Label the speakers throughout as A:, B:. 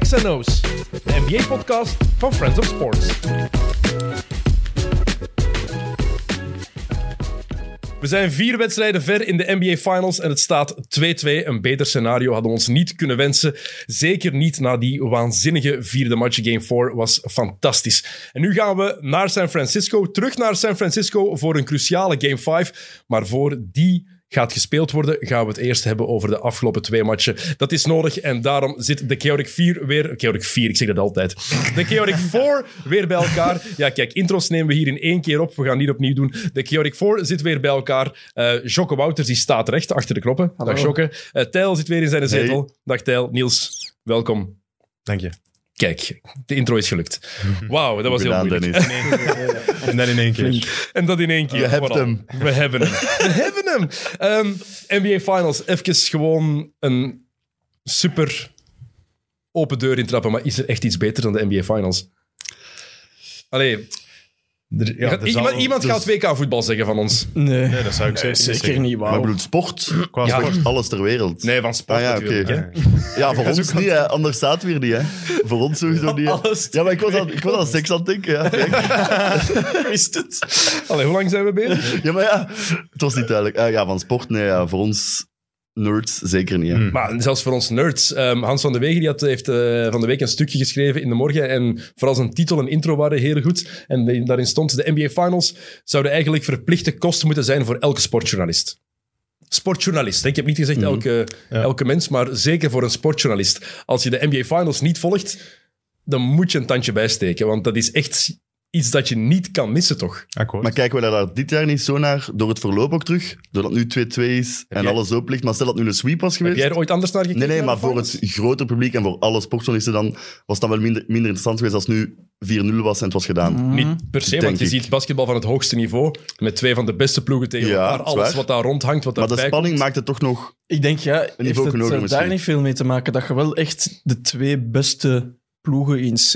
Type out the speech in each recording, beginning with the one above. A: XNO's, de NBA-podcast van Friends of Sports. We zijn vier wedstrijden ver in de NBA Finals en het staat 2-2. Een beter scenario hadden we ons niet kunnen wensen. Zeker niet na die waanzinnige vierde match. Game 4 was fantastisch. En nu gaan we naar San Francisco, terug naar San Francisco voor een cruciale Game 5. Maar voor die gaat gespeeld worden, gaan we het eerst hebben over de afgelopen twee matchen. Dat is nodig en daarom zit de Chaotic 4 weer... Chaotic 4, ik zeg dat altijd. De Chaotic 4 weer bij elkaar. Ja, kijk, intros nemen we hier in één keer op. We gaan niet opnieuw doen. De Chaotic 4 zit weer bij elkaar. Eh Jocke Wouters, die staat recht achter de knoppen. Dag Jocke. Eh Tijl zit weer in zijn zetel. Dag Tijl. Niels, welkom.
B: Dank je.
A: Kijk, de intro is gelukt. Wauw, dat was heel moeilijk.
B: En dan in één keer.
A: En dat in één keer.
C: We hebben
A: Voilà.
C: hem.
A: We hebben hem. We hebben hem. Ehm, NBA Finals. Even gewoon een super open deur intrappen. Maar is er echt iets beter dan de NBA Finals? Allee,
B: Er- ja, er zal-
A: iemand, iemand
B: dus-
A: gaat WK voetbal zeggen van ons.
D: Nee,
B: Nee, dat zou ik zeker niet
D: zeker
B: zeggen.
D: niet,
C: Maar ik
D: wauw.
C: bedoel, sport,
B: Qua
A: Ja.
B: sport.
C: sport, alles ter wereld.
A: Nee, van sport
C: Ah ja,
A: natuurlijk.
C: oké.
A: hè.
C: Ja, voor ons niet, hè. anders staat weer niet. Hè. Voor ons sowieso niet. hè.
D: Alles ter
C: Ja, maar ik was, aan, ik was aan seks aan het denken. Ja. Kijk.
D: Wist het?
A: Allee, hoe lang zijn we bezig?
C: ja, maar ja, het was niet duidelijk. Ah, ja, van sport, nee, ja. voor ons nerds zeker niet. Hè.
B: Hmm.
A: Maar zelfs voor ons nerds. Ehm, Hans van de Wegen die had, heeft eh, van de week een stukje geschreven in de morgen. En vooral zijn titel en intro waren heel goed. En de- daarin stond: de NBA Finals zouden eigenlijk verplichte kosten moeten zijn voor elke sportjournalist. Sportjournalist. hè. Ik heb niet
C: Mhm.
A: gezegd elke, elke mens, maar zeker voor een sportjournalist. Als je de NBA Finals niet volgt, dan moet je een tandje bijsteken. Want dat is echt iets dat je niet kan missen, toch?
B: Akkoord.
C: Maar kijken we daar dit jaar niet zo naar, door het verloop ook terug, doordat nu 2-2 is en
A: jij-
C: alles open ligt. Maar stel dat nu een sweep was
A: Heb
C: geweest...
A: jij er ooit anders naar gekeken?
C: Nee,
A: naar
C: nee, maar
A: de
C: voor
A: finals?
C: het grotere publiek en voor alle sportjournalisten dan was dat wel minder, minder interessant geweest als nu 4-0 was en het was gedaan.
D: Mhm.
B: Mhm.
A: Niet per se,
C: Denk
A: want je
C: ik.
A: ziet basketbal van het hoogste niveau met twee van de beste ploegen tegen
C: Ja,
A: elkaar.
C: dat is
A: Alles
C: waar.
A: wat daar rondhangt, wat
C: Maar de
A: daarbij
C: spanning
A: komt.
C: maakt het toch nog...
D: Ik denk, ja,
C: Een
D: heeft
C: niveau
D: het
C: hoger
D: eh, daar
C: misschien.
D: niet veel mee te maken dat je wel echt de twee beste ploegen in C hebt.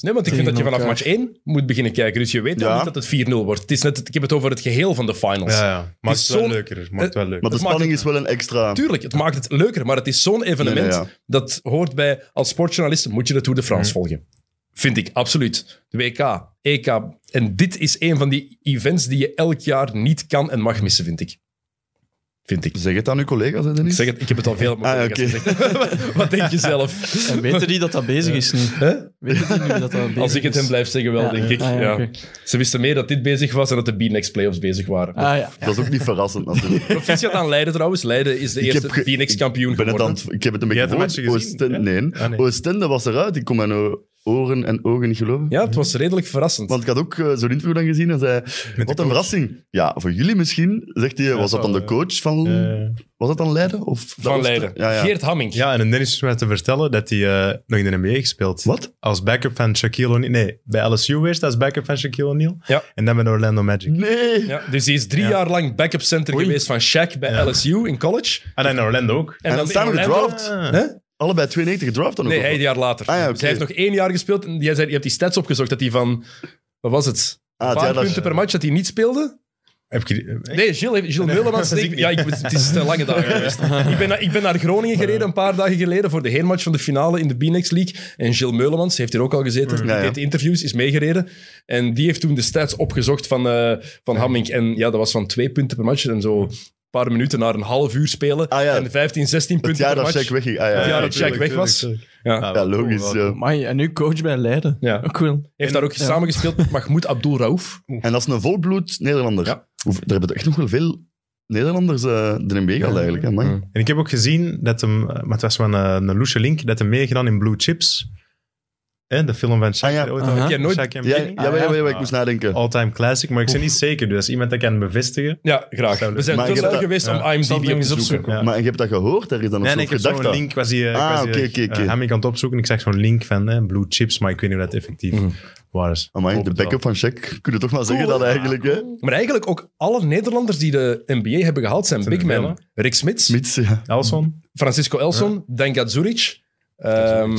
A: Nee, want ik vind dat
D: tegen
A: je vanaf
D: elkaar.
A: match 1 moet beginnen kijken. Dus je weet
C: Ja.
A: al niet dat het 4-0 wordt. Het is net, het- ik heb het over het geheel van de finals.
B: Ja, ja. Maakt het wel
A: zo'n-
B: leuker. Maakt het wel
C: Maar de
B: leuker.
A: Dat maakt
C: spanning
A: het-
C: is wel een extra...
A: Tuurlijk, het maakt het leuker, maar het is zo'n evenement
C: Nee, nee, ja.
A: dat hoort bij... Als sportjournalist moet je de Tour de
B: Mhm.
A: France volgen. Vind ik, absoluut. De WK, EK. En dit is een van die events die je elk jaar niet kan en mag missen, vind ik. Vind ik.
C: Zeg het aan uw collega's, hè,
A: Ik
C: Dennis.
A: zeg het, ik heb het al veel
C: Ah,
A: mogelijk gezegd. Wat denk je zelf?
D: En weten die dat dat bezig is nu? Weten die nu dat dat bezig
A: Als ik het
D: is?
A: hem blijf zeggen, wel,
D: Ja.
A: denk ik.
D: Ah, ja,
A: ja.
D: oké.
A: Ze wisten meer dat dit bezig was en dat de B-Next Playoffs bezig waren.
D: Ah ja.
C: Dat is ook niet verrassend, natuurlijk.
A: Proficiat aan Leiden trouwens. Leiden is de
C: Ik
A: eerste
C: heb ge-
A: B-Next kampioen
C: Ik, ben het
A: geworden.
C: aan het- ik heb het een
B: Jij
C: beetje
B: hebt de
C: gehoord.
B: matchen gezien,
C: Oostende, nee.
B: Ah, nee.
C: Oostende was eruit. Ik kon mijn eh, oren en ogen niet geloven.
A: Ja, het was redelijk verrassend.
C: Want ik had ook eh, zo'n interview dan gezien en zei... wat een verrassing. Ja, voor jullie misschien, zegt hij. was dat dan
B: wel,
C: de coach van...
B: Eh,
C: was dat dan Leiden? Of
A: van
C: Oosten-
A: Leiden.
C: Ja, ja.
A: Geert Hamming.
B: ja, en Dennis is mij te vertellen dat hij eh, nog in de NBA gespeeld.
C: Wat?
B: Als backup van Shaquille O'Neal. Nee, bij LSU eerst als backup van Shaquille O'Neal.
A: Ja.
B: En dan met Orlando Magic.
C: Nee!
A: Ja, dus die is drie
B: Ja.
A: jaar lang backup center
B: Oei.
A: geweest van Shaq bij LSU in college. En,
B: En dan Ah, in Orlando ook.
C: En dan
A: in
C: samen
A: Orlando-
C: gedraft.
B: Ah.
A: Hè?
C: Allebei 92 gedraft dan ook.
A: Nee,
C: of
A: hij een
C: wat?
A: jaar later.
C: Ah, ja, oké.
A: Dus hij heeft nog één jaar gespeeld. En jij zei, je hebt die stats opgezocht dat hij van... Wat was het?
C: Ah,
A: Een
C: het
A: paar
C: jaar dat-
A: punten per match dat hij niet speelde.
B: Heb je die- eh,
A: Nee, Gilles, heeft- Gilles Meulemans.
B: dat zie
A: ik-
B: ik
A: ja, ik, het is een lange dag geweest. Ik ben, naar, ik ben naar Groningen gereden een paar dagen geleden voor de heenmatch van de finale in de B-Next League. En Gilles Meulemans heeft hier ook al gezeten. Die
C: Ja, ja.
A: deed interviews, is meegereden. En die heeft toen de stats opgezocht van, eh van Hamming. En ja, dat was van twee punten per match. En zo een paar minuten naar een half uur spelen.
C: Ah, ja.
A: En 15, 16
C: Het
A: punten
C: jaar
A: per
C: dat
A: match.
C: Shaq wegging. Ah, ja,
A: Het
C: ja,
A: jaar
C: ja.
A: dat Oh, Shaq weg was. Ja.
B: Ah,
C: Ja, logisch. ja.
D: Amai, en nu coach bij Leiden.
A: Ja.
D: Ook wel.
A: Heeft daar ook samengespeeld met Mahmoud Abdul Raouf.
C: En dat is een volbloed Nederlander.
A: Ja.
C: Hoeveel- er hebben toch echt nog wel veel Nederlanders eh de NBA gehad eigenlijk. Hè, man.
B: En ik heb ook gezien dat hem, eh, maar het was wel een, een loesje link, dat hem meegedaan in Blue Chips. Hè, de film van Shaq.
C: Ah, ja.
B: ooit
D: Aha.
B: al-
A: Heb jij nooit-
B: Shaq en
C: Ja,
B: Penny.
C: ja, ja, ja, ja, ik
B: Ah.
C: moest nadenken.
B: All-time classic, maar ik ben niet zeker. Dus als iemand dat kan bevestigen.
A: Ja, graag.
B: Zou leuk
A: We zijn
C: zijn.
A: te
C: Maar ik
A: snel
C: heb
A: geweest
B: dat-
A: om
B: ja.
D: Zal
A: IMDb
D: die
A: op te
D: eens
A: zoeken.
D: opzoeken?
B: Ja.
C: Maar je hebt dat gehoord, daar is dan nog
B: Nee,
C: zo'n
B: nee, ik heb
C: gedachte
B: zo'n
C: aan.
B: link. Ik was die, eh, ik
C: Ah,
B: was die,
C: oké,
B: eh,
C: oké, oké.
B: eh, Hamming aan het opzoeken. Ik zag zo'n link van hè, Blue Chips, maar ik weet niet of dat effectief
A: Mhm.
B: waar is.
C: Amai,
B: Hoop
C: de
B: het wel.
C: backup van Shaq. Kun je toch maar
D: Oh,
C: zeggen dat eigenlijk, hè?
A: Maar eigenlijk ook alle Nederlanders die de NBA hebben gehaald zijn,
B: Zijn
A: big men.
B: er veel,
A: Rick Smits,
C: Mits, ja.
B: Elson?
A: Francisco Elson, Denka Zuric, ehm,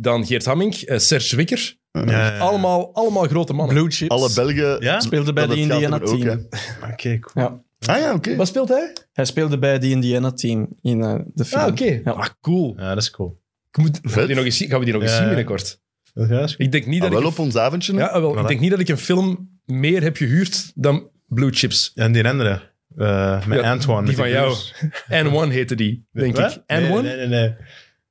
A: dan Geert Hamming, eh, Serge Wikker.
B: Ja.
A: Allemaal, allemaal grote mannen.
D: Blue Chips.
C: Alle Belgen...
B: Ja?
D: Speelde bij
C: Dat
D: de
C: het gaat
D: Indiana
C: er ook,
D: team.
B: Oké, cool.
D: Ja.
C: Ah ja, oké.
A: Wat speelt hij?
D: Hij speelde bij de Indiana team in eh, de film.
A: Ah, oké.
D: Ja.
A: Ah, cool.
B: Ja, dat is cool.
A: Ik moet, gaan, we die
C: Vet.
A: nog eens, zien- gaan we die nog eens
B: Ja,
A: zien
B: ja.
A: binnenkort?
B: Ja, is goed.
A: Ik denk niet
C: Ah,
A: dat
C: wel
A: ik...
C: op ons avondje. hè?
A: Ja, ah, wel,
B: Voilà.
A: Ik denk niet dat ik een film meer heb gehuurd dan Blue Chips.
B: En die andere, eh, met
A: Ja,
B: Antoine.
A: die
B: met
A: van jou,
B: broers.
A: And One heette die, denk
B: Wat?
A: ik. And
B: Nee,
A: One?
B: Nee, nee, nee.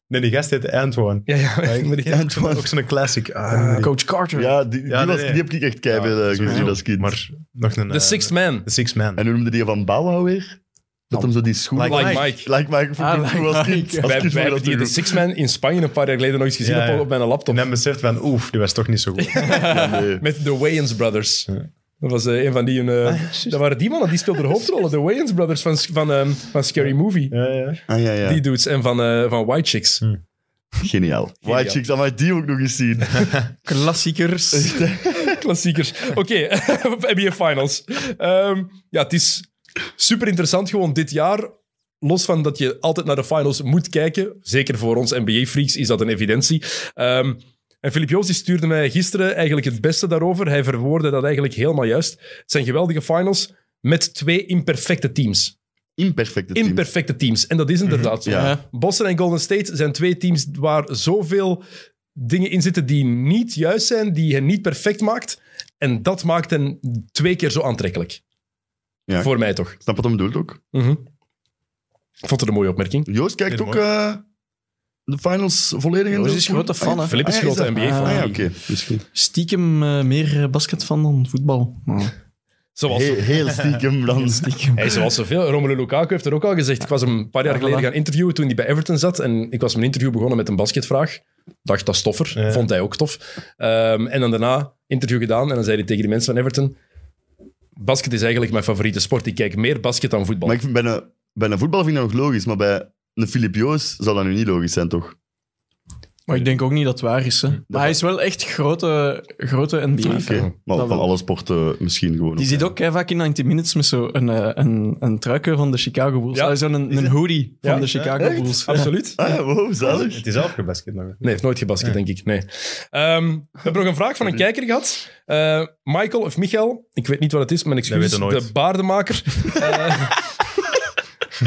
B: Nee, die gast heet Antoine.
A: Ja, ja.
B: Maar ik-
A: maar die-
B: ik ken
C: Antoine.
B: ook zo'n- Ook zo'n classic. Ah,
D: Eh,
B: die-
D: Coach Carter.
C: Ja, die, die,
B: Ja, nee,
C: was,
B: nee.
C: die heb ik echt keihard eh,
B: sowieso.
C: gezien als kind.
B: Maar nog een... eh,
A: The Sixth Man.
B: The Sixth Man.
C: En hoe noemde die van Bauhaus weer? Dat hem zo die schoenen...
B: Nou, Like
A: Like
B: Mike.
A: Mike.
C: Like Mike vond ik
D: Ah,
C: goed
D: Like
C: als
D: Mike.
C: kind. Als
A: Wij, wij
C: kind vond ik
A: hebben
C: dat
A: die
C: zo
A: de
C: goed.
A: Six Man in Spanje een paar jaar geleden nog eens gezien
B: Ja,
A: op,
B: ja.
A: op mijn laptop.
B: En dan beseft van, oef, die was toch niet zo goed.
C: Ja,
B: dus-
C: nee.
A: Met de Wayans Brothers.
B: Ja.
A: Dat was eh, een van die... eh,
B: juist.
A: dat waren die mannen, die speelden de hoofdrollen. De Wayans Brothers van, van, ehm, van Scary Movie.
B: ja, ja.
C: Ah, ja, ja.
A: Die dudes en van, eh, van White Chicks.
C: Geniaal. White Chicks, dan mag die ook nog eens zien.
D: Klassiekers.
A: Klassiekers. Oké, NBA Finals. Ehm, ja, het is super interessant gewoon dit jaar. Los van dat je altijd naar de finals moet kijken, zeker voor ons NBA-freaks is dat een evidentie. Ehm, en Filip Joos die stuurde mij gisteren eigenlijk het beste daarover. Hij verwoordde dat eigenlijk helemaal juist. Het zijn geweldige finals met twee imperfecte teams.
C: Imperfecte team. Mhm.
A: Imperfecte teams. En dat is inderdaad zo.
C: Ja.
A: Boston en Golden State zijn twee teams waar zoveel dingen in zitten die niet juist zijn, die hen niet perfect maakt. En dat maakt hen twee keer zo aantrekkelijk.
C: Ja.
A: Voor mij toch.
C: Snap wat hem bedoelt ook.
A: Mhm. Ik vond het een mooie opmerking.
C: Joost kijkt
B: Heel
C: ook
B: mooi.
C: eh, de finals volledig in.
D: Joost
C: de-
D: is grote fan, hè.
A: Filip is
C: Ah, ja,
A: grote
C: dat-
A: NBA-fan.
C: Ah, ja,
D: Ah.
C: oké. Misschien.
D: Stiekem eh, meer basket van dan voetbal.
A: Zoals,
C: Heel, heel stiekem dan.
D: Stiekem.
A: hij, zoals zoveel. Romelu Lukaku heeft er ook al gezegd. Ik was hem een paar jaar
D: Ja,
A: geleden
D: voilà.
A: gaan interviewen toen hij bij Everton zat. En ik was mijn interview begonnen met een basketvraag. Dacht, dat is toffer.
B: Ja.
A: Vond hij ook tof. Ehm, en dan daarna interview gedaan. En dan zei hij tegen de mensen van Everton... Basket is eigenlijk mijn favoriete sport. Ik kijk meer basket dan voetbal.
C: Maar ik vind, bij, een, bij een voetbal vind ik dat nog logisch, maar bij een Filip Joos zou dat nu niet logisch zijn, toch?
D: Maar ik denk ook niet dat het waar is. Hè. Maar hij is wel echt grote, grote NBA.
C: Oké.
A: Ja.
C: Maar
D: Dat
C: van
D: wel.
C: alle sporten misschien gewoon.
D: Die zit ook heel vaak in 90 Minutes met zo'n een, eh, een, een truikje van de Chicago Bulls.
A: Ja.
D: Ah, Zo'n een, een hoodie van
A: Ja,
D: de Chicago
C: echt?
D: Bulls. Ja.
A: Absoluut.
C: Ah, ja, wow, zalig.
B: Het is afgebasket nog.
A: Nee, heeft nooit gebasket, denk ik. Nee. Ehm, we hebben nog een vraag van een kijker gehad. Eh, Michael of Michael, ik weet niet wat het is, mijn excuus.
B: weten nooit.
A: De baardenmaker. Eh,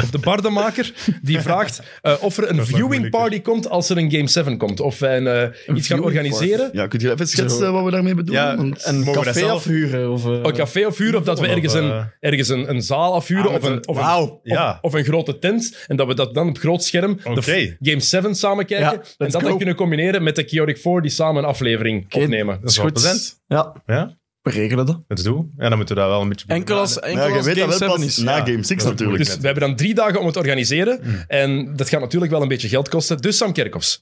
A: of de bardenmaker, die vraagt eh, of er een
B: Dat is nog
A: viewing
B: moeilijker.
A: party komt als er een Game 7 komt. Of wij een, eh, iets gaan
D: viewing
A: organiseren.
C: Ja, kun je even schetsen wat we daarmee bedoelen?
B: Ja,
C: Want-
D: Een
B: Mogen we dat
D: café
B: zelf?
D: afhuren. Of, eh,
A: Een café afhuren, of dat we
B: Of,
A: ergens
B: eh,
A: een, ergens een, een zaal afhuren,
B: ah,
A: of,
B: met
A: een,
B: een-
A: of, een,
B: wauw,
A: of,
B: ja.
A: of een grote tent, en dat we dat dan op groot scherm, de
B: Oké.
A: f- Game 7 samen kijken,
D: Ja,
A: en
D: let's
A: dat dan
D: go.
A: kunnen combineren met de Chaotic 4 die samen een aflevering opnemen.
B: Dat is wel plezant.
D: Ja,
B: Ja,
D: we regelen dat.
B: dat is doen. Ja, dan moeten we daar wel een beetje...
D: Enkel als,
C: Maar
D: enkel
C: ja, je
D: als
C: weet
D: Game
C: dat wel
D: 7
C: pas
D: is.
C: na
B: Ja.
C: Game 6
B: Dat is
C: natuurlijk.
A: Dus we hebben dan drie dagen om het te organiseren. En dat gaat natuurlijk wel een beetje geld kosten. Dus Sam Kerkhoffs.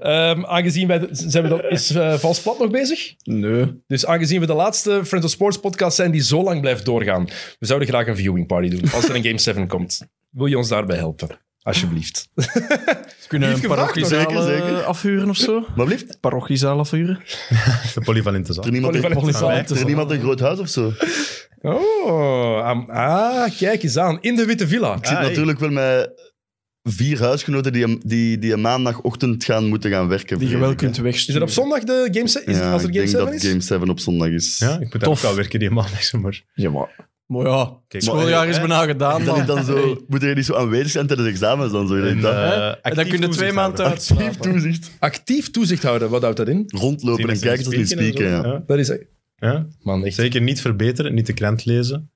A: Ehm, aangezien wij... de- zijn we dan, is eh, Vals Plat nog bezig?
D: Nee.
A: Dus aangezien we de laatste Friends of Sports podcast zijn die zo lang blijft doorgaan. We zouden graag een viewing party doen als er een Game 7 komt. Wil je ons daarbij helpen? Alsjeblieft.
D: Ze kunnen
A: Lief
D: een
A: gevraagd,
D: parochiezaal
C: zeker,
D: eh,
C: zeker.
D: afhuren of zo.
C: Maar blijft er
D: Parochiezaal afhuren.
B: De polyvalente zaal.
C: niemand,
A: Polyvalent
C: een-
A: zaal.
C: Heeft er niemand een groot huis of zo? Ik zit
A: Oh, am- ah, kijk eens aan. In de Witte Villa.
B: Ah, hey.
C: natuurlijk wel met vier huisgenoten die, hem- die, die een maandagochtend gaan moeten gaan werken.
D: Die je
C: vrees
D: wel
C: ik,
D: kunt
A: Is
D: wegsturen.
A: dat op zondag de Game 7? Is
C: Ja,
A: het als er
C: ik
A: Game
C: denk
A: 7
C: dat
A: is?
C: Game 7 op zondag is.
B: Ja, ik moet daar
D: Tof.
B: ook wel werken die maandag, zeg maar.
D: Ja, maar... Maar ja,
B: Kijk, eh,
D: het schooljaar
B: maar-
D: is bijna gedaan,
C: Dan,
D: man.
C: is dan zo, moet je niet zo aanwezig zijn tijdens examens dan
B: eh,
C: zo. je denkt, ah,
D: En dan kun je twee maanden
C: Actief
D: uitslapen.
C: toezicht.
A: Actief toezicht houden. Wat houdt dat in?
C: Rondlopen en kijken tot niet spieken. Ja.
B: Ja.
A: Dat is...
B: Ja.
A: Man, echt.
B: Zeker niet verbeteren, niet de krant lezen.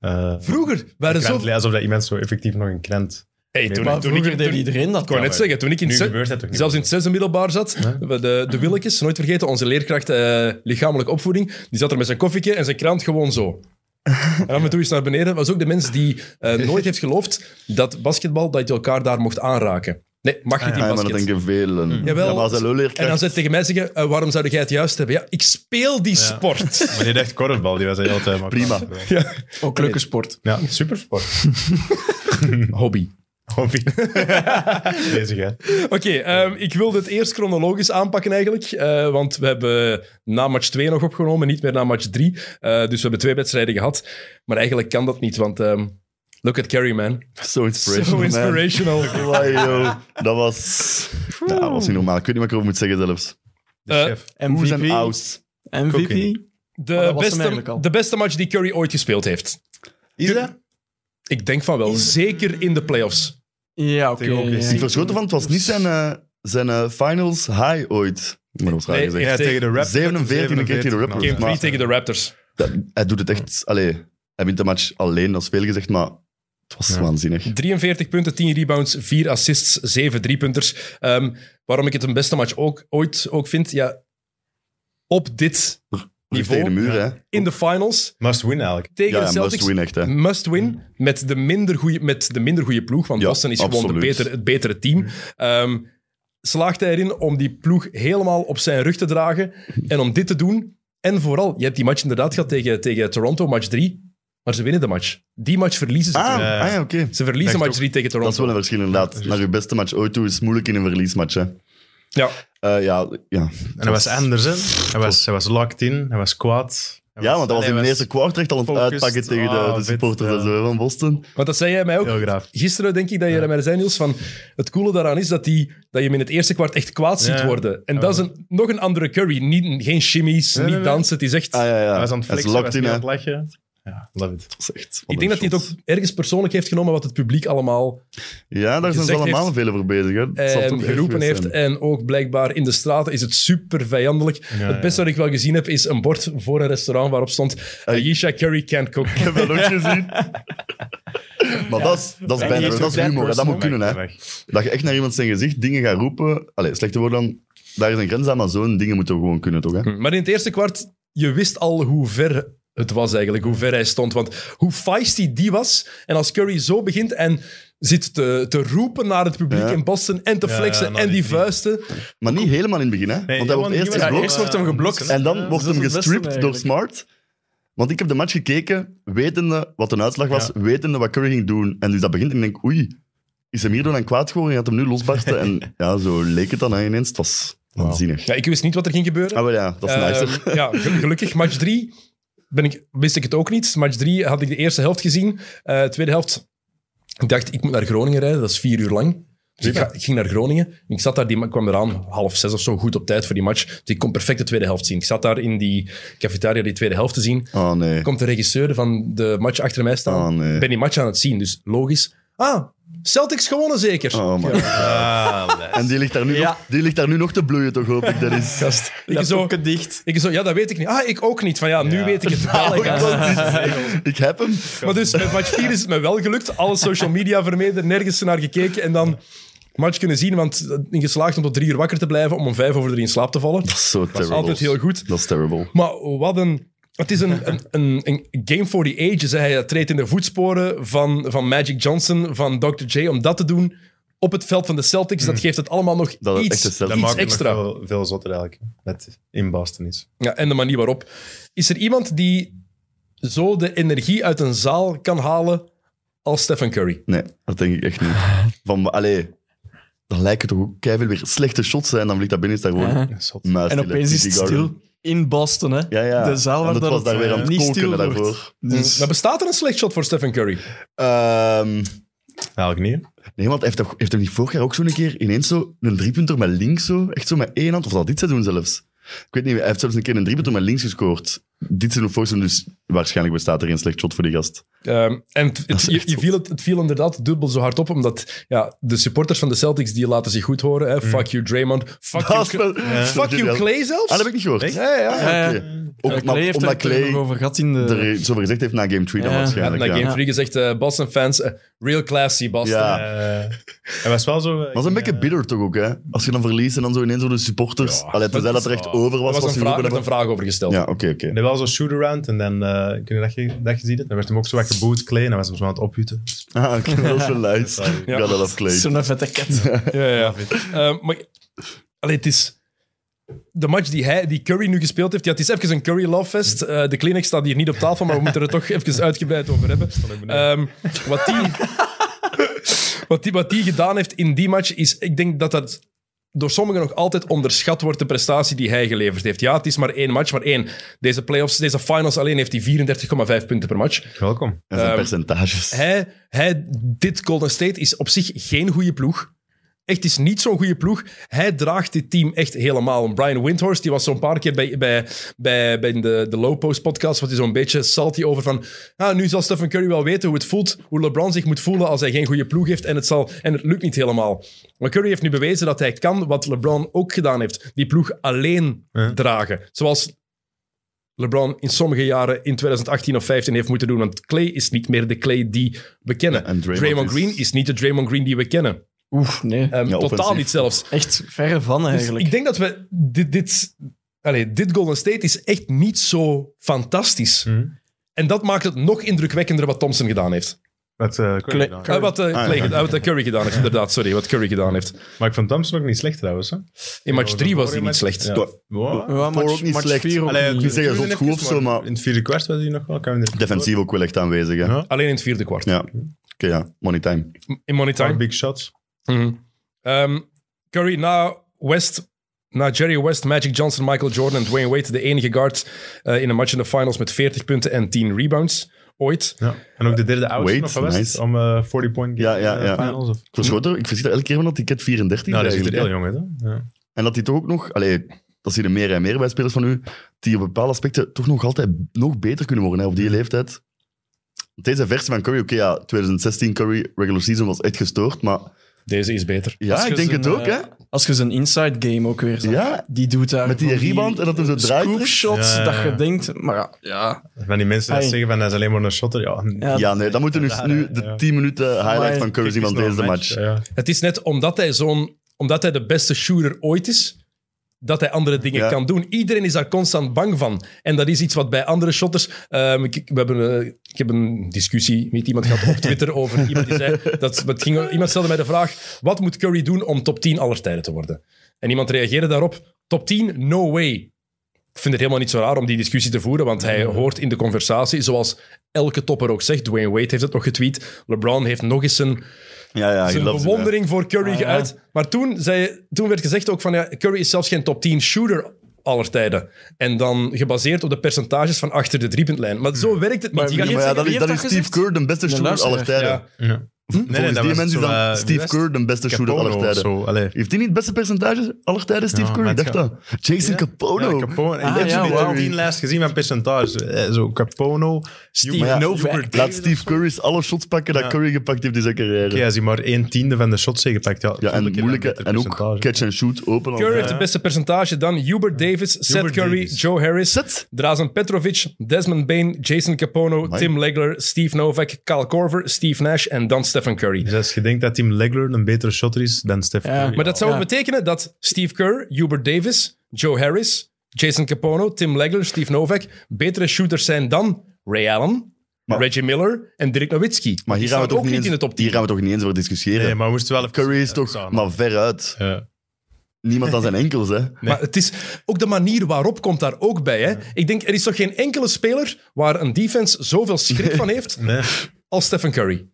B: Eh
A: Vroeger waren
B: krant
A: zo...
B: lezen, alsof dat iemand zo effectief nog een krant...
A: Hey, toen,
B: Maar
A: toen ik,
D: Vroeger
A: toen-
D: deed iedereen dat.
A: Ik wou net
B: maar
A: zeggen, toen ik in
B: Nu
A: het zes-
B: gebeurt dat toch niet?
A: zelfs in het zesde middelbaar zat, we de, de Willekes, nooit vergeten, onze leerkracht eh, lichamelijke opvoeding, die zat er met zijn koffietje en zijn krant gewoon zo. En af en toe eens naar beneden. was ook de mens die eh, nooit heeft geloofd dat basketbal, dat je elkaar daar mocht aanraken. Nee, mag je
B: Ah,
A: niet
C: Ah,
A: in
C: ja, maar dat
A: basket.
C: denken velen.
A: Jawel.
C: Ja, maar als een
A: en dan
C: leerkracht...
A: zei tegen mij zeggen, eh, waarom zou jij het juist hebben? Ja, ik speel die sport.
B: Maar die dacht korfbal, die was heel tijd... maar-
C: Prima.
D: Ook leuke sport.
B: Ja, supersport.
A: Hobby.
B: Hobby. Bezig, hè.
A: Oké, ehm, ik wilde het eerst chronologisch aanpakken eigenlijk. eh, want we hebben na match 2 nog opgenomen, niet meer na match 3. Eh, dus we hebben twee wedstrijden gehad. Maar eigenlijk kan dat niet, want ehm, look at Carrie, man.
C: Zo inspirational,
A: So
C: man.
A: inspirational.
C: Wauw, joh. Dat was... Nou, dat was niet normaal. Ik weet niet wat ik erover moet zeggen zelfs.
B: De
A: Eh,
B: chef.
C: Hoe zijn
D: MVP.
C: ouds?
D: MVP.
B: Cooking.
A: De,
D: Maar dat was hem eigenlijk
A: beste,
D: al.
A: de beste match die Curry ooit gespeeld heeft.
B: Is dat?
A: Ik denk van wel, zeker in de playoffs.
D: Ja, oké.
B: Tegen ook
D: ja,
B: eens.
C: Ik verschoten van, het was niet zijn eh, zijn eh, finals high ooit. Maar dat was raar
A: Nee,
C: gezegd.
A: ja,
B: Ja, tegen de Raptors.
C: 47e keer tegen de Raptors.
A: Game 3
C: Maar-
A: tegen de Raptors.
C: Dat- hij doet het echt... Allee, hij wint de match alleen, dat is veel gezegd, maar het was
B: Ja.
C: waanzinnig.
A: 43 punten, 10 rebounds, 4 assists, 7 driepunters. Ehm waarom ik het een beste match ook, ooit ook vind? Ja, op dit,
C: Rug
A: Niveau,
C: tegen de muur,
B: ja.
C: hè.
A: in de finals,
B: Must win eigenlijk.
A: tegen
C: Ja,
A: de
C: ja,
A: Celtics...
C: must win echt, hè.
A: Must win met de minder goeie- met de minder goede ploeg. Want
C: Ja,
A: Boston is gewoon de
C: absoluut.
A: beter, het betere team. Ehm, slaagt hij erin om die ploeg helemaal op zijn rug te dragen. En om dit te doen. En vooral, je hebt die match inderdaad gehad tegen, tegen Toronto, match 3. Maar ze winnen de match. Die match verliezen ze.
C: Ah,
A: terug.
B: Ja.
C: ah ja, oké.
A: Ze verliezen
B: Echt
A: match
B: ook.
A: 3 tegen
C: Dat is wel
A: Toronto.
C: een verschil, inderdaad. Naar je beste match ooit toe is moeilijk in een verliesmatch, hè.
A: Ja,
C: Eh, ja, ja.
B: En hij was anders, hè. Hij was, hij was locked in, hij was kwaad. Hij
C: ja, want dat was in de
B: hij
C: eerste kwart echt al aan het
B: focused.
C: uitpakken tegen de,
B: Ah,
C: de
B: vet,
C: supporters
B: ja.
C: en zo, hè, van Boston.
A: want dat zei jij mij ook.
B: Heel graaf.
A: Gisteren denk ik dat je er mij zei, Niels, van het coole daaraan is dat, die, dat je hem in het eerste kwart echt kwaad ziet
B: Ja.
A: worden. En
B: Ja.
A: dat is een, nog een andere curry. Niet, geen shimmies,
B: Nee,
A: niet
B: nee, nee.
A: dansen. Het is echt...
C: Ah, ja, ja.
B: Hij was aan het
C: Hij is
B: flexen, hij was
C: locked in,
B: niet
C: hè.
B: aan het lachen. Ja, love it.
C: Dat is echt-
A: Ik denk dat hij het ook ergens persoonlijk heeft genomen wat het publiek allemaal
C: Ja, daar zijn ze
A: gezegd
C: allemaal
A: heeft-
C: veel voor bezig, hè. Het zal
A: eh,
C: toch echt
A: geroepen
C: geweest
A: heeft.
C: zijn.
A: En ook blijkbaar in de straten is het super vijandelijk. het beste wat ik wel gezien heb is een bord voor een restaurant waarop stond Ayesha Curry can't cook.
C: Ik heb dat ook gezien. maar dat is, dat is
D: die
C: bijna,
D: is
C: dat
D: ook
C: is humor, hè. dat moet
D: personal.
C: kunnen, hè. Dat je echt naar iemand zijn gezicht dingen gaat roepen. Allee, slechte woorden dan. Daar is een grens aan, maar zo'n dingen moeten we gewoon kunnen, toch? Hè?
A: Maar in het eerste kwart, je wist al hoe ver het was eigenlijk, hoe ver hij stond. Want hoe feisty die was, en als Curry zo begint en zit te, te roepen naar het publiek
C: Ja.
A: in Boston en te
B: Ja,
A: flexen
B: ja, nou,
A: en die
B: die- die-
A: vuisten.
C: Maar niet helemaal in het begin, hè? Want hij
B: Johan,
C: wordt eerst
B: Johan,
D: Ja,
C: geblokt
D: eerst wordt hem geblokt.
C: en dan
D: Ja,
C: wordt
D: dat is
C: hem
D: het beste
C: gestript door
D: eigenlijk.
C: Smart. Want ik heb de match gekeken, wetende wat een uitslag was, wetende wat Curry ging doen. En dus dat begint en ik denk, oei, is hem hierdoor aan kwaad geworden? Je had hem nu losbarsten. en ja, zo leek het dan hè, ineens. Het was waanzinnig.
A: Ja, ik wist niet wat er ging gebeuren.
C: Ah, wel ja, dat is nicer.
A: Ehm, ja, gel- gelukkig. Match 3 ben ik, wist ik het ook niet. Match 3 had ik de eerste helft gezien. Eh, tweede helft, ik dacht, ik moet naar Groningen rijden. Dat is vier uur lang. Dus ik, ga- ik ging naar Groningen. En ik zat daar, die ma- kwam eraan half zes of zo, goed op tijd voor die match. Dus ik kon perfect de tweede helft zien. Ik zat daar in die cafetaria die tweede helft te zien.
C: Oh nee.
A: Komt de regisseur van de match achter mij staan.
C: Oh, nee.
A: Ik ben die match aan het zien, dus logisch. Ah, Celtics gewonnen zeker.
C: Oh, man.
B: Ah,
C: En die ligt, daar nu
D: Ja.
C: nog, die ligt daar nu nog te bloeien, toch hoop ik. Dat is...
A: Gast, ik
D: Dat
A: zo,
D: ook dicht.
A: ik zo, ja, dat weet ik niet. Ah, ik ook niet. Van ja, nu
B: Ja.
A: weet ik het
C: Ah,
A: wel.
C: ik,
A: Ja.
C: wil dit. ik heb hem.
A: Maar dus met match 4 is het me wel gelukt. Alle social media vermeden, nergens naar gekeken. En dan match kunnen zien, want in geslaagd om tot drie uur wakker te blijven, om om vijf over drie in slaap te vallen.
C: Dat is zo terrible.
A: Altijd heel goed.
C: Dat is terrible.
A: Maar wat een... Het is een, een, een, een game for the ages. hè. Hij treedt in de voetsporen van, van Magic Johnson, van Dr. J, om dat te doen op het veld van de Celtics. Dat geeft het allemaal nog
C: Dat is echt
A: iets,
C: een Celtic.
B: Hmm. Dat
A: iets
B: maakt hem
A: extra.
B: nog veel, veel zotter eigenlijk, dat het in Boston is.
A: Ja, en de manier waarop. Is er iemand die zo de energie uit een zaal kan halen als Stephen Curry?
C: Nee, dat denk ik echt niet. Van, allee, dan lijken toch ook keiveel weer slechte shots zijn. Dan vliegt dat binnen, is daar gewoon
D: Ja.
B: Ja, zot.
C: muis
D: En
C: in de
D: opeens is het
C: TD Garden.
D: stil in Boston, hè?
C: Ja, ja.
D: De zaal
C: En
D: waar
C: dat
D: dat
C: was
D: het,
C: daar weer aan
D: eh,
C: het
D: niet
C: koken
D: stil
C: daarvoor.
D: wordt. Dus
A: Maar bestaat er een slecht shot voor Stephen Curry?
C: Ehm,
B: Eigenlijk niet.
C: nee, want hij heeft, toch- heeft hem niet vorig jaar ook zo'n keer ineens zo een driepunter met links zo, echt zo met één hand, of dat dit seizoen zelfs. Ik weet niet, hij heeft zelfs een keer een driepunter met links gescoord. Dit seizoen of vorig seizoen, dus waarschijnlijk bestaat er geen slecht shot voor die gast.
A: Ehm, en het, het-
C: is
A: je,
C: echt
A: je viel het, het viel inderdaad dubbel zo hard op, omdat ja, de supporters van de Celtics die laten zich goed horen. Hè? Fuck you, Draymond. Fuck
C: Mm. Dat is
A: you,
C: wel-
A: Cla- fuck you, Clay zelfs.
C: Ah, dat heb ik niet gehoord.
B: Echt?
A: Ja, ja.
D: Ja,
C: Oké.
D: ja.
A: Ehm,
C: Ook,
D: Ja,
C: maar
D: Clay heeft
C: omdat
D: er
C: Clay
D: het nog over gehad in de...
C: er zo gezegd heeft na game 3 dan
D: Ja.
A: Ja,
C: waarschijnlijk.
A: na
C: ja.
A: Game 3 gezegd, eh, Boston fans, eh, real classy Boston.
C: Ja.
B: Eh, hij was wel zo... eh,
C: Maar het Ah. is een beetje bitter toch ook, hè? Als je dan verliest en dan zo ineens door de supporters.
A: Ja.
C: Allee, tenzij dat er echt
B: Ja.
C: over
A: Er
C: was.
A: was,
C: was
A: een
C: je
A: vraag,
C: roepen
A: werd een
C: hebben.
A: vraag over gesteld.
C: Ja, oké, oké.
B: En wel zo'n shoot-around en dan... eh kun je dat, ge- dat gezien hebben? Dan werd hem ook zo wat geboet, Clay, en dan was hij zo aan het opjutten.
C: Ah, oké, dat is wel nice.
B: Ja.
C: Ik ga dat afkleden.
D: Zo'n vette ket.
A: Ja, ja. Eh, maar allee, het is... De match die, hij, die Curry nu gespeeld heeft, ja, het is even een Curry Love Fest. Eh, de Kleenex staat hier niet op tafel, maar we moeten er toch even uitgebreid over hebben. Ehm, wat, die, wat, die, wat die gedaan heeft in die match is... Ik denk dat dat door sommigen nog altijd onderschat wordt, de prestatie die hij geleverd heeft. Ja, het is maar één match, maar één. Deze playoffs, deze finals alleen heeft hij 34,5 punten per match.
B: Welkom.
C: En zijn
A: Ehm,
C: percentages.
A: Hij, hij, dit Golden State is op zich geen goede ploeg. Echt het is niet zo'n goede ploeg. Hij draagt dit team echt helemaal. En Brian Windhorst, die was zo'n paar keer bij, bij, bij, bij de, de Low Post podcast, wat hij zo'n beetje salty over van, ah, nu zal Stephen Curry wel weten hoe het voelt, hoe LeBron zich moet voelen als hij geen goede ploeg heeft en het, zal, en het lukt niet helemaal. Maar Curry heeft nu bewezen dat hij kan wat LeBron ook gedaan heeft. Die ploeg alleen
B: Ja.
A: dragen. Zoals LeBron in sommige jaren in 2018 of 15 heeft moeten doen. Want Clay is niet meer de Clay die we kennen.
C: Ja, en Draymond
A: Draymond
C: is-
A: Green is niet de Draymond Green die we kennen.
D: Oef, nee.
A: Ehm,
C: Ja,
A: totaal
C: offensief.
A: niet zelfs.
D: Echt verre van
A: Dus
D: eigenlijk.
A: ik denk dat we dit, dit, allee, dit Golden State is echt niet zo fantastisch.
B: Mhm.
A: En dat maakt het nog indrukwekkender wat Thompson gedaan heeft.
B: Wat, eh, Curry
D: Kle-
B: gedaan.
A: Eh, wat, eh,
C: Ah, ja.
A: Clay, geda- wat, eh, Curry gedaan heeft, inderdaad. Sorry, wat Curry gedaan heeft.
B: Maar ik vond Thompson ook niet slecht trouwens. Hè?
A: In match 3 was hij niet slecht.
B: Ja.
C: Ja.
B: Wow.
D: Ja,
C: Voor
D: match-
C: ook niet
D: match
C: slecht.
D: vier ook
B: Allee,
D: niet.
B: ik wil
C: zeggen,
B: Even
C: dat is goed
B: even,
C: of zo, maar-
B: In het vierde kwart was hij nog wel. kan me niet-
C: Defensief ook wel echt aanwezig. Hè? Ja.
B: Ja.
A: Alleen in het vierde kwart.
C: Oké, ja. Money time.
A: In money time.
B: Paar big shots.
A: Mhm. Ehm, Curry na West, na Jerry West, Magic Johnson, Michael Jordan en Dwayne Wade, de enige guard eh, in een match in de finals met 40 punten en 10 rebounds ooit.
B: Ja. En ook de derde oudste
C: Wade,
B: nog geweest
C: nice.
B: om eh 40-point game
C: Ja, ja,
B: eh,
C: ja.
B: finals. Of...
C: Ik verschoot er, ik verschiet er elke keer van dat die cat 34
B: Nou,
C: is
B: dat is
C: eigenlijk,
B: heel
C: hè.
B: jong uit. hè. Ja.
C: En dat die toch ook nog... Allee, dat zien er meer en meer bij spelers van u, die op bepaalde aspecten toch nog altijd nog beter kunnen worden hè, op die leeftijd. Want Deze versie van Curry, oké ja, 2016 Curry regular season was echt gestoord, maar
A: Deze is beter.
C: ja,
D: Als je
C: ik denk
D: zijn,
C: het ook
D: eh,
C: hè.
D: Als je zijn inside game ook weer zag,
C: Ja.
D: die doet daar...
C: Met die
D: van
C: rebound en dat hem zo draait.
D: Scoop shots,
B: Ja, ja, ja.
D: dat je denkt... Maar ja, ja.
B: Van die mensen die
D: Hey.
B: zeggen van hij is alleen maar een shotter. Ja,
D: ja,
C: Ja, nee, dan moeten we
B: Ja,
C: nu, nu
B: ja, ja.
C: de 10 minuten highlight
D: Maar-
C: van Curry zien van
B: Kijk, het is
C: deze
B: nog een
C: match.
B: Ja.
A: Het is net omdat hij zo'n, omdat hij de beste shooter ooit is, dat hij andere dingen
C: Ja.
A: kan doen. Iedereen is daar constant bang van. En dat is iets wat bij andere shotters... ehm, ik, we hebben, eh, ik heb een discussie met iemand gehad op Twitter over iemand die zei... Dat, het ging, iemand stelde mij de vraag, wat moet Curry doen om top 10 aller tijden te worden? En iemand reageerde daarop, top 10, no way. Ik vind het helemaal niet zo raar om die discussie te voeren, want hij hoort in de conversatie, zoals elke topper ook zegt, Dwayne Wade heeft het nog getweet, LeBron heeft nog eens een
C: Ja, ja, ik
A: zijn
C: love it, hè.
A: bewondering voor Curry
D: Ah, ja.
A: geuit. Maar toen, zei, toen werd gezegd ook van ja, Curry is zelfs geen top 10 shooter aller tijden. En dan gebaseerd op de percentages van achter de driepuntlijn. Maar zo werkt het niet.
D: Maar
A: Je gaat
D: wie-
A: niet
C: Hmm. Maar
A: zeggen,
C: ja, dan is,
D: wie heeft
C: dan
D: dat
C: is Steve
D: gezegd?
C: Kerr de beste
D: De
C: shooter aller
D: luisteraden.
C: tijden.
A: ja,
B: Ja. Nee,
C: Volgens die mensen is dan Steve Kerr de beste shooter aller
B: eh, Capone of
C: tijden.
B: zo. Allee.
C: Heeft hij niet het beste percentage aller tijden, Steve
B: Ja,
C: Curry?
B: maar
C: Ik
B: het
C: dacht dat. Jason Capono.
B: Ja, Capone.
D: Ah,
B: ik heb
D: ja,
B: zo'n
D: wauw.
B: 10 lijst gezien van percentage. Eh, Zo Capono.
D: Steve
C: Maar ja,
D: Novak.
C: Laat Steve Curry's alle shots pakken dat
B: Ja.
C: Curry gepakt heeft in zijn carrière.
B: Oké,
C: Ja,
B: als hij maar 1 tiende van de shots heeft gepakt. Ja,
C: en
B: natuurlijk
C: moeilijke.
B: heeft hij
C: En
B: een
C: ook
B: beter percentage.
C: catch and shoot, open. al-
A: Curry heeft
C: Ja.
A: het beste percentage dan Hubert Davis, Seth Curry,
B: Davis.
A: Joe Harris,
C: Zet.
A: Drazen Petrovic, Desmond Bain, Jason Capono,
C: Amai.
A: Tim Legler, Steve Novak, Kyle Corver, Steve Nash en dan Stephen Curry.
B: Dus als je denkt dat Tim Legler een betere shotter is dan Steph
D: Ja.
B: Curry.
A: Maar dat zou
D: Ja.
A: ook betekenen dat Steve Kerr, Hubert Davis, Joe Harris, Jason Capono, Tim Legler, Steve Novak betere shooters zijn dan Ray Allen,
C: Maar-
A: Reggie Miller en Dirk Nowitzki.
C: Maar hier gaan, we
A: staan
C: toch
A: ook
C: niet
A: niet
C: eens,
A: in de top 10.
C: hier gaan we toch niet eens over discussiëren.
B: Nee, maar we moesten wel even...
C: Curry is
B: Ja,
C: toch
B: samen.
C: maar veruit.
B: Ja.
C: Niemand aan zijn enkels, hè.
A: Maar het is ook de manier waarop komt daar ook bij. Hè? Ik denk, er is toch geen enkele speler waar een defense zoveel schrik van heeft
B: Nee.
A: als Stephen Curry.
B: En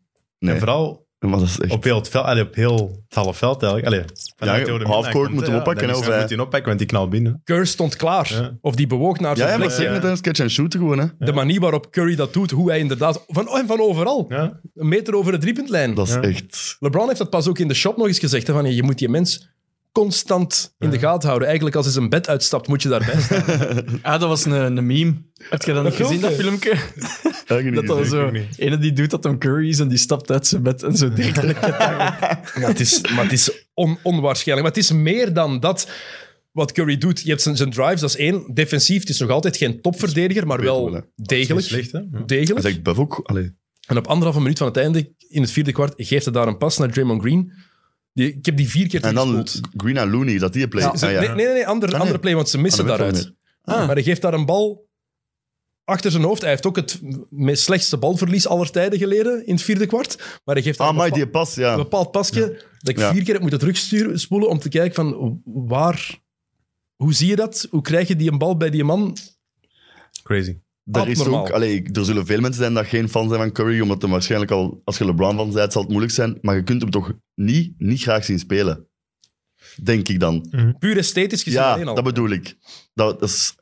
C: Nee,
B: vooral
C: maar dat is echt...
B: op heel het veld, allee, op heel het halve veld eigenlijk. Allee, van
C: Ja,
B: de door de
C: halfcourt
B: middenlijn komt,
C: moet
B: hè,
C: hem oppakken,
B: dan
C: hè,
B: is-
C: of eh? hij-
B: moet hij hem oppakken, want die knalt binnen.
A: Kerr stond klaar.
B: Ja.
A: Of die bewoog naar
C: Ja,
A: zijn
C: ja, maar
A: plek.
C: ik zeg het, hè, is catch and shoot gewoon, hè.
A: De manier waarop Curry dat doet, hoe hij inderdaad... Van, en van overal.
B: Ja.
A: Een meter over de driepuntlijn.
C: Dat is
B: Ja.
C: echt...
A: LeBron heeft dat pas ook in de shop nog eens gezegd. Hè, van, je- je moet die mens constant in de gaten houden. Eigenlijk als hij zijn bed uitstapt, moet je daarbij staan.
D: Ah, dat was een, een meme. Heb je dat niet gezien, dat filmpje?
C: Eigenlijk
D: Dat
C: niet
D: dat
C: gezien.
D: zo...
B: ook niet.
D: Ene die doet dat om Curry is en die stapt uit zijn bed en zo direct aan de ket hangen.
A: maar het is, maar het is on- onwaarschijnlijk. Maar het is meer dan dat wat Curry doet. Je hebt zijn, zijn drives, dat is één. Defensief, het is nog altijd geen topverdediger, maar
C: Beter wel,
A: wel
C: hè.
B: Niet
A: degelijk.
B: slecht, hè? Ja.
C: Dat
A: degelijk.
C: is echt buff ook. Allee.
A: En op anderhalve minuut van het einde, in het vierde kwart, geeft hij daar een pas naar Draymond Green. Die, ik heb die vier keer
C: En dan
A: teruggespoeld.
C: Green en Looney, dat die play.
A: Ze- ze-
C: Ah, ja.
A: Nee, nee, nee, ander,
C: Ah, nee.
A: andere play, want ze missen
C: Ah, dat weet ik
A: daaruit. Maar hij geeft daar een bal achter zijn hoofd. Hij heeft ook het me- slechtste balverlies aller tijden geleden in het vierde kwart. Maar hij geeft daar
C: Ah,
A: een,
C: maar
A: bepa-
C: die pas, ja.
A: een bepaald pasje dat ik
C: Ja.
A: vier keer heb moeten terugspoelen om te kijken van waar... Hoe zie je dat? Hoe krijg je die een bal bij die man?
B: Crazy.
C: Er, is
A: abnormaal.
C: ook, allee, ik- er zullen veel mensen zijn dat geen fan zijn van Curry, omdat hem waarschijnlijk al, als je LeBron van zijt, zal het moeilijk zijn. Maar je kunt hem toch niet, niet graag zien spelen. Denk ik dan. Mm.
A: Puur esthetisch gezien
C: Ja,
A: alleen al.
C: dat bedoel ik. Dat, dat is,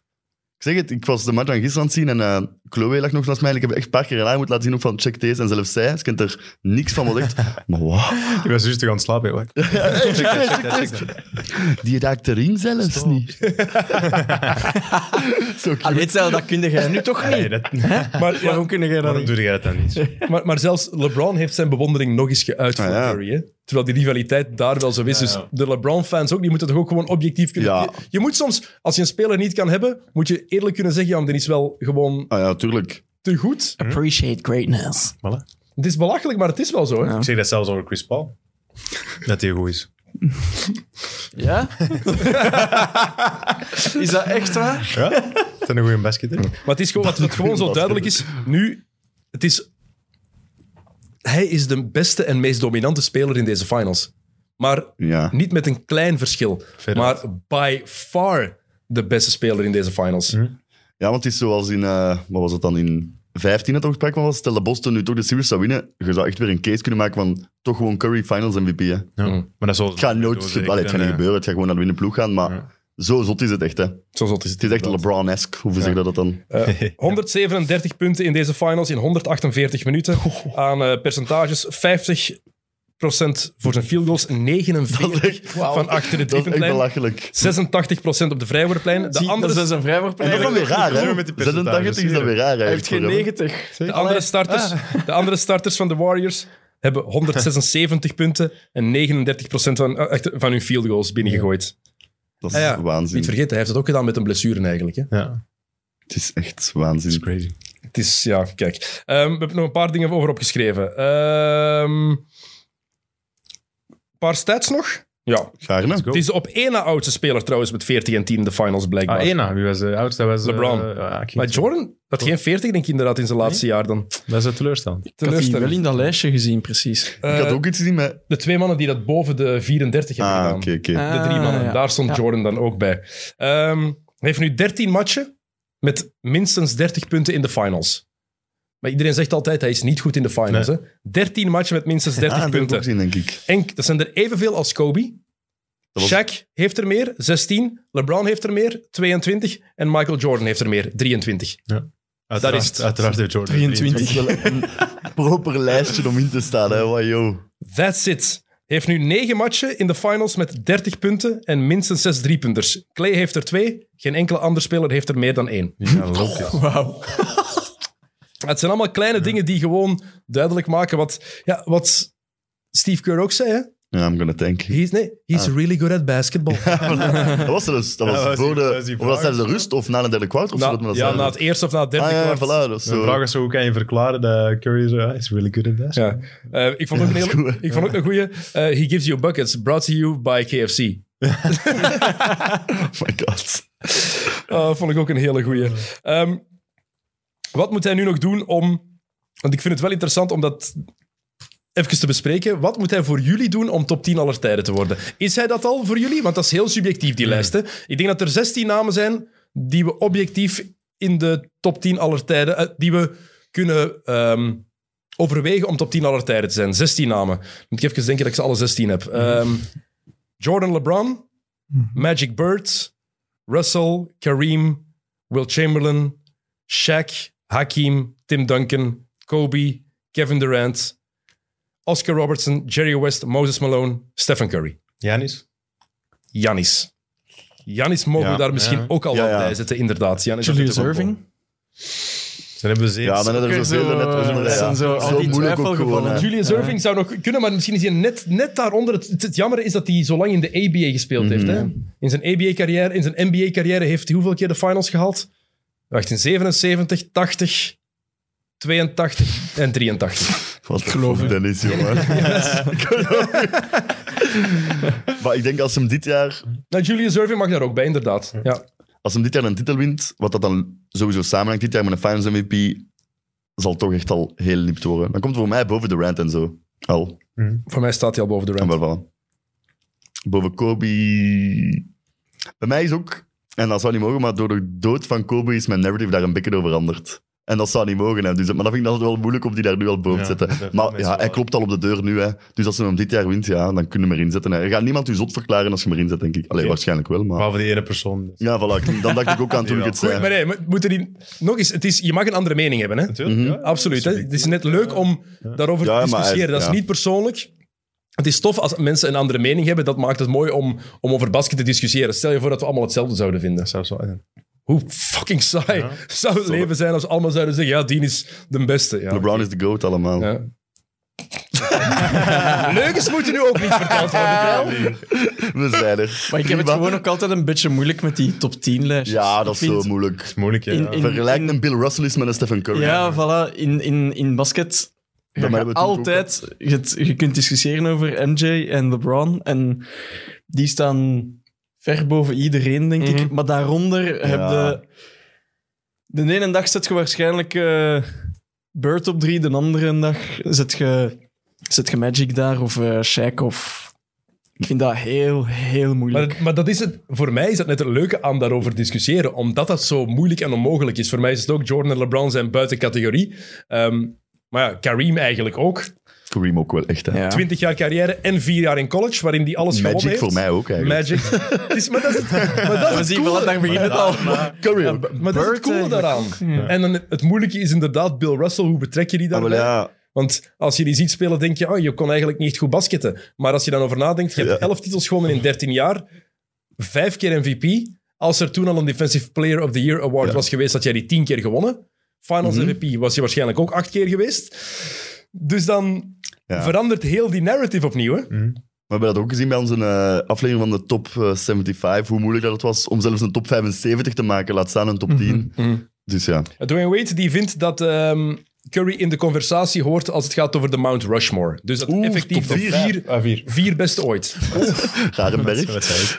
C: Ik zeg het, ik was de match van gisteren aan het zien en eh, Chloe lag nog naast mij. en Ik heb echt een paar keer aan haar moeten laten zien ook van check deze. En zelfs zij, ze kent er niks van. Wat echt, maar wow.
B: Ik was juist te gaan slapen. hoor.
C: Die raakt de ring zelfs niet. Zo cute.
D: Allee, stel, dat kun jij nu toch niet.
B: Nee, dat,
A: Maar, ja,
D: Waarom kun jij dat
B: waarom
D: niet?
B: doe jij dat dan niet?
A: maar, maar zelfs LeBron heeft zijn bewondering nog eens geuit
C: Ah,
A: voor
C: ja.
A: Curry. Hè? Terwijl die rivaliteit daar wel zo is. Dus de LeBron-fans ook, die moeten toch ook gewoon objectief kunnen...
C: Ja.
A: Je, je moet soms, als je een speler niet kan hebben, moet je eerlijk kunnen zeggen, ja, maar die is wel gewoon
C: Ah ja, tuurlijk.
A: te goed.
D: Appreciate greatness.
A: Het is belachelijk, maar het is wel zo. Hè?
D: Ja.
B: Ik zeg dat zelfs over Chris Paul. Dat hij goed is.
D: Ja? is dat echt waar?
B: Ja? Is dat een goede basketter?
A: Maar het is gewoon, wat, wat gewoon zo duidelijk is, nu, het is... Hij is de beste en meest dominante speler in deze finals. Maar
C: Ja.
A: niet met een klein verschil,
B: Veruit.
A: maar by far de beste speler in deze finals.
C: ja, want het is zoals in, eh, wat was het dan, in 15 dat er sprake van was. Stel dat Boston nu toch de series zou winnen, je zou echt weer een case kunnen maken van toch gewoon Curry Finals MVP. Hè.
B: Ja. Maar dat zal eh,
C: Het gaat nooit gebeuren, Allee, het gaat niet gebeuren, het gaat gewoon naar de winnende ploeg gaan, maar zo zot is het echt. Hè. Het
A: Zo zot is het.
C: is echt LeBron-esque, hoe zeg je dat dan?
A: Eh, 137 punten in deze finals in 148 minuten. Aan eh, percentages 50% voor zijn field goals, 49 van achter de
C: Dat is echt
A: driepuntlijn, 86%
C: belachelijk.
A: op de vrijwoordplein. De
D: Zie,
A: andere,
D: dat is een
C: En dat is
D: vrijwoordplein.
C: dan weer raar, hè?
B: Zo met die percentages,
C: 86 is dat weer raar.
D: Hij heeft geen 90.
A: de
C: Ah.
A: andere starters, de andere starters van de Warriors hebben 176 punten en 39% van, eh, achter- van hun field goals binnengegooid.
C: Dat is
A: Ah ja,
C: waanzin.
A: Niet vergeten, hij heeft het ook gedaan met een blessure eigenlijk. Hè?
B: Ja,
C: Het is echt waanzin.
B: dat is crazy.
A: Het is, ja, kijk. Ehm, we hebben nog een paar dingen over opgeschreven. Ehm, een paar stats nog. Ja.
C: Gaarne?
B: go.
A: Het is de op één na oudste speler trouwens met 14 en 10 in de finals blijkbaar.
B: Ah, Ena, wie was de oudste? Dat was, eh,
A: LeBron.
B: ja, ik ging-
A: Maar Jordan had geen 40 denk ik inderdaad in zijn laatste jaar dan.
B: Dat is een teleurstelling.
D: Ik had die wel
A: Teleurstellend.
D: in dat lijstje gezien, precies.
C: Ik had
A: Eh,
C: ook iets gezien met...
A: De twee mannen die dat boven de 34 hebben
C: Ah, oké,
A: gedaan.
C: oké.
A: De drie mannen.
D: Ah, ja.
A: Daar stond
D: Ja.
A: Jordan dan ook bij. Ehm, hij heeft nu 13 matchen met minstens 30 punten in de finals. Maar iedereen zegt altijd, hij is niet goed in de finals. Hè? 13 matchen met minstens 30
C: Ah, dat heb ik
A: punten.
C: ook gezien, denk ik.
A: En dat zijn er evenveel als Kobe.
C: Dat was-
A: Shaq heeft er meer, 16. LeBron heeft er meer, 22. En Michael Jordan heeft er meer, 23.
B: Uiteraard,
A: is het.
B: Uiteraard heeft Jordan.
D: 23.
C: Het is wel een proper lijstje om in te staan, hè. Wow, yo.
A: That's it. Heeft nu 9 matchen in de finals met 30 punten en minstens 6 driepunters. Clay heeft er 2. Geen enkele ander speler heeft er meer dan 1.
D: Wauw.
A: Het zijn allemaal kleine dingen die gewoon duidelijk maken wat, ja, wat Steve Kerr ook zei. Hè?
C: Ja, I'm gonna thank.
A: He's, nee, he's
C: Ah.
A: really good at basketball.
C: Dat was er dus. Dat
B: Ja,
C: was
B: dat was
C: voor
B: die- dat was
C: de...
B: die
C: Of was
B: vraag.
C: tijdens de rust of na de derde kwart? Of zo,
A: Na-
C: dat men dat
A: ja,
C: zei.
A: na het eerste of na het derde
C: Ah, ja,
A: kwart.
C: voilà, dat is
B: De
C: zo.
B: vraag is zo, hoe kan je verklaren dat Curry zo... "Ah, is really good at that.
A: Ja. Eh, ik vond ook een,
C: dat is
A: hele-
C: goed.
A: ik vond ook een goeie. eh, he gives you buckets, brought to you by KFC.
C: Oh my god.
A: Ah, vond ik ook een hele goeie. Ehm, wat moet hij nu nog doen om... Want ik vind het wel interessant om dat even te bespreken. Wat moet hij voor jullie doen om top 10 aller tijden te worden? Is hij dat al voor jullie? Want dat is heel subjectief, die lijst. Hè? Ik denk dat er 16 namen zijn die we objectief in de top 10 aller tijden... eh, die we kunnen... ehm, overwegen om top 10 aller tijden te zijn. 16 namen. Moet ik even denken dat ik ze alle 16 heb. Ehm, Jordan LeBron, Magic Bird, Russell, Kareem, Will Chamberlain, Shaq, Hakim, Tim Duncan, Kobe, Kevin Durant, Oscar Robertson, Jerry West, Moses Malone, Stephen Curry.
B: Janis?
A: Janis. Janis mogen
B: Ja,
A: we daar misschien
B: ja.
A: ook al
C: Ja,
A: wel
C: ja.
A: bij zetten, inderdaad. Giannis had
D: Julius
A: het ook al.
D: Irving.
B: Dan hebben we zeven.
C: Ja, dan hebben er zoveel net.
D: Zo,
C: Ja,
D: dat zijn zo al die twijfelgevallen.
C: hè.
A: Julius Irving zou nog kunnen, maar misschien is hij net, net daaronder. Het, het, het jammer is dat hij zo lang in de ABA gespeeld heeft. Hè? In zijn ABA-carrière, in zijn NBA-carrière heeft hij hoeveel keer de finals gehaald? Wacht, in 77, 80, 82 en 83.
C: Wat geloof ik. Dennis, jongen. Ik geloof het. Maar ik denk als hem dit jaar
A: Nou, Julius Irving mag daar ook bij, inderdaad. Ja.
C: als hem dit jaar een titel wint, wat dat dan sowieso samenhangt dit jaar met een Finals MVP, zal toch echt al heel liep worden. Dan komt het voor mij boven Durant en zo. Al.
A: Voor mij staat hij al boven de
C: En
A: rand.
C: wel van. Boven Kobe... Bij mij is ook, en dat zou niet mogen, maar door de dood van Kobe is mijn narrative daar een beetje door veranderd. En dat zou niet mogen. Hè. Dus, maar dat vind ik altijd wel moeilijk om die daar nu al boven
B: Ja,
C: te zetten.
B: dat zijn veel
C: Maar
B: mensen
C: ja, hij
B: wel-
C: klopt al op de deur nu. Hè. Dus als ze hem dit jaar wint, ja, dan kunnen we hem erin zetten. Hè. Er gaat niemand u zot verklaren als je hem erin zet, denk ik. Allee,
B: Oké.
C: waarschijnlijk wel, maar...
B: Behalve die ene persoon.
C: Ja, voilà. Dan dacht ik ook aan toen ik het
A: Goed,
C: zei.
A: maar nee, maar moeten die... Nog eens, het is, je mag een andere mening hebben, hè?
B: Natuurlijk.
C: Mhm.
B: ja.
A: Absoluut. Hè? Het is net leuk om daarover
C: Ja,
A: te
C: maar
A: discussiëren.
C: hij-
A: dat is
C: ja.
A: niet persoonlijk. Het is tof als mensen een andere mening hebben. Dat maakt het mooi om, om over basket te discussiëren. Stel je voor dat we allemaal hetzelfde zouden vinden.
B: Dat zou zo zijn.
A: Hoe fucking saai
B: Ja.
A: zou het leven zijn als we allemaal zouden zeggen: ja, die is de beste. Ja.
C: LeBron is de GOAT allemaal.
A: Ja. Leugens moeten nu ook niet verteld worden. wel?
C: We zijn er.
D: Maar ik heb het
C: Prima.
D: gewoon ook altijd een beetje moeilijk met die top 10 lijstjes.
C: Ja,
D: Ik
C: dat is
D: vind-
C: zo moeilijk.
B: Dat is moeilijk, ja.
D: In- in-
C: Vergelijk een Bill Russell is met een Stephen Curry.
D: Ja, voilà. In, in, in basket
C: maar
D: ga je
C: hebben we het
D: altijd... Je, het- je kunt discussiëren over MJ en LeBron. En die staan ver boven iedereen, denk
C: Mhm.
D: ik. Maar daaronder heb je... De ene dag zet je waarschijnlijk eh Bird op drie. De andere dag zet je, zet je Magic daar of eh Shaq of... Ik vind dat heel, heel moeilijk.
A: Maar, maar dat is het, voor mij is dat net het leuke aan daarover discussiëren, omdat dat zo moeilijk en onmogelijk is. Voor mij is het ook Jordan en LeBron zijn buiten categorie. Ehm, maar ja, Kareem eigenlijk ook.
C: Kareem ook wel echt, hè.
D: Ja.
A: 20 jaar carrière en 4 jaar in college, waarin hij alles gewonnen
C: Magic
A: heeft.
C: voor mij ook, eigenlijk.
A: Magic. Het is, maar dat is het, maar dat is
D: We
A: het
D: zien wel,
A: coole,
D: daar begint het al.
C: Curry. Ja,
A: maar dat is het
D: Bird
A: coole
D: eigenlijk.
A: daaraan. En dan, het moeilijke is inderdaad Bill Russell, hoe betrek je die
C: Ah, wel,
A: daarbij?
C: ja.
A: Want als je die ziet spelen, denk je, oh, je kon eigenlijk niet echt goed basketten. Maar als je dan over nadenkt, je hebt
C: Ja.
A: 11 titels gewonnen in 13 jaar, vijf keer MVP. Als er toen al een Defensive Player of the Year Award
C: Ja.
A: was geweest, had jij die 10 keer gewonnen. Finals
C: Mhm.
A: MVP was je waarschijnlijk ook acht keer geweest. Dus dan
C: Ja.
A: verandert heel die narrative opnieuw. Hè?
C: We hebben dat ook gezien bij onze eh, aflevering van de top eh, 75, hoe moeilijk dat het was om zelfs een top 75 te maken, laat staan een top 10.
D: Mhm,
C: Dus ja,
A: Eh, Dwayne Wade die vindt dat ehm, Curry in de conversatie hoort als het gaat over de Mount Rushmore. Dus dat
C: Oeh,
A: effectief
C: top
A: de
C: vier.
A: vier,
B: Ah, vier.
A: vier beste ooit.
C: Rarenberg.
B: Dat zei ik.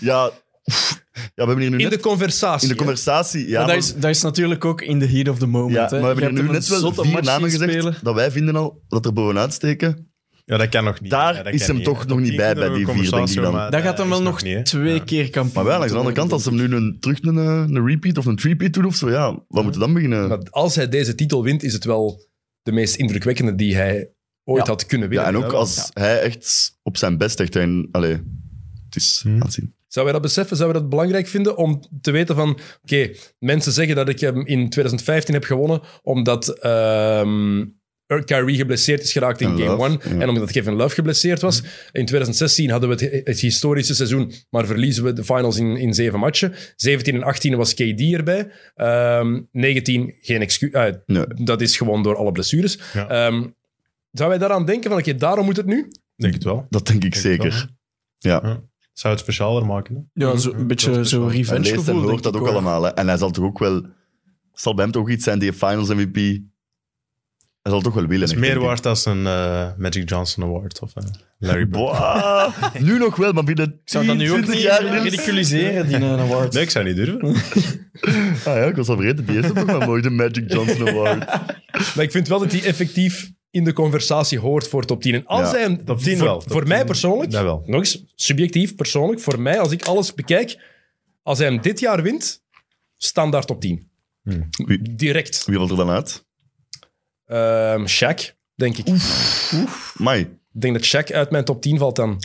C: Ja, pff. ja, we hebben hier nu
A: In
C: net
A: de conversatie.
C: in de
A: hè?
C: conversatie... Ja,
D: maar
C: maar,
D: dat, is, dat is natuurlijk ook in the heat of the moment.
C: ja,
D: hè.
C: maar we hebben hier
D: Je
C: nu
D: hebt
C: net
D: een
C: wel
D: zotte
C: vier
D: match
C: namen
D: zien
C: gezegd
D: spelen.
C: dat wij vinden al dat er bovenuit steken.
B: Ja, dat kan nog niet.
C: Daar
B: Ja, dat
C: is
B: kan
C: hem
B: niet.
C: toch
B: Op
C: nog niet
B: tien
C: bij,
B: kunnen
C: bij
B: we
C: die
B: een
C: vier, denk ik
B: conversatie
C: dan.
B: over, maar
D: Dat gaat
B: eh, is
D: hem wel nog
B: niet, hè.
D: twee
B: Ja.
D: keer kampioen.
C: Maar wel, aan de andere kant, als hem nu een, terug een, eh, een repeat of een threepeat doet of zo, ja, wat moeten we dan beginnen?
A: Maar als hij deze titel wint, is het wel de meest indrukwekkende die hij ooit
D: Ja.
A: had kunnen
C: Ja,
A: winnen.
C: en ook als hij echt op zijn best echt... En, allee, het is
B: Hmm.
C: aanzien.
A: Zou wij dat beseffen? Zou we dat belangrijk vinden om te weten van... Oké, mensen zeggen dat ik hem in 2015 heb gewonnen omdat ehm Kyrie geblesseerd is geraakt in
C: En
A: Game
C: Love,
A: 1
C: ja.
A: en omdat Kevin Love geblesseerd was. In 2016 hadden we het, het historische seizoen, maar verliezen we de finals in, in zeven matchen. 17 en 18 was KD erbij. Ehm 19, geen excuus. eh,
C: Nee.
A: Dat is gewoon door alle blessures.
B: Ja.
A: Ehm, zou wij daaraan denken van, oké, daarom moet het nu?
B: Denk het wel.
C: Dat denk ik
B: Denk het wel,
C: zeker. Ja.
B: hè. Zou het specialer maken? hè?
D: Ja, zo, een
B: Dat
D: beetje
B: is
D: zo
B: wel-
C: En
D: revenge
C: leest en
D: gevoel.
C: hoort dat
D: denk
C: ook
D: ik
C: allemaal. Hè. En hij zal toch ook wel... Zal bij hem toch ook iets zijn, die finals MVP? Hij zal toch wel willen.
B: Dat is
C: echt,
B: meer
C: denk ik.
B: waard dan een eh, Magic Johnson Award of een Larry Bird.
C: Boah, nu nog wel, maar binnen
D: Ik zou dat
C: 10,
D: nu ook
C: 20
D: niet
C: jaar...
D: eh,
C: Niels.
D: ridiculiseren, die eh, award.
B: Nee, ik zou niet durven.
C: Ah ja, ik was al vergeten. Die heeft ook nog wel mooi, de Magic Johnson Award.
A: Maar ik vind wel dat hij effectief in de conversatie hoort voor top 10. En als
C: Ja,
A: hij hem-
B: top 10
A: voor,
B: wel. Top
A: voor mij
B: 10
A: persoonlijk,
B: dat wel.
A: nog eens subjectief, persoonlijk, voor mij, als ik alles bekijk, als hij hem dit jaar wint, standaard top 10.
C: Hmm. Wie,
A: Direct.
C: wie valt er dan uit?
A: Ehm Shaq, denk ik.
C: Mai.
A: Ik denk dat Shaq uit mijn top 10 valt dan.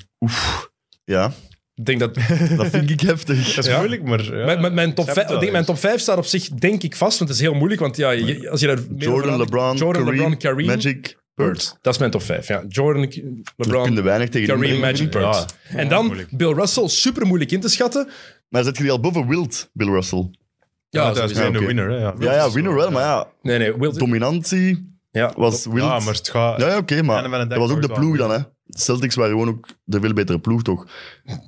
C: Ja,
A: Ik denk dat
C: dat vind ik heftig.
B: Dat is
A: Ja.
B: moeilijk, maar... Ja,
A: mijn, mijn- mijn, top
B: snap
A: vijf-
B: het wel
A: ik denk, mijn top 5 staat op zich, denk ik, vast, want het is heel moeilijk. Want ja, je- als je daar meer over
C: Jordan,
A: nadenkt-
C: LeBron,
A: Jordan,
C: Kareem,
A: LeBron, Kareem,
C: Magic, Bird.
A: Dat is mijn top 5. Ja. Jordan, K-
C: Daar kun je
A: LeBron,
C: weinig tegen
A: Kareem,
C: inbrengen,
A: Magic,
C: vind ik.
A: Bird.
B: Ja.
A: en dan
B: moeilijk.
A: Bill Russell, super moeilijk in te schatten.
C: Maar zet je die al boven Wild, Bill Russell?
A: Ja,
B: Ja, dat is
A: sowieso.
B: een
C: oké.
B: winner. hè,
C: Ja, ja, winner wel, maar ja,
A: Nee, nee, Wilt-
C: dominantie
A: ja.
C: was Wild.
B: Ja, Ah, maar het gaat...
C: Ja, ja oké, maar
B: En wel een
C: dat was ook de
B: dekkoord
C: ploeg
B: wel.
C: dan, hè. Celtics waren gewoon ook de veel betere ploeg, toch?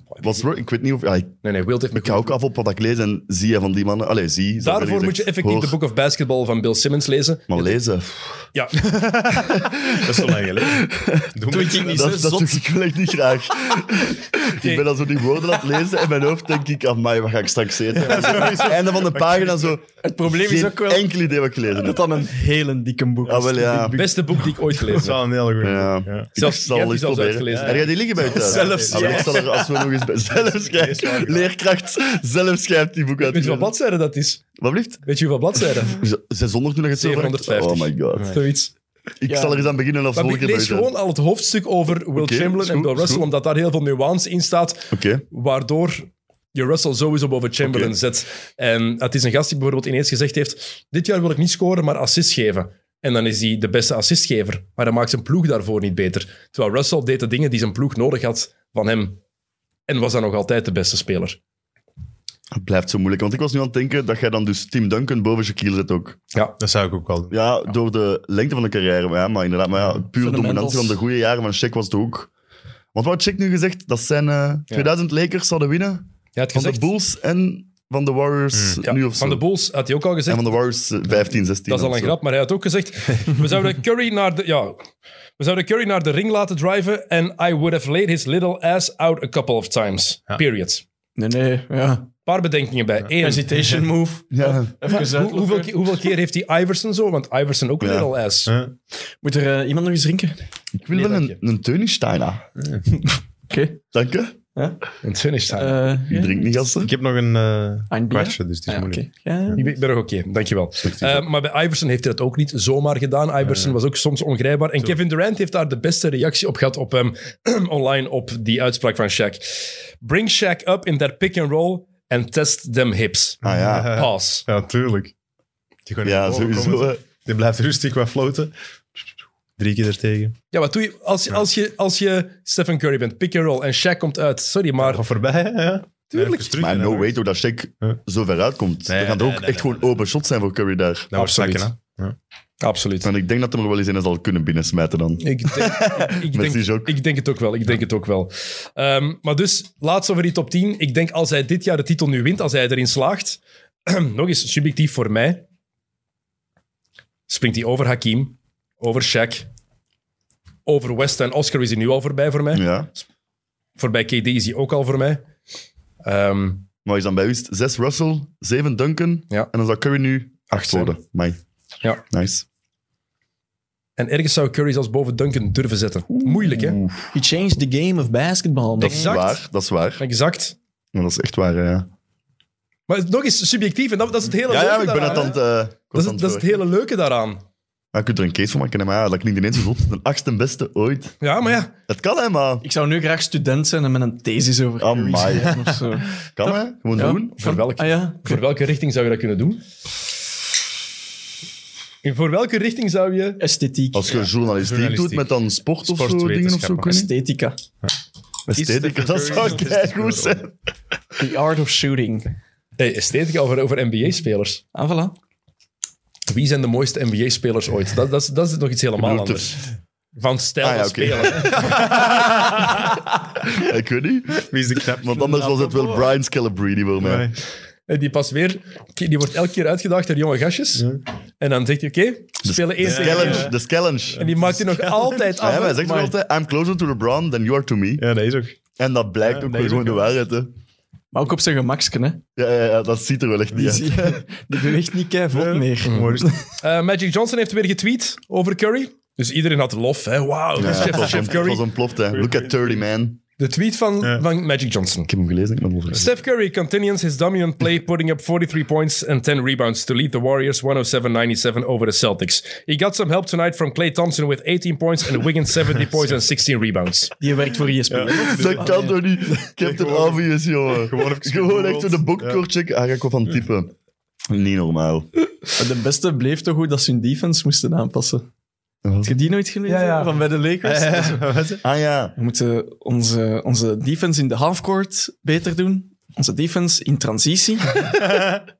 C: Was, ik weet niet of... Ja, ik,
A: Nee, nee, Wilt heeft me
C: ik ga ook af op wat ik lees en zie je van die mannen... Allee, zie... zou ik
A: Daarvoor
C: willen
A: moet je
C: zeggen,
A: effectief de
C: hoor,
A: Book of Basketball van Bill Simmons lezen.
C: Maar lezen...
A: Ja,
B: Dat is zo lang geleden. Doe
D: Toen ik
B: maar.
D: ging niet zo
C: Dat, dat doe
D: zot.
C: ik wel echt niet graag. Ik ben dan zo die woorden aan het lezen en in mijn hoofd denk ik... "Ah, Amai, wat ga ik straks eten? En zo, Einde van de pagina zo...
D: Het probleem is
C: Geen
D: ook wel
C: enkel idee wat ik gelezen
D: dat
C: heb.
D: dat een hele dikke boek is.
C: Ah, wel ja.
A: beste boek die ik ooit
B: Dat is
A: gelezen heb.
B: wel een hele goede.
C: Ja.
B: Ja.
C: Ik
A: Zelfs
C: zal
A: Gert is
C: echt
A: al zelfs
C: proberen.
A: uitgelezen.
C: En jij die liggen bij je thuis?
A: Zelfs
C: Ah, maar
A: jij.
C: ik zal er als we nog eens bij... Zelf schrijft. Leerkracht, zelf schrijft die boek uit.
A: Weet je wat bladzijde dat is?
C: Wat blieft?
A: Weet je hoeveel bladzijden?
C: Z- 600 toen dat je het zo vraagt?
A: 750.
C: Oh my god.
A: Zoiets.
C: Ik
D: Ja.
C: zal er eens aan beginnen als
A: Maar
C: volgende
A: ik
C: keer bij
A: lees
C: je thuis.
A: gewoon al het hoofdstuk over Will
C: Oké,
A: Chamberlain
C: is
A: en
C: goed,
A: Bill
C: is
A: Russell,
C: goed.
A: omdat daar heel veel nuance in staat,
C: Oké.
A: waardoor je Russell sowieso boven Chamberlain
C: Oké.
A: zet. En het is een gast die bijvoorbeeld ineens gezegd heeft, dit jaar wil ik niet scoren, maar assist geven. En dan is hij de beste assistgever, maar hij maakt zijn ploeg daarvoor niet beter. Terwijl Russell deed de dingen die zijn ploeg nodig had van hem. En was dan nog altijd de beste speler.
C: Het blijft zo moeilijk. Want ik was nu aan het denken dat jij dan dus Tim Duncan boven Shaquille zet ook.
B: Dat zou ik ook wel doen.
C: Ja, door de lengte van de carrière. Maar, ja, maar inderdaad, maar ja, puur
D: Fundamentals.
C: dominantie van de goede jaren van Shaq was het ook. Want wat had Shaq nu gezegd? Dat zijn eh 2000 Lakers zouden winnen
A: Ja, het
C: van
A: gezegd, Hmm.
C: de Bulls en van de Warriors
A: Ja,
C: nu of zo.
A: van de Bulls had hij ook al gezegd.
C: en van de Warriors eh, 15, 16.
A: Dat is al
C: of
A: een
C: zo.
A: grap, maar hij had ook gezegd: we zouden Curry naar de, ja, we zouden Curry naar de ring laten driven en I would have laid his little ass out a couple of times.
B: Ja.
A: Period.
D: Nee, nee, ja.
A: Paar bedenkingen bij. Eén,
D: Hesitation move.
C: Ja.
D: Even
A: hoe- hoeveel,
D: hoeveel
A: ke- hoeveel keer heeft hij Iverson zo? Want Iverson ook een
C: Ja.
A: little ass.
B: Huh?
D: Moet er eh, iemand nog eens drinken? Oké.
C: Ik wil
A: Nee,
C: wel
A: dank
C: een, een Teunensteiner. Dank je.
A: En finish time.
D: Eh,
C: Ik drink niet, gasten.
B: Ik heb nog een eh,
D: Een bier?
B: kwartje, dus het is
D: Ah, ja,
B: moeilijk.
D: oké. Ja, ja.
A: Ik ben- ik ben nog oké, dankjewel. Eh, maar bij Iverson heeft hij dat ook niet zomaar gedaan. Iverson was ook soms ongrijpbaar. En Kevin Durant heeft daar de beste reactie op gehad op hem online op die uitspraak van Shaq. Bring Shaq up in that pick and roll and test them hips.
C: Ah ja.
A: Pass.
B: Ja, tuurlijk. Die gewoon
C: Ja,
B: naar boven
C: sowieso.
B: komen.
C: hè.
B: Die blijft rustig wat floten. Drie keer ertegen.
A: Ja, wat doe je als, je- als, je, als je Stephen Curry bent, pick and roll, en Shaq komt uit? Sorry, maar
B: Of voorbij, hè? ja.
A: Tuurlijk.
B: Even terug,
C: Maar
B: en
C: no
B: dan-
C: way toch dat Shaq
B: Huh?
C: zo ver uitkomt.
B: Nee,
C: er gaan er
B: nee,
C: ook
B: nee,
C: echt
B: nee,
C: gewoon open shots zijn voor Curry daar.
B: Dat was
A: Absoluut.
B: Nou, zakken, hè. Ja.
A: absoluut.
C: En ik denk dat hem er wel eens in zal kunnen binnensmijten dan.
A: Ik denk, ik, ik denk,
C: Messi is ook.
A: ik denk het ook wel. Ik denk het ook wel. Ehm, maar dus, laatst over die top 10. Ik denk als hij dit jaar de titel nu wint, als hij erin slaagt, nog eens subjectief voor mij, springt hij over Hakim, over Shaq, over West en Oscar is hij nu al voorbij voor mij.
C: Ja.
A: Voorbij KD is hij ook al voor mij. Ehm,
C: Maar is dan bij u is het zes Russell, zeven Duncan.
A: Ja.
C: En dan zou Curry nu acht
A: zijn.
C: worden. Mai.
A: Ja.
C: Nice.
A: en ergens zou Curry zelfs boven Duncan durven zetten. Moeilijk, hè?
C: Oeh,
D: He changed the game of
A: Dat
D: basketball. man.
A: is
C: dat
A: Exact.
C: is waar, dat is waar.
A: Exact.
C: Maar dat is echt waar, ja.
A: Maar het is nog eens subjectief. En dat, dat is het hele
C: Ja,
A: leuke
C: ja, ik ben
A: daaraan,
C: het aan het...
A: hè.
C: eh,
A: dat, is,
C: constant
A: dat is het
C: voor.
A: hele leuke daaraan.
C: Maar je kunt er een case van maken, hè, maar ja, dat klinkt ineens zo zot. De achtste beste ooit.
A: Ja, maar ja.
C: Het kan, hè, maar...
D: Ik zou nu graag student zijn en met een thesis over
C: Amai.
D: Curry schrijven of zo.
C: Kan, hè. Gewoon
D: Ja.
C: doen.
A: Voor welke?
D: Ah ja,
A: Voor welke richting zou je dat kunnen doen? En voor welke richting zou je...
D: esthetiek.
C: Als je journalistiek doet
B: Journalistiek.
C: met dan sport of zo,
B: Sportwetenschappen.
C: dingen of zo. ik weet niet.
D: Esthetica.
C: Esthetica, dat zou goed zijn.
D: The art of shooting.
A: Hey, esthetica over, over NBA-spelers.
D: Ah, voilà.
A: Wie zijn de mooiste NBA-spelers ooit? Dat, dat, is, dat is nog iets helemaal
C: bedoelt
A: anders. Van stijl
C: Ah, ja,
A: van
C: oké.
A: spelen.
C: Ik weet niet.
B: Wie is de knap?
C: Want anders was het wel Brian Scalabrine voor mij.
A: En die pas weer... Die wordt elke keer uitgedaagd door jonge gastjes. En dan zegt hij, oké, we spelen
C: De
A: één tegen één.
C: challenge, de challenge.
A: En die maakt hij nog altijd
C: Ah,
A: af.
C: ja, maar hij zegt ook altijd, I'm closer to LeBron than you are to me.
B: Ja, dat is ook.
C: En dat blijkt
B: Ja,
C: ook
B: dat
C: wel
B: is
C: gewoon
B: ook
C: de
B: wel.
C: waarheid, hè.
D: Maar ook op zijn gemaksken, hè.
C: Ja, ja, ja, dat ziet er wel echt niet uit.
D: Die, die beweegt niet kei vlot meer.
B: Mooi rustig.
A: Eh, Magic Johnson heeft weer getweet over Curry. Dus iedereen had lof, hè. Wauw, dat is
C: Ja, het
A: Chef,
C: was
A: Chef
C: een- Het
A: Curry.
C: was een ploft, hè. Look at 30, man.
A: De tweet van,
B: Ja.
A: van Magic Johnson.
C: Ik heb hem gelezen, ik ben hem overgelezen.
A: Steph Curry continues his dominant play, putting up 43 points and 10 rebounds to lead the Warriors 107-97 over the Celtics. He got some help tonight from Klay Thompson with 18 points and Wiggins 70 points and 16 rebounds.
D: Die werkt voor ESPN.
B: Dus
C: Dat kan toch niet? Captain Obvious, jongen. Gewoon,
B: even
C: echt zo de boekkoor checken. Ah, ga ik wel van typen. Niet normaal.
D: Maar De beste bleef toch goed dat ze hun defense moesten aanpassen. Heb je die nooit gelezen?
A: Ja, ja.
D: Van bij de Lakers?
C: Ah ja.
D: We moeten onze, onze defense in de halfcourt beter doen. Onze defense in transitie. en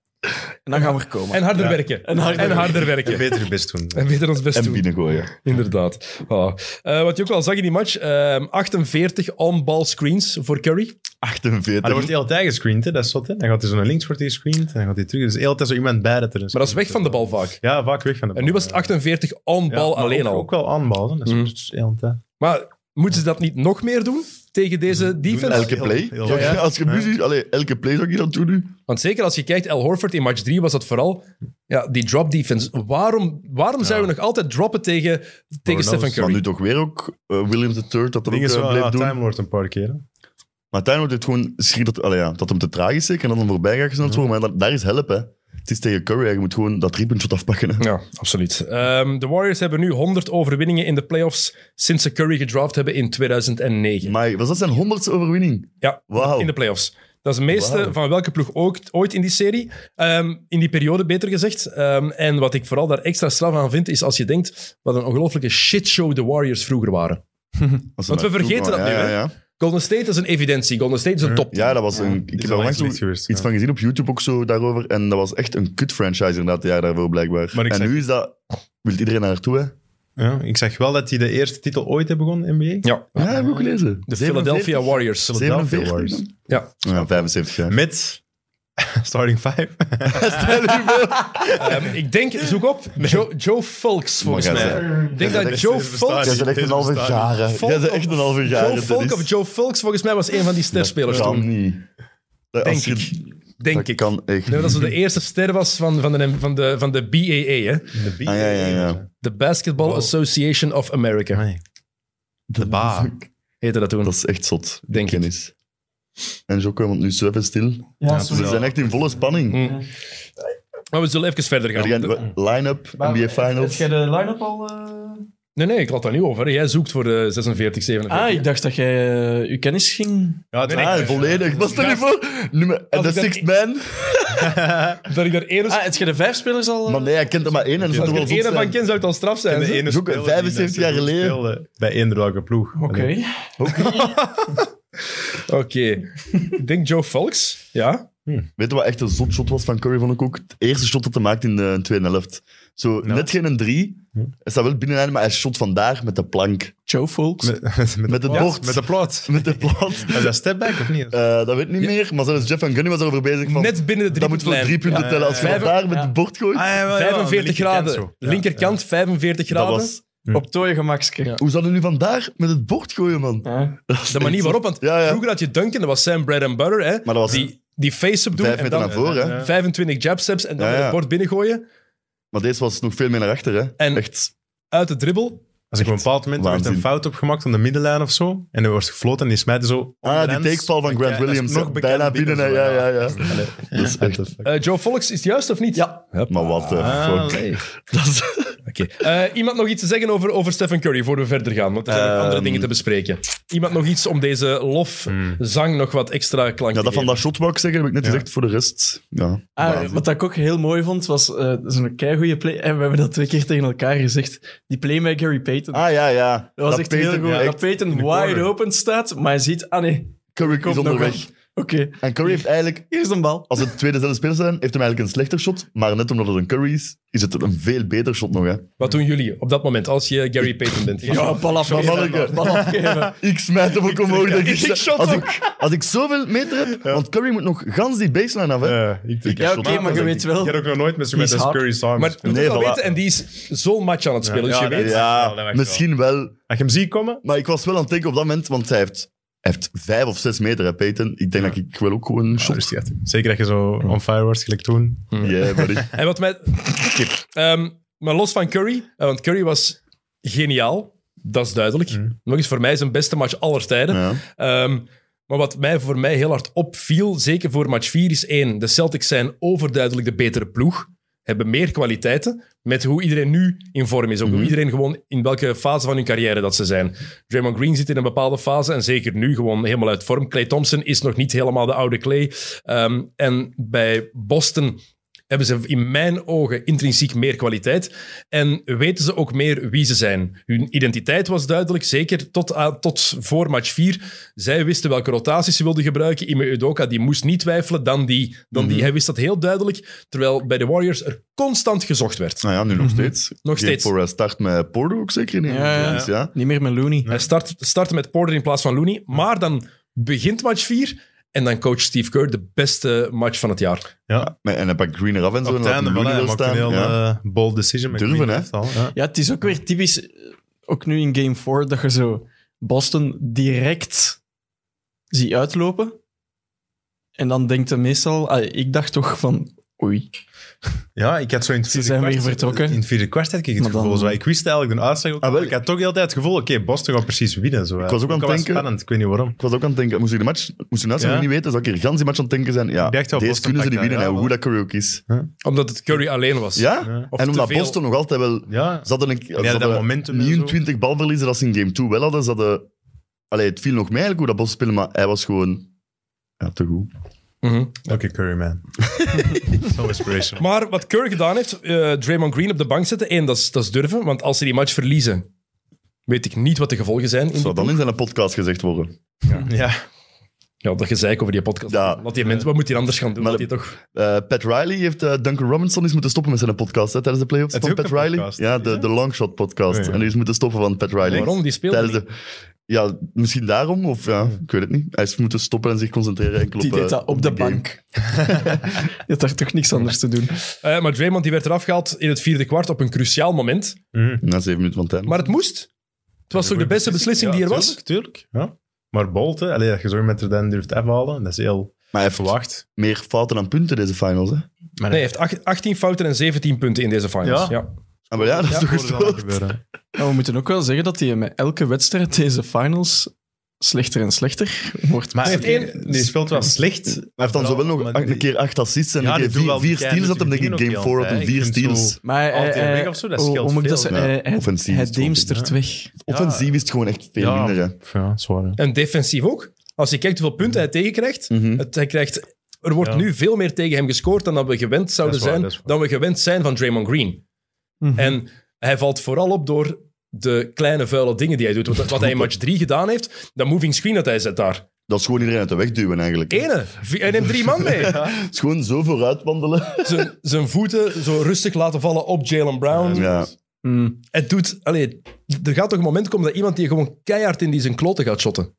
D: dan gaan we er komen.
A: En harder werken. En harder, werken.
B: Beter je best doen.
A: En beter ons best
C: En
A: doen.
C: binnengooien.
A: Inderdaad. Ah. Eh, wat je ook wel zag in die match, ehm, 48 on-ball screens voor Curry.
C: 48.
B: Maar Ah, dan wordt hij altijd gescreend, hè? dat is zot. Hè? Dan gaat hij zo naar links wordt hij gescreend, en dan gaat hij terug. Dus de hele tijd zo iemand bij dat er een
A: Maar dat is
B: screen
A: weg van de bal vaak.
B: zit. Ja, vaak weg van de bal.
A: En nu was het
B: ja.
A: 48 on-ball
B: Ja, maar
A: alleen
B: ook,
A: al.
B: Ook wel aanbal, hè? dat is
A: Mm.
B: dus de hele tijd.
A: Maar Moeten ze dat niet nog meer doen tegen deze defense?
C: Elke
B: Heel-
C: play.
B: heel-
C: Zou ik-
B: ja, ja.
C: Als je
B: Ja.
C: muziek... Allee, elke play zou ik hier aan doen nu.
A: Want zeker als je kijkt, El Horford in match 3 was dat vooral ja, die drop defense. Waarom, waarom zouden we nog altijd droppen tegen, tegen
B: knows?
A: Stephen
C: Maar
A: Curry?
C: nu toch weer ook eh, Williams III dat dat ook
B: Ding is
C: eh,
B: wel
C: bleef
B: ja,
C: doen.
B: Time Lord een paar keer. hè.
C: Maar Tijn wordt het gewoon schrik dat, allee, ja, dat hem te traag is zeker en dat hem voorbij gaat gesneld worden. Maar dat- daar is help, hè. Het is tegen Curry, hè. je moet gewoon dat driepuntshot afpakken. Hè.
A: Ja, absoluut. Ehm, de Warriors hebben nu 100 overwinningen in de playoffs sinds ze Curry gedraft hebben in 2009.
C: Maar was dat zijn honderdste overwinning?
A: Ja,
C: Wauw.
A: in de playoffs. Dat is de meeste
C: Wauw.
A: van welke ploeg ook, ooit in die serie. Ehm, in die periode, beter gezegd. Ehm, en wat ik vooral daar extra straf aan vind, is als je denkt wat een ongelofelijke shitshow de Warriors vroeger waren.
C: Als ze
A: Want we
C: naar
A: vergeten
C: toe
A: dat
C: gaan.
A: nu,
C: ja,
A: hè.
C: Ja, ja.
A: Golden State is een evidentie. Golden State is een top.
C: Ja, dat was een... Ik
B: is
C: heb
B: al
C: daar
B: lang
C: langs
B: niet
C: zo
B: geweest,
C: iets
B: ja.
C: van gezien op YouTube ook zo daarover. En dat was echt een kut franchise inderdaad, het jaar daarvoor blijkbaar.
B: Maar ik
C: en
B: zeg-
C: nu is dat... Wilt iedereen naar naartoe, hè?
B: Ja, ik zeg wel dat hij de eerste titel ooit heeft begonnen, NBA.
A: Ja.
C: Ja, heb ik ook gelezen.
A: De Philadelphia Warriors.
C: 47
B: Warriors.
C: dan?
A: Ja.
C: Ja, 75 jaar.
B: Met starting five.
A: Ehm, ik denk, zoek op, Joe, Joe Fulks volgens
C: Maar jij
A: mij. Ik denk dat Joe Fulks...
C: Jij bent echt een halve jaren. Jij
A: Volk
C: bent echt
A: of-
C: een halve
A: Joe
C: jaren.
A: Volk of Joe Fulks, volgens mij was een van die sterspelers
C: Dat
A: toen.
C: kan niet. Dat-
A: Denk
C: als je-
A: ik. Denk
C: dat
A: ik.
C: kan echt
A: Nee,
C: niet.
A: dat ze de eerste ster was van, van, de, van, de, van de BAA, hè?
B: De
C: Ah, ja, ja, ja.
A: de Basketball
B: Wow.
A: Association of America,
B: De ba.
A: heette dat toen.
C: Dat is echt zot. die
A: Denk ik.
C: Kennis. En Jocke, want nu is Sven stil.
D: Ja,
C: Ze zijn echt in volle spanning.
A: Mm. Maar we zullen even verder
C: Er
A: gaan.
C: gaan- Line-up, NBA Finals.
D: jij de line-up al...
B: eh?
A: Nee, nee, ik had daar niet over. Jij zoekt voor de 46, 47.
D: Ah, ik dacht dat jij eh, je kennis ging...
B: Ja, het-
C: Ah, volledig. Was dat niet voor? Nummer- En de
A: ik dat
C: sixth
A: ik-
C: man?
A: Dat ik er één
D: Ah, heb jij de vijf spelers al... eh?
C: Maar nee, hij kent er maar één. En dat
A: als
C: moet
A: ik
C: wel
A: er
C: zot
A: één
C: zijn.
A: van ken, zou het al straf zijn.
B: de
A: hè?
B: ene
C: Zoek
B: speler die
C: 75
B: daar
C: jaar
B: zo goed
C: geleden.
B: speelde Bij eender welke ploeg.
D: Oké.
B: Allee.
A: Oké. ik denk Joe Fulks. Ja.
C: Weet je wat echt een zot shot was van Curry van ook? Het eerste shot dat hij maakte in de tweede helft. Zo, net geen een drie.
A: Hm.
C: Hij staat wel binnen, maar hij shot vandaag met de plank.
D: Joe Folks.
B: Met, met,
C: Met het
B: de
C: bord.
B: Met de plot.
C: Met de plat.
B: Is dat step back of niet?
C: Eh, dat weet ik niet meer, maar zelfs Jeff Van Gunny was erover bezig van...
A: Net binnen de
C: dat moet wel drie
A: driepuntlijn.
C: punten tellen
B: Ja,
C: als je
A: ja, ja.
C: dat daar met
D: Ja.
C: het bord gooit.
B: Ah, ja, wel, ja, aan de
A: 45
B: linkerkant
A: graden.
B: zo. Ja,
A: Linkerkant, 45
C: dat
A: graden.
C: was...
D: Op tooie gemakske.
C: Hoe zou hij nu vandaar met het bord gooien, man?
D: Ja.
A: De manier waarop, want
C: Ja, ja.
A: vroeger had je Duncan, dat was Sam bread and butter, hè?
C: Maar dat was
A: die, die face-up doen
C: vijf
A: en
C: meter
A: dan
C: naar voren, hè?
B: Ja.
A: 25 jab steps en dan
C: Ja,
A: met het
C: ja.
A: bord binnengooien.
C: Maar deze was nog veel meer naar achter, hè?
A: En-
C: Echt.
A: Uit de dribbel.
B: Als ik op een bepaald moment er werd een
C: Waanzin.
B: fout opgemaakt aan de middenlijn of zo. En er wordt gefloten en die smijten zo.
C: Ah, die
B: onderhands.
C: takeval van
B: Ja,
C: Grant
B: dat is
C: Williams.
B: nog
C: hè.
B: bekend
C: Bijna binnen, hè.
B: zo,
C: ja, ja, ja.
B: Allee.
C: Dat is echt...
A: Eh, Joe Fox, is het juist of niet?
D: Ja.
A: Hup.
C: Maar wat de fuck.
B: Allee.
C: Dat is...
A: Oké. Eh, iemand nog iets te zeggen over, over Stephen Curry, voor we verder gaan? Want er zijn nog
C: Ehm.
A: andere dingen te bespreken. Iemand nog iets om deze lofzang nog wat extra klank
C: Ja,
A: te
C: dat van
A: geven?
C: dat shot wou ik zeggen, heb ik net
B: Ja.
C: gezegd. Voor de rest, ja.
D: Ah,
C: waanzin.
D: wat ik ook heel mooi vond, was eh zo'n keigoede play. En we hebben dat twee keer tegen elkaar gezegd. Die play met Gary Payton.
C: Ah, ja, ja.
D: dat was echt
C: Peyton-
D: heel goed.
C: ja,
D: dat
C: echt.
D: Payton
B: de
D: wide
B: corner.
D: open staat, maar je ziet... Ah nee,
C: Curry
D: komt
C: is
D: nog
C: onderweg. Oh,
D: weg. Oké,
C: En Curry heeft eigenlijk...
D: hier is een bal.
C: Als het tweede zelfde spelers zijn, heeft hem eigenlijk een slechter shot. Maar net omdat het een Curry is, is het een veel beter shot nog, hè.
A: Wat doen jullie op dat moment, als je Gary Payton bent?
D: Ja, bal
C: manneke.
D: afgeven. Bal afgeven.
C: Ik smijt hem ook omhoog. denk Ik,
A: Ik shot
C: als, ik, als ik zoveel meter heb, want Curry moet nog gans die baseline af. Hè.
B: Ja, eh, ik- ik-
C: Ja,
B: ik-
C: oké,
B: ik-
D: maar je
B: ik-
D: weet wel.
B: Ik heb ook nog nooit met zo'n
D: Die is
B: met
D: hard.
B: Curry samen
A: Maar je moet
B: gespeeld.
C: Nee,
A: wel
C: voilà.
A: weten, en die is zo'n match aan het spelen, dus
B: Ja,
A: je
B: ja,
A: weet...
B: dat-
C: ja,
B: wel, dat werkt
C: misschien wel.
B: Als je hem ziet komen,
C: Maar ik was wel aan het denken op dat moment, want hij heeft, hij heeft vijf of zes meter, hè, Peyton. Ik denk dat ik wel ook gewoon een shot...
B: rustig uit. Zeker dat je zo on fire wordt, gelijk toen.
C: Yeah, buddy.
A: En wat mij... Ehm, maar los van Curry, eh, want Curry was geniaal, dat is duidelijk. Nog eens voor mij zijn beste match aller tijden.
C: Ja.
A: Ehm, maar wat mij, voor mij heel hard opviel, zeker voor match 4, is één. De Celtics zijn overduidelijk de betere ploeg. Hebben meer kwaliteiten met hoe iedereen nu in vorm is. Ook hoe iedereen gewoon in welke fase van hun carrière dat ze zijn. Draymond Green zit in een bepaalde fase en zeker nu gewoon helemaal uit vorm. Clay Thompson is nog niet helemaal de oude Clay. Ehm, en bij Boston hebben ze in mijn ogen intrinsiek meer kwaliteit. En weten ze ook meer wie ze zijn. Hun identiteit was duidelijk, zeker tot, aan- tot voor match 4. Zij wisten welke rotaties ze wilden gebruiken. Ime Udoka die moest niet twijfelen dan die. Dan
C: Mhm.
A: die. Hij wist dat heel duidelijk, terwijl bij de Warriors er constant gezocht werd.
C: Nou ja, nu nog
B: Mhm.
C: steeds.
A: Nog
C: Die
A: steeds.
C: Voor eh, start met Porter ook zeker niet.
D: Ja, ja, ja.
C: Dus ja.
D: Niet meer met Looney.
A: Hij start, startte met Porter in plaats van Looney, maar dan begint match 4 en dan coach Steve Kerr de beste match van het jaar.
B: Ja,
C: Maar- En hij pakt Green eraf en zo.
B: op
C: en
B: het
C: laat
B: einde van
C: Looney
B: hij
C: wel
B: maakt een
C: staan.
B: heel
C: Ja.
B: eh, bold decision. met
C: Durven,
B: Green
C: hè?
B: Left al, ja.
D: Ja, het is ook weer typisch, eh, ook nu in game 4, dat je zo Boston direct zie uitlopen. En dan denkt hij meestal, ah, ik dacht toch van,
B: eh,
D: oei,
B: Ja, ik had zo in het
D: Ze
B: vierde
D: zijn weer
B: kwart-
D: vertrokken.
B: In het vierde kwart had ik het
D: Maar dan-
B: gevoel. Zo, ik wist eigenlijk een uitslag ook.
C: Ah, wel.
B: maar ik had toch de hele tijd het gevoel, oké, Boston gaat precies winnen. Zo. Ik
C: was ook aan het denken-
B: spannend, ik weet niet waarom.
C: Ik was ook aan het denken, moest ik de match, moest ik nou
B: Ja.
C: niet weten, zou ik hier gans die match aan het denken zijn. Ja,
B: Ik dacht wel,
C: deze
B: Boston
C: kunnen ze niet
B: pakt
C: winnen,
B: dat, ja,
C: hè, hoe dat Karaoke is.
A: Omdat het Curry alleen was.
C: Ja?
B: Ja.
A: Of
C: En
A: te
C: omdat
A: veel.
C: Boston nog altijd wel...
B: Ja,
C: Ze hadden een, ze
B: dat
C: hadden
B: momentum en
C: niet
B: zo.
C: een 20 balverliezen als ze in game 2 wel hadden. Ze hadden allee, het viel nog mij eigenlijk hoe dat Boston spelen, maar hij was gewoon... Ja, te goed.
A: Mhm.
B: oké, Curry, man. Zo inspirational.
A: Maar wat Curry gedaan heeft, eh, Draymond Green op de bank zetten, één, dat is, dat is durven. Want als ze die match verliezen, weet ik niet wat de gevolgen zijn. In
C: Zou
A: die-
C: dan in zijn podcast gezegd worden.
B: Ja,
A: Ja, dat gezeik over die podcast.
C: Ja.
A: Laat die mensen, wat moet hij anders gaan doen?
C: Maar-
A: Laat die toch...
C: Eh, Pat Riley heeft eh, Duncan Robinson eens moeten stoppen met zijn podcast hè, tijdens de playoffs.
B: Heeft
C: Van
B: hij
C: Pat
B: ook een
C: Riley.
B: podcast?
C: Ja, de,
B: Ja?
C: de Longshot podcast.
B: Oh, ja.
C: En die is moeten stoppen van Pat Riley.
A: Waarom? Die speelde
C: Tijdens de, ja, misschien daarom, of ja, ik weet het niet. Hij is moeten stoppen en zich concentreren enkel
D: die
C: op,
D: deed
C: eh,
D: dat op de
C: game.
D: bank. Je had daar toch niks anders te doen.
A: Eh, maar Draymond die werd eraf gehaald in het vierde kwart op een cruciaal moment.
C: Na zeven minuten van tijd.
A: Maar het moest. Het was toch de beste beslissing die er was?
B: Tuurlijk, ja. Maar Bolt, hè, allee, dat je zo met er dan durft afhalen, dat is heel
C: Maar hij heeft
B: verwacht.
C: meer fouten dan punten deze finals. Hè?
B: Maar
A: Nee, hij heeft acht- 18 fouten en 17 punten in deze finals.
B: Ja?
A: Ja.
C: Ah, maar ja, dat is toch gestoord.
D: Maar Nou, we moeten ook wel zeggen dat hij met elke wedstrijd deze finals slechter en slechter wordt.
B: Maar
A: Hij
B: heeft
A: heeft één-
B: die speelt wel slecht.
C: Hij heeft dan
B: Vooral,
C: zowel nog
B: maar
C: een
B: die-
C: keer acht assists en
B: Ja,
C: een
B: die
C: keer
B: doen
C: vier,
B: wel
C: vier
B: die
C: steals. Dat hem denk
B: keiharde
C: ik
B: dingen
C: game
B: ook
C: 4
B: heel
C: had hem
B: tijd, hè.
C: vier
B: Ik vind
C: steals.
B: zo-
D: Maar hij,
B: Altijd
D: hij-
B: Oh, weg of zo, dat
D: hoe-
B: scheelt
D: hoe moet ik dat
B: veel,
D: zeggen? Eh,
C: ja.
D: Hij- hij-
C: Offensief
D: hij
C: is het
D: deemstert
B: gewoon
D: weg.
C: Offensief is het gewoon echt veel
B: Ja.
C: minder. Hè.
B: Ja, zwaar. hè.
A: En defensief ook. Als je kijkt hoeveel punten hij tegenkrijgt,
C: Mhm.
A: het, hij krijgt... Er wordt
B: Ja.
A: nu veel meer tegen hem gescoord dan dat we gewend zouden
B: waar,
A: zijn,
B: dat is waar.
A: dan we gewend zijn van Draymond Green.
D: Mhm.
A: En hij valt vooral op door de kleine vuile dingen die hij doet. Wat, wat hij in match 3 gedaan heeft, dat moving screen dat hij zet daar.
C: Dat is gewoon iedereen uit de weg duwen eigenlijk.
A: Ene, vi- hij neemt drie man mee.
C: Het is gewoon zo vooruit wandelen.
A: Zijn- Zijn voeten zo rustig laten vallen op Jalen Brown.
C: Ja.
D: Mm.
A: Het doet... Allee, er gaat toch een moment komen dat iemand die gewoon keihard in die zijn kloten gaat shotten.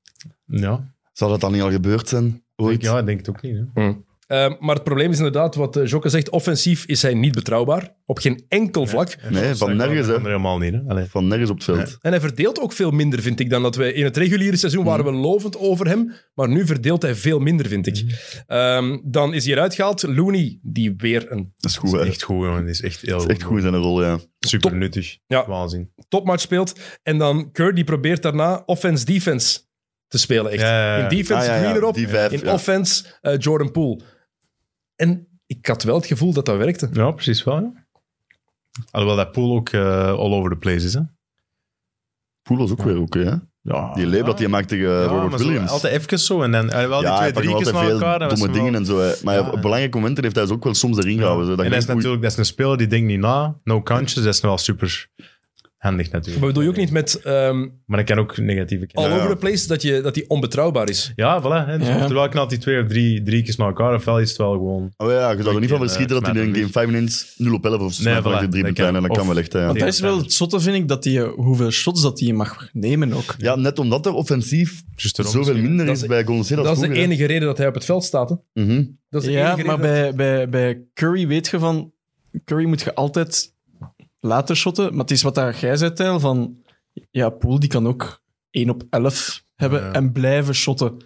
B: Ja,
C: Zou dat dan niet al gebeurd zijn?
B: ik
C: Ooit?
B: ja, ik denk het ook niet. Hè.
A: Eh, maar het probleem is inderdaad, wat eh, Jokke zegt, offensief is hij niet betrouwbaar. Op geen enkel vlak.
C: Nee, van nergens. Hè.
B: Helemaal niet. Hè. Allee.
C: Van nergens op het veld.
A: En hij verdeelt ook veel minder, vind ik, dan dat wij in het reguliere
B: Mhm.
A: seizoen waren we lovend over hem. Maar nu verdeelt hij veel minder, vind ik.
B: Mhm.
A: Ehm, dan is hij eruit gehaald. Looney, die weer een
C: Dat is goed,
B: Dat
C: hè.
B: is echt goed, jongen. Dat is echt heel
C: Dat is echt goed in zijn rol, ja.
B: Super
A: Top.
B: nuttig.
A: Ja.
B: Waanzin.
A: topmatch speelt. En dan Kerr, die probeert daarna offense-defense te spelen. Echt.
B: Ja, ja, ja.
A: In defense
C: Ah, ja, ja,
A: Green erop.
C: die vijf,
A: in
C: ja.
A: offense eh, Jordan Poole. En ik had wel het gevoel dat dat werkte.
B: Ja, precies wel. Ja. Alhoewel dat pool ook eh, all over the place is. Hè.
C: Poel was ook weer oké, hè.
B: Ja,
C: Die leep dat hij maakt tegen eh,
B: Ah. ja, maar
C: Robert
B: zo
C: Williams.
B: Altijd even zo. En dan eh, wel die
C: ja, hij
B: twee
C: pakt nog
B: drieën
C: altijd
B: naar
C: veel
B: elkaar. dat was
C: domme
B: wel-
C: dingen en zo. hè. Maar
B: Ja,
C: op
B: ja.
C: belangrijke momenten heeft hij ze ook wel soms erin gehouden. Zo, dat
B: en
C: je
B: dat is
C: denkt, oei,
B: natuurlijk dat is een speler die denkt niet na. No conscious, dat is wel super handig natuurlijk.
A: Maar bedoel je ook niet Oh. met ehm,
B: Maar dat kan ook negatieve
A: all
B: kanten.
A: over the place dat hij dat die onbetrouwbaar is?
B: Ja, voilà. Hè. Dus
D: Ja.
B: Terwijl knalt die twee of drie, drie keer naar elkaar, ofwel is het wel gewoon...
C: Oh ja, je zou er niet van
B: eh,
C: verschieten dat hij in
B: Smatter
C: game 5 ineens 0 op 11 of zo
B: Nee,
C: maakt
B: voilà,
C: hij drie
B: dat
C: punten en dat
B: kan.
C: kan eh,
B: Of-
C: wel echt. hè, Ja.
D: Want
B: Ja,
D: dat is wel het zotte, vind ik, dat die, eh, hoeveel shots dat hij mag nemen ook.
C: ja, net omdat er offensief
B: Just erom
C: zoveel
B: misschien.
C: minder
A: Dat
C: is
A: is-
C: bij Golden State.
A: Dat is de
C: vroeger, hè.
A: enige reden dat hij op het veld staat. hè.
C: Mhm.
A: Dat is de
D: Ja,
A: enige
D: maar
A: reden
D: bij, bij, bij Curry weet je van... Curry moet je altijd laten shotten. Maar het is wat daar jij zei, Tijl, van... Ja, Poel die kan ook 1 op 11 hebben
B: Ja.
D: en blijven shotten.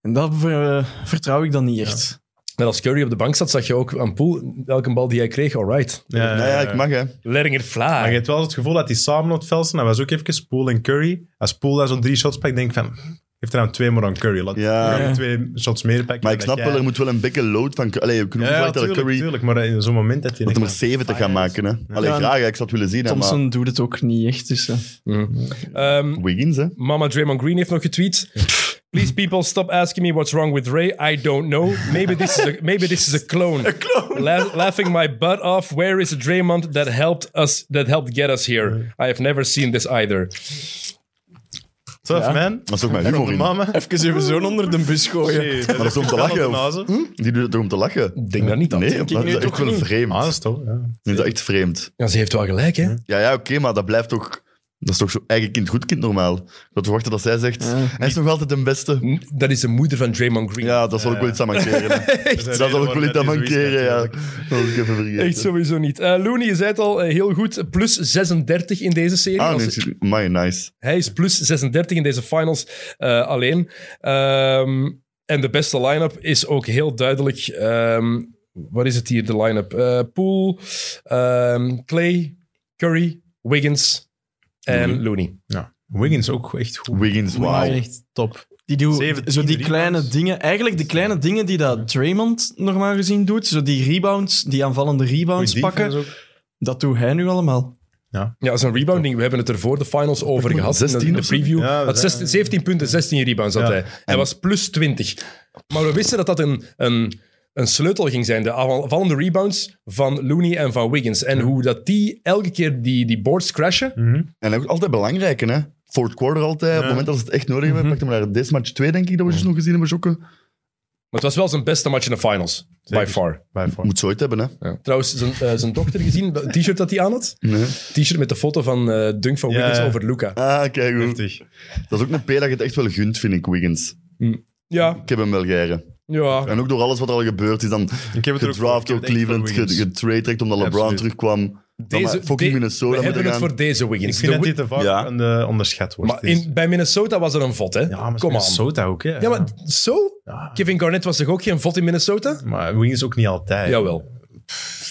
D: En dat ver- vertrouw ik dan niet echt.
A: dat- Net als Curry op de bank zat, zag je ook aan Poel, elke bal die hij kreeg, alright.
B: Ja, ja,
C: Nou ja, ik mag, hè.
A: Letting it
B: Maar je
A: fly.
B: hebt wel het gevoel dat die samen op het veld staan. Dat was ook even Poel en Curry. Als Poel daar zo'n drie shots pakt, denk ik van... Heeft er nou twee maar aan Curry. Laat
C: Ja.
B: Curry twee shots meer pakken.
C: Maar ik
B: dan
C: snap
B: jij.
C: wel, er moet wel een dikke load van... Allee, we kunnen
B: Ja,
C: niet verwachten
B: ja
C: dat
B: tuurlijk,
C: Curry
B: tuurlijk. Maar in zo'n moment dat hij...
C: met nummer
B: denkt van,
C: 7 te gaan
B: fire is.
C: maken, hè. Allee,
D: Ja, en
C: graag, hè. ik zou het willen zien, hè,
D: Thompson
C: maar...
D: doet het ook niet echt, dus... eh.
A: Ehm,
C: Wiggins, hè.
A: mama Draymond Green heeft nog getweet. Please people, stop asking me what's wrong with Ray. I don't know. Maybe this is a, maybe this is a clone. A clone. laughing my butt off. Where is the Draymond that helped us, that helped get us here? I have never seen this either.
B: Tough,
D: Ja.
B: man.
C: Dat is ook mijn
B: En op
C: humor
B: de
C: in.
B: mama.
D: Even even zo'n onder de bus gooien.
B: Hey,
C: Maar dat is om te lachen,
B: op de
C: of-
B: nazen.
C: Hm? Die doet het toch om te lachen?
A: Ik denk dat niet.
C: Nee, maar dat
D: nu
C: is echt
D: toch
C: wel
D: niet.
C: vreemd.
B: Ah, dat is toch... Ja.
C: Dat is echt vreemd.
A: Ja, ze heeft wel gelijk, hè?
C: Ja, ja, oké, maar dat blijft toch... Dat is toch zo eigen kind, goed kind normaal. Dat we wachten dat zij zegt,
D: Ja.
C: hij is nog altijd de beste.
A: N- Dat is de moeder van Draymond Green.
C: Ja, dat zal
A: Eh.
C: ik wel iets aan mankeren. hè.
B: Dat
C: Dat zal ik wel iets aan mankeren, ja. Dat was ik even vergeten.
A: Echt sowieso niet. Eh Looney, je zei het al, eh, heel goed. Plus 36 in deze serie.
C: Ah,
A: Als-
C: nee, excuse- my, nice.
A: Hij is plus 36 in deze finals eh, alleen. Ehm, en de beste line-up is ook heel duidelijk. ehm, wat is het hier, de line-up? Eh Poole, ehm, Clay, Curry, Wiggins en
C: Mhm.
A: Looney.
B: Ja. Wiggins ook echt goed.
C: Wiggins,
D: Wiggins
C: wauw.
B: Echt top.
D: Die doen zo
B: 17
D: die
B: rebounds.
D: kleine dingen. Eigenlijk de kleine dingen die dat Draymond normaal gezien doet. Zo die rebounds, die aanvallende rebounds
B: Goeie
D: pakken.
B: defense ook.
D: Dat doet hij nu allemaal.
A: Ja, zijn rebounding. We hebben het er voor de finals over gehad.
C: 16
A: in de
C: of zo.
A: preview.
B: Ja, we
A: had
B: zijn-
A: 16 17 punten, 16 rebounds had
B: Ja.
A: hij. Hij was plus 20. Maar we wisten dat dat een, een, een sleutel ging zijn. De aanvallende rebounds van Looney en van Wiggins. En hoe dat die elke keer die, die boards crashen.
B: Mhm.
C: En ook altijd belangrijk, hè. Fourth quarter altijd. Op het moment dat ze het echt nodig
B: Mhm.
C: hebben, pakte maar deze match 2, denk ik, dat we dus nog gezien hebben, Jokke.
A: Maar het was wel zijn beste match in de finals.
B: Zeker.
A: By far.
B: By far.
C: Moet zoiets hebben, hè.
A: Ja. Trouwens, zijn, eh, zijn dochter gezien, het t-shirt dat hij aan had.
C: Nee.
A: T-shirt met de foto van eh Dunk van
B: Ja,
A: Wiggins
B: ja.
A: over Luca.
C: Ah, kijk goed.
B: Heftig.
C: Dat is ook een P dat je het echt wel gunt, vind ik, Wiggins.
A: Ja,
C: Ik heb hem wel geëren.
A: ja.
C: En ook door alles wat er al gebeurd is, dan
B: Ik heb het er ook
C: gedraft
B: voor.
C: door
B: Ik heb het echt voor
C: Cleveland, ge-
B: Wiggins.
C: getrade direct omdat LeBron
B: Absoluut.
C: terugkwam. Dan maar
A: Deze,
C: fucking
A: de- we
C: Minnesota
A: hebben
C: moeten
A: het
C: gaan.
A: voor deze
B: Ik
A: Wiggins.
B: vind
A: De
B: dat
A: Wi-
B: dit te vaak
C: Ja.
B: aan de onderschat wordt.
A: Maar
B: Het is-
A: in, bij Minnesota was er een vod, hè?
B: ja, maar
A: Kom aan.
B: Minnesota ook, hè.
A: Ja, maar zo?
B: Ja.
A: Kevin Garnett was toch ook geen vod in Minnesota?
B: Maar Wiggins ook niet altijd.
A: Jawel.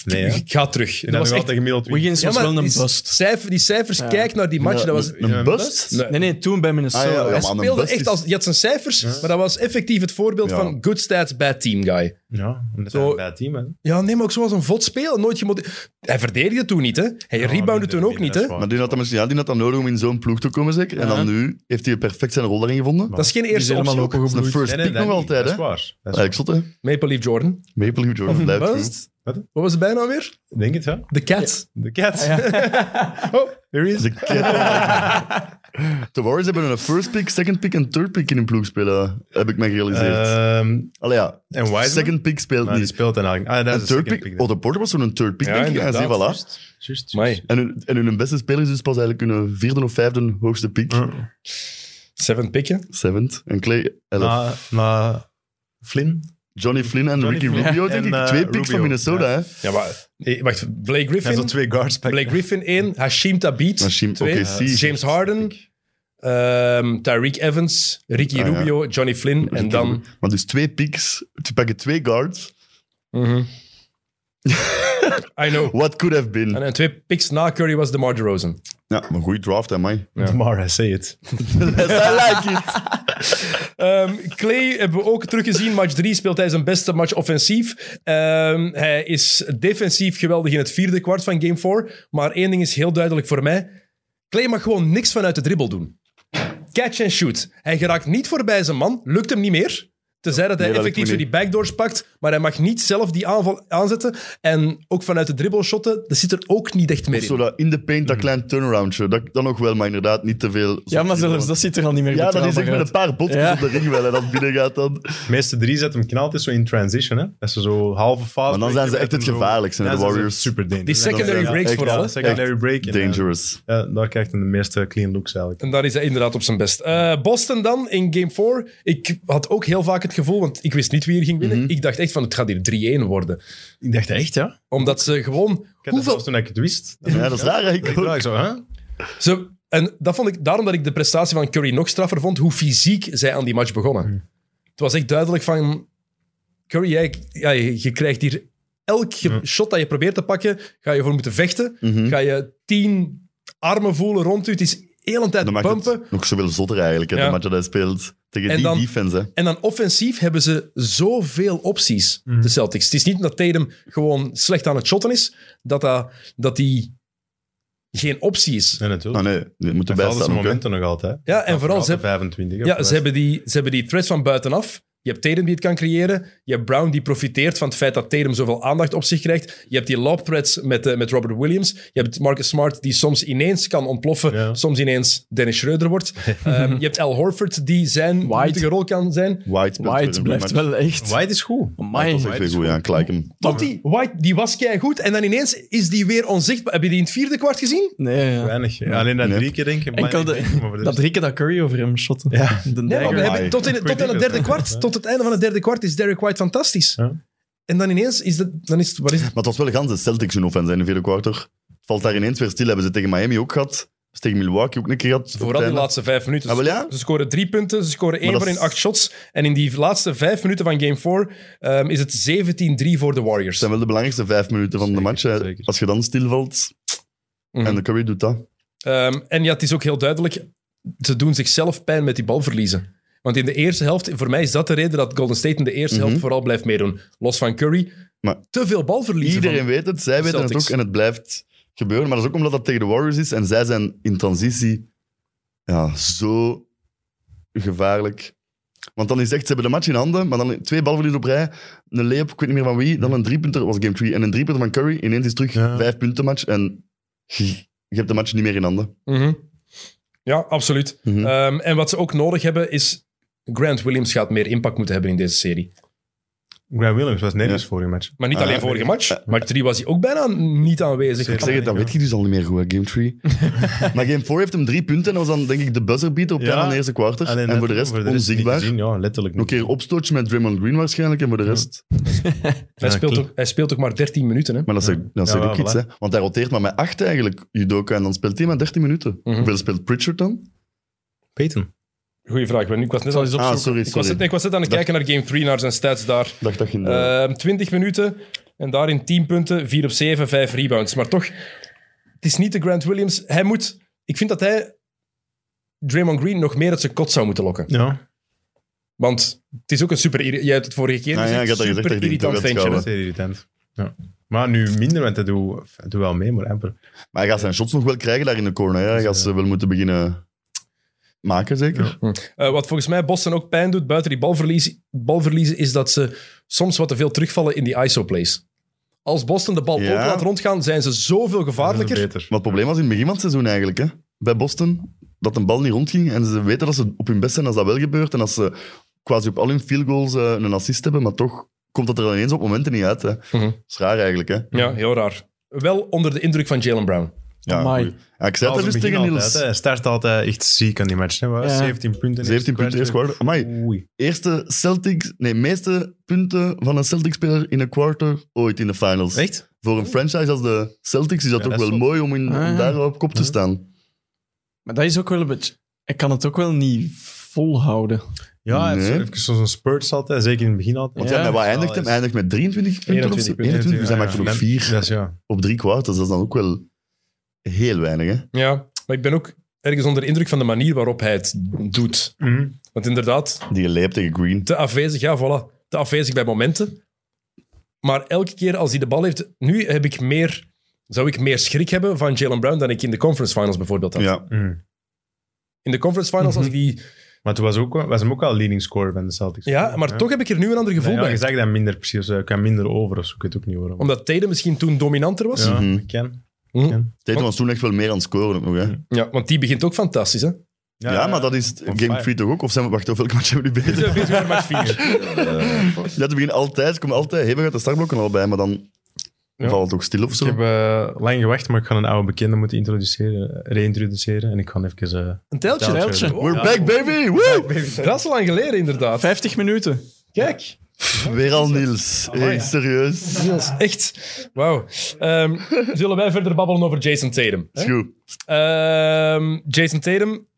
B: Nee, hè.
A: Ik ga terug. Dat
B: Ik
A: was
B: was
A: echt...
B: altijd gemiddeld
D: Wiggins was
A: maar
D: wel een
A: die
D: bust.
A: Cijfer, die cijfers,
D: Ja.
A: kijk naar die match.
C: Ja,
A: dat was...
C: een, een bust?
A: Nee.
D: Eh, Nee, nee, toen bij
C: Ah,
D: Minnesota.
C: ja, ja,
A: Hij
C: maar aan een
A: speelde
C: bust
A: echt
C: is-
A: als... Je had zijn cijfers, maar dat was effectief het voorbeeld
C: Ja.
A: van good stats, bad team guy.
B: Ja, omdat
A: Zo-
B: hij een bad team hè.
A: Ja, nee, maar ook zoals een vod spelen. Nooit gemotiveerd. Hij verdedigde toen niet, hè? Hij
B: Ja,
A: reboundde
B: minder,
A: toen ook
B: minder,
A: niet,
B: dat
A: hè?
B: is waar.
C: Maar die had, dat misschien, ja, die had dat nodig om in zo'n ploeg te komen, zeker. En dan nu heeft hij perfect zijn rol daarin gevonden.
A: Dat is geen eerste
D: helemaal
A: optie. ook.
C: Dat is een first
B: Nee, nee,
C: pick
B: dat
C: nog
B: niet.
C: altijd,
B: Dat is
C: hè.
B: waar. Dat is
C: Eigenlijk zot, hè.
A: Maple Leaf Jordan.
C: Maple Leaf Jordan blijft goed.
A: Bust.
B: Wat?
A: Wat was het bijna alweer?
B: waar. Denk het, ja.
A: De Cats.
B: De Cats.
A: Oh,
B: There is.
C: De cat- De Warriors hebben een first pick, second pick en third pick in hun ploeg spelen, heb ik mij gerealiseerd.
B: Ehm,
C: Allee ja,
B: en Wiseman?
C: second pick speelt
B: nou, die
C: niet.
B: speelt dan eigenlijk. Ah, dat is
C: En
B: de
C: third
B: second
C: pick,
B: pick.
C: oh, de Porter was zo'n third pick,
A: Ja,
C: denk ik. En zie,
A: inderdaad,
C: voilà.
B: Juist, juist,
A: Amai.
B: juist.
C: En hun, en hun beste speler is dus pas eigenlijk hun vierde of vijfde hoogste pick.
A: Seven pikken.
C: Seventh. En Clay, elf.
B: Na, na Flynn.
C: Johnny Flynn en
B: Johnny
C: Ricky
B: Flynn.
C: Rubio, denk
B: En,
C: ik.
B: eh,
C: Twee picks
B: Rubio,
C: van Minnesota, hè.
A: Ja, maar... eh, Wacht, Blake
B: En zo
A: Griffin.
B: twee guards. pakken.
A: Blake Griffin 1, Hashim Tabit
C: Hashim,
A: 2,
C: oké, zie.
A: James Harden, ehm Tyreek Evans, Ricky
C: Ah, ja.
A: Rubio, Johnny Flynn en
C: Ricky
A: dan...
C: Rubio. Maar dus twee picks, die pakken twee guards.
A: Mhm. I know.
C: What could have been.
A: En, en twee picks na Curry was DeMar DeRozan.
C: Ja, maar goede draft, hè, mij.
A: Ja.
B: Mara, say it.
C: Yes, I like it.
A: Ehm Clay hebben we ook teruggezien. Match 3 speelt hij zijn beste match offensief. Ehm, hij is defensief geweldig in het vierde kwart van Game 4. Maar één ding is heel duidelijk voor mij. Clay mag gewoon niks vanuit de dribbel doen. Catch and shoot. Hij geraakt niet voorbij zijn man. Lukt hem niet meer. Tenzij dat hij
C: Nee, dat lukt
A: effectief
C: me
A: zo die backdoors pakt. Maar hij mag niet zelf die aanval aanzetten. En ook vanuit de dribbelshotten, dat zit er ook niet echt meer
C: Zo
A: in.
C: dat in de paint, dat klein turnaroundje. Dat, dat nog wel, maar inderdaad niet te veel.
D: Ja, maar zelfs dat ziet er al niet meer
C: Ja, dat is echt
D: betrouwbaar
C: met een paar botjes
D: Ja.
C: op de ring wel. En dat binnen gaat dan...
B: De meeste drie zetten hem knalt is zo in transition, hè? Dat ze zo halve fase.
C: Maar dan zijn ze echt het gevaarlijkste, hè, de Warriors.
B: Super dangerous.
A: Die
C: Dan
A: secondary
C: zijn-
A: breaks
C: echt,
A: vooral.
B: Ja,
A: hè.
B: secondary break. en,
C: Dangerous.
B: eh, Ja, daar krijgt hij de meeste clean looks eigenlijk.
A: En daar is hij inderdaad op zijn best. Eh, Boston dan in game 4. Ik had ook heel vaak het gevoel, want ik wist niet wie er ging winnen.
C: Mhm.
A: Ik dacht echt van het gaat hier 3-1 worden.
B: Ik dacht echt, ja. Ik had
A: Omdat ze gewoon.
B: dat
A: Hoeveel,
B: zelfs toen ik het wist.
C: Ja, dat is raar
B: Ik
C: eigenlijk ook.
B: dacht zo, hè?
A: ze, en dat vond ik daarom dat ik de prestatie van Curry nog straffer vond, hoe fysiek zij aan die match begonnen.
C: Mhm.
A: Het was echt duidelijk van. Curry, jij, ja, je je krijgt hier elk ge- shot dat je probeert te pakken, ga je voor moeten vechten.
C: Mhm.
A: Ga je tien armen voelen rond u. Het is heel een tijd
C: Dat maakt
A: pumpen.
C: het nog zoveel zotter eigenlijk, hè,
A: Ja.
C: de match dat hij speelt. Tegen
A: En
C: die
A: dan-
C: defense, hè.
A: En dan offensief hebben ze zoveel opties, de Celtics. Het is niet dat Tatum gewoon slecht aan het shotten is, dat dat, dat die geen optie is.
B: Nee, natuurlijk.
C: Ah nee, die moeten
B: Hij
C: bijstaan
B: valt zijn
C: ook, hè.
B: momenten nog altijd.
A: Ja, en
B: Nog
A: vooral ze,
B: altijd 25.
A: ja, ze, hebben die, ze hebben die threats van buitenaf. Je hebt Tatum die het kan creëren. Je hebt Brown die profiteert van het feit dat Tatum zoveel aandacht op zich krijgt. Je hebt die lob threads met, eh, met Robert Williams. Je hebt Marcus Smart die soms ineens kan ontploffen,
B: Ja.
A: soms ineens Dennis Schroeder wordt. Ehm, je hebt Al Horford die zijn
D: White.
A: nuttige rol kan zijn.
C: White, speelt weer
D: White
C: een
D: blijft
C: goede match.
D: wel echt. Oh
B: White is goed.
D: Amai.
C: Dat is echt
B: White
C: weer
B: is
C: goed, ja. Gelijk hem.
A: Tot die White, die was goed en dan ineens is die weer onzichtbaar. Heb je die in het vierde kwart gezien?
D: Nee, ja. dus-
B: Weinig. Ja, alleen dat
C: Nee.
B: drie keer denk ik. maar
D: Enkel de-
B: ik denk, maar voor de
D: Dat
B: rest-
D: drie keer dat Curry over hem shotte.
B: Ja.
A: Nee,
D: De
A: maar we
D: dagger.
A: hebben, tot, in, tot aan het derde kwart, tot het einde van het derde kwart is Derek White fantastisch.
B: Ja.
A: En dan ineens is dat, dan is het, wat is het?
C: Maar het was wel gans de Celtics hun offense in de vierde kwarter. Valt daar ineens weer stil. Hebben ze tegen Miami ook gehad. Hebben ze tegen Milwaukee ook een keer gehad. op het
A: Vooral die
C: einde.
A: laatste vijf minuten.
C: Ah, wel ja?
A: Ze scoren drie punten, ze scoren één
C: dat
A: voor in
C: is-
A: acht shots. En in die laatste vijf minuten van game 4 is het 17-3 voor de Warriors.
C: Het zijn wel de belangrijkste vijf minuten van de
B: Zeker,
C: match. hè.
B: zeker.
C: Als je dan stilvalt
A: Mhm.
C: en de Curry doet dat.
A: Ehm, en ja, het is ook heel duidelijk, ze doen zichzelf pijn met die balverliezen. Want in de eerste helft, voor mij is dat de reden dat Golden State in de eerste
C: Mhm.
A: helft vooral blijft meedoen. Los van Curry,
C: Maar-
A: te veel balverliezen. van-
C: Iedereen weet het, zij
A: de
C: weten het
A: Celtics.
C: ook en het blijft gebeuren. Maar dat is ook omdat dat tegen de Warriors is en zij zijn in transitie ja, zo gevaarlijk. Want dan is het echt, ze hebben de match in handen, maar dan twee balverlies op rij, een layup, ik weet niet meer van wie, dan een driepunter, was game 3, en een driepunter van Curry, ineens is het terug
B: Ja.
C: vijf punten match en je, je hebt de match niet meer in handen.
A: Mhm. Ja, absoluut.
C: Mhm.
A: Ehm, en wat ze ook nodig hebben is... Grant Williams gaat meer impact moeten hebben in deze serie.
B: Graham Williams was nergens
C: Ja.
B: voor die match.
A: Maar niet
C: Ah,
A: alleen
C: ja.
A: vorige match. Maar 3 was hij ook bijna niet aanwezig.
B: Zeker.
C: Ik zeg het, dan
B: Ja.
C: weet je dus al niet meer goed, hè, game 3. maar game 4 heeft hem drie punten en dat was dan denk ik de buzzerbeater op het
B: Ja.
C: einde van de eerste kwarter.
B: Alleen
C: En
B: dat-
C: voor de rest
B: niet
C: onzichtbaar.
B: gezien, ja, letterlijk
C: Nog een keer opstootje met Draymond Green waarschijnlijk en voor de rest...
A: Hij,
B: Ja,
A: speelt
B: klopt.
A: ook, hij speelt ook maar 13 minuten. Hè?
C: Maar dat zegt, dat
B: Ja,
C: zegt
B: wel,
C: ook iets,
B: voilà.
C: hè? Want hij roteert maar met acht eigenlijk, Judoka, en dan speelt hij maar 13 minuten.
A: Mhm.
C: Hoeveel speelt Pritchard dan?
B: Peyton.
A: Goeie vraag. Ik, ben, ik was net,
D: zal
A: aan,
D: eens
C: Ah,
D: opzoeken.
C: sorry,
A: ik, was net,
C: sorry.
A: nee, ik was net aan het
C: Dat-
A: kijken naar game 3, naar zijn stats daar.
C: dacht dat je...
B: Eh.
A: Ehm 20 minuten en daarin 10 punten, 4 op 7, 5 rebounds. Maar toch, het is niet de Grant Williams. Hij moet... Ik vind dat hij Draymond Green nog meer uit zijn kot zou moeten lokken.
B: Ja,
A: Want het is ook een super... irri- Jij hebt het vorige keer
C: Ah, ja,
A: gezien,
C: ik had dat gezegd,
A: super
C: dat ik die
A: irritant
C: toch had
A: ventje. hè.
C: gehouden.
B: dat is irritant. Ja. Maar nu minder, want hij doet, hij doet wel mee, maar amper.
C: maar hij gaat zijn shots nog wel krijgen daar in de corner. Hè?
B: Dus,
C: Hij gaat
B: eh,
C: ze wel moeten beginnen maken, zeker.
A: Eh, wat volgens mij Boston ook pijn doet buiten die balverlies, balverliezen, is dat ze soms wat te veel terugvallen in die ISO-plays. Als Boston de bal
C: Ja.
A: ook laat rondgaan, zijn ze zoveel
B: Dat is
A: gevaarlijker.
B: beter.
C: Maar het probleem was in het begin van het seizoen eigenlijk, hè? bij Boston, dat een bal niet rondging. En ze weten dat ze op hun best zijn als dat wel gebeurt. En als ze quasi op al hun field goals eh, een assist hebben, maar toch komt dat er dan ineens op momenten niet uit. Hè?
A: Mhm.
C: Dat is raar eigenlijk. Hè?
A: Ja, heel raar. Wel onder de indruk van Jalen Brown.
C: Ja,
D: Amai.
C: goeie. ja, ik zei het
B: Als
C: er dus
B: het begin
C: tegen
B: altijd,
C: Niels.
B: hè. Hij start altijd echt ziek aan die match. Hè. Wat was
D: Ja.
B: het? 17 punten.
C: 17 punten eerst
B: kwart.
C: quarter. Amai,
B: Oei.
C: eerste Celtics, nee, meeste punten van een Celtics-speler in een quarter ooit in de finals.
B: Echt?
C: Voor een franchise als de Celtics is dat
B: Ja,
C: ook
B: dat is
C: wel
B: zot.
C: mooi om, in, om
D: Ah, ja.
C: daar op kop te
B: Ja.
C: staan.
D: Maar dat is ook wel een beetje... Ik kan het ook wel niet volhouden.
B: Ja, hij heeft zo-
C: Nee.
B: even zo'n spurts altijd. Zeker in het begin altijd.
C: Want ja,
D: Ja.
C: met wat eindigt hem?
B: Alles.
C: Hij eindigt met 23 punten of zo?
A: 21 punten.
C: 21, dus hij maakt er
B: Ja,
C: nog
B: ja.
C: vier
B: Dat is ja.
C: op drie kwarters. Dat is dan ook wel heel weinig, hè?
A: Ja, maar ik ben ook ergens onder de indruk van de manier waarop hij het doet.
B: Mhm.
A: Want inderdaad,
C: Die leep tegen Green.
A: te afwezig, ja, voilà. Te afwezig bij momenten. Maar elke keer als hij de bal heeft... Nu heb ik meer, zou ik meer schrik hebben van Jalen Brown dan ik in de conference finals bijvoorbeeld had.
C: Ja,
B: Mhm.
A: In de conference finals, als ik die
B: Maar toen was, ook, was hem ook al leading scorer van de Celtics.
A: Ja, maar toch heb ik er nu een ander gevoel
B: Nee, ja,
A: bij.
B: je zegt dat minder precies. Ik kan minder over of zo. Ik weet het ook niet waarom.
A: Omdat Tatum misschien toen dominanter was. Ja.
B: ja,
C: Mhm.
B: ik ken.
C: Tatum was toen echt wel meer aan het scoren ook nog, hè?
B: Ja.
A: want die begint ook fantastisch, hè?
C: Ja, maar dat is Game
B: fire.
C: 3 toch ook? Of zijn we... Wacht, hoeveel match hebben we nu bezig?
A: match 4.
C: Ja, het begin altijd. Ze komen altijd hevig uit de startblokken al bij, maar dan
B: Ja.
C: valt het toch stil of
B: Ik
C: zo.
B: heb eh, lang gewacht, maar ik ga een oude bekende moeten introduceren, reintroduceren. En ik ga even... eh,
A: Een teltje.
B: teltje.
D: teltje.
A: Wow.
C: We're back, baby! Woo!
A: Dat is al lang geleden, inderdaad.
D: 50 minuten.
A: Kijk.
C: Weer al Niels. hey, serieus.
A: Dat is echt... Wauw. Ehm, zullen wij verder babbelen over Jason Tatum? hè?
C: Is goed.
A: Ehm, Jason Tatum,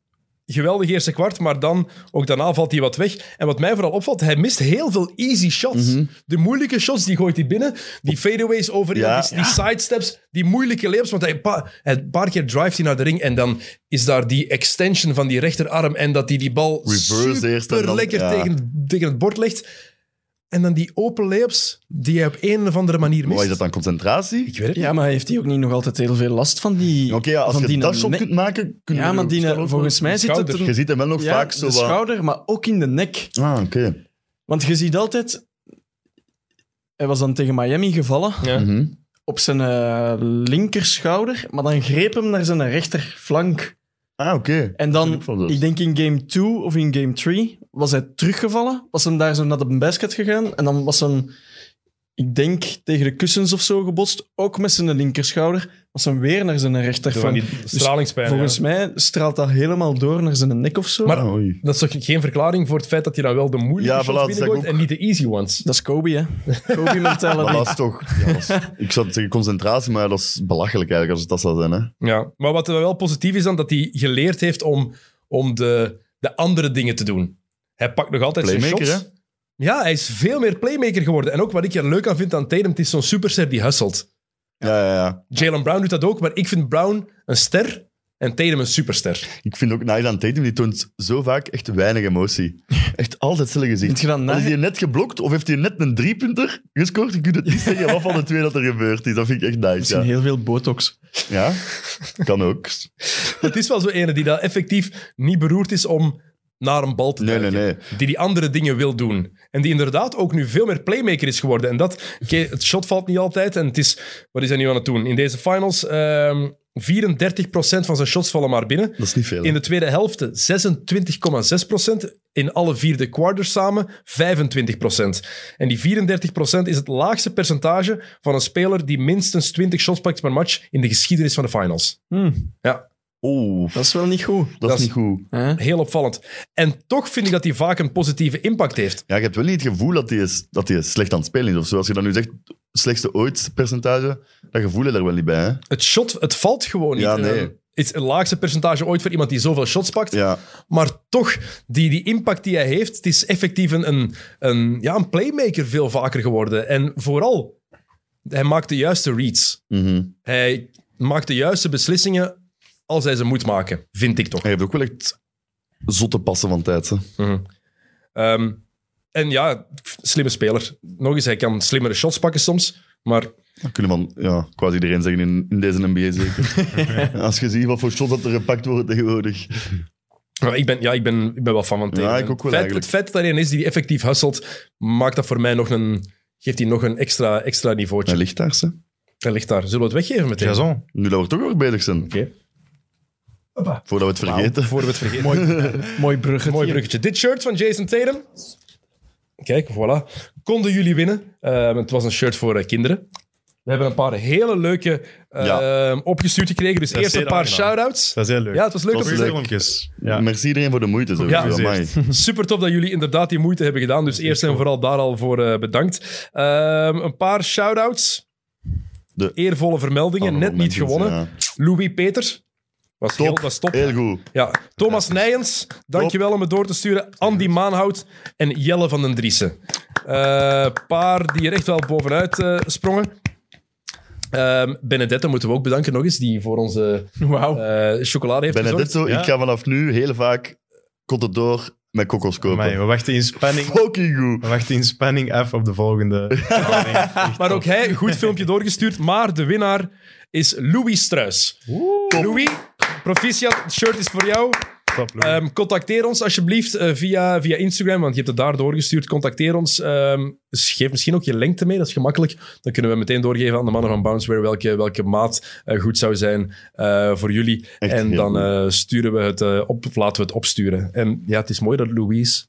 A: geweldig eerste kwart, maar dan, ook daarna valt hij wat weg. En wat mij vooral opvalt, hij mist heel veel easy shots.
C: Mhm.
A: De moeilijke shots, die gooit hij binnen. Die fadeaways over
C: Ja.
A: die, die sidesteps, die moeilijke layups. Want hij pa- hij- een paar keer drive hij naar de ring en dan is daar die extension van die rechterarm en dat hij die bal
C: Reverse eerst en
A: super
C: dan-
A: lekker
C: ja.
A: tegen, tegen het bord legt. En dan die open layups die hij op een of andere manier
C: Maar
A: mist.
C: wat is dat dan concentratie?
A: Ik weet het niet.
D: Ja, maar heeft hij ook niet nog altijd heel veel last van die...
C: Oké, ja, als
D: van
C: je
D: die
C: dat shot
D: nek?
C: kunt maken, kun je
D: Ja,
C: er
D: maar
C: ook
D: die,
C: snel over.
D: volgens mij zit het
A: schouder.
D: er
C: Je ziet hem wel nog
D: ja,
C: vaak zo
D: de
C: wat...
D: schouder, maar ook in de nek.
C: Ah, oké.
D: Want je ziet altijd... Hij was dan tegen Miami gevallen
A: Ja.
C: Mhm.
D: op zijn eh, linkerschouder, maar dan greep hem naar zijn rechterflank.
C: Ah, oké.
D: En
C: Dat
D: dan,
C: is ook wel zo.
D: ik denk in game 2 of in game 3, was hij teruggevallen. Was hem daar zo naar de basket gegaan. En dan was hem, ik denk, tegen de kussens of zo gebotst. Ook met zijn linkerschouder. Was hem weer naar zijn
A: Van
D: rechterflank.
A: die stralingspijn.
D: dus Volgens
A: ja.
D: mij straalt dat helemaal door naar zijn nek of zo.
A: Maar-
C: Ah, oei.
A: Dat is toch geen verklaring voor het feit dat hij dan wel de moeilijke
C: Ja, voilà,
A: shots
C: dat zeg ik
A: binnengooit
C: ook.
A: en niet de easy ones.
D: dat is Kobe, hè. Kobe
C: Maar dat
D: mentality.
C: is toch... Ja, dat is- ik zou zeggen concentratie, maar dat is belachelijk eigenlijk als het dat zou zijn. Hè?
A: Ja. Maar wat wel positief is dan, dat hij geleerd heeft om, om de, de andere dingen te doen. Hij pakt nog altijd
C: Playmaker,
A: zijn shots. Ja, hij is veel meer playmaker geworden. En ook wat ik er leuk aan vind aan Tatum, het is zo'n superster die hustelt.
C: Ja, ja, ja.
A: Jalen Brown doet dat ook, maar ik vind Brown een ster en Tatum een superster.
C: Ik vind ook Nailan Tatum, die toont zo vaak echt weinig emotie. Echt altijd stille
D: Vind
C: gezicht.
D: je dat na?
C: Is hij net geblokt of heeft hij net een driepunter gescoord? Ik kan het niet zeggen wat van de twee dat er gebeurd is. Dat vind ik echt nice.
D: Misschien
C: Ja,
D: heel veel botox.
C: ja? kan ook.
A: Het is wel zo'n ene die dat effectief niet beroerd is om naar een bal te
C: Nee,
A: duiken.
C: nee, nee.
A: die die andere dingen wil doen. En die inderdaad ook nu veel meer playmaker is geworden. En dat, oké, het shot valt niet altijd. En het is, wat is hij nu aan het doen? In deze finals, ehm 34% van zijn shots vallen maar binnen.
C: Dat is niet veel. hè.
A: In de tweede helft 26,6%. In alle vierde quarters samen 25%. En die 34% is het laagste percentage van een speler die minstens 20 shots pakt per match in de geschiedenis van de finals.
D: Hm,
A: Ja,
C: Oeh,
D: dat is wel niet goed.
C: dat
A: dat
C: is
A: is-
C: niet goed.
D: Hè?
A: heel opvallend. En toch vind ik dat hij vaak een positieve impact heeft.
C: Ja, je hebt wel niet het gevoel dat hij is, dat hij slecht aan het spelen is. Of zo. Als je dan nu zegt, slechtste ooit percentage, dat gevoel heb je er wel niet bij. Hè?
A: Het shot, het valt gewoon niet.
C: Ja, nee.
A: Ehm, Het is het laagste percentage ooit voor iemand die zoveel shots pakt.
C: Ja.
A: Maar toch, die, die impact die hij heeft, het is effectief een, een, een, ja, een playmaker veel vaker geworden. En vooral, hij maakt de juiste reads.
C: mhm.
A: Hij maakt de juiste beslissingen als hij ze moet maken, vind ik toch.
C: Hij heeft ook wel echt zotte passen van tijd. Hè?
A: Ehm, en ja, slimme speler. Nog eens, hij kan slimmere shots pakken soms, maar
C: Dat kunnen van ja, quasi iedereen zeggen in, in deze NBA zeker. Als je ziet wat voor shots dat er gepakt worden tegenwoordig.
A: Maar ik ben, ja, ik ben, ik ben wel fan van Tatum.
C: Ja, ik ook wel
A: Vet-
C: eigenlijk.
A: Het feit dat hij een is die effectief hustelt, maakt dat voor mij nog een... Geeft hij nog een extra, extra niveautje.
C: Hij ligt daar, ze.
A: Hij ligt daar. Zullen we het weggeven meteen?
B: Jason.
C: Nu dat we toch weer bezig zijn.
A: Oké.
C: Voordat we het vergeten.
A: Voor we het vergeten. Mooi,
D: Mooi bruggetje.
A: mooi bruggetje. Dit shirt van Jason Tatum. Kijk, voilà. Konden jullie winnen. Ehm, het was een shirt voor eh, kinderen. We hebben een paar hele leuke ehm,
C: Ja.
A: opgestuurd gekregen. Dus
B: Dat is
A: eerst een
B: zeer
A: paar
B: aangenaam.
A: shout-outs.
B: Dat is heel leuk.
A: Ja, het was leuk
C: Dat
A: om
C: was
A: te
B: Goeie
A: zien.
C: leuk.
B: filmpjes. Ja.
C: Merci iedereen voor de moeite. Zo.
A: Ja.
C: Amai.
A: Super tof dat jullie inderdaad die moeite hebben gedaan. Dus eerst en vooral daar al voor eh, bedankt. Ehm, een paar shout-outs.
C: De-
A: Eervolle vermeldingen.
C: Allemaal
A: Net niet
C: mensen,
A: gewonnen.
C: ja.
A: Louis Peters. Was
C: Top.
A: heel, was top.
C: Heel goed.
A: Ja. Thomas Nijens. Dankjewel om het door te sturen. Andy Maanhout. En Jelle van den Driessen. Eh, paar die er echt wel bovenuit eh, sprongen. Ehm Benedetta moeten we ook bedanken nog eens. Die voor onze
D: Wauw.
A: eh, chocolade heeft gezorgd.
C: Benedetto,
B: Ja.
C: ik ga vanaf nu heel vaak komt het door met kokos kopen.
B: Amai, we wachten in spanning.
C: Fucking goed.
B: We wachten in spanning af op de volgende. aflevering. Echt
A: Maar
B: top.
A: ook hij, goed filmpje doorgestuurd. Maar de winnaar is Louis Struis. Louis, proficiat. Het shirt is voor jou.
B: Top, Louis.
A: Ehm, contacteer ons alsjeblieft eh, via, via Instagram, want je hebt het daar doorgestuurd. Contacteer ons. Ehm, dus geef misschien ook je lengte mee, dat is gemakkelijk. Dan kunnen we meteen doorgeven aan de mannen van Bounceware welke, welke maat eh, goed zou zijn eh, voor jullie.
C: Echt
A: en
C: heel
A: dan
C: goed.
A: eh, sturen we het eh, op, of laten we het opsturen. En ja, het is mooi dat Louis...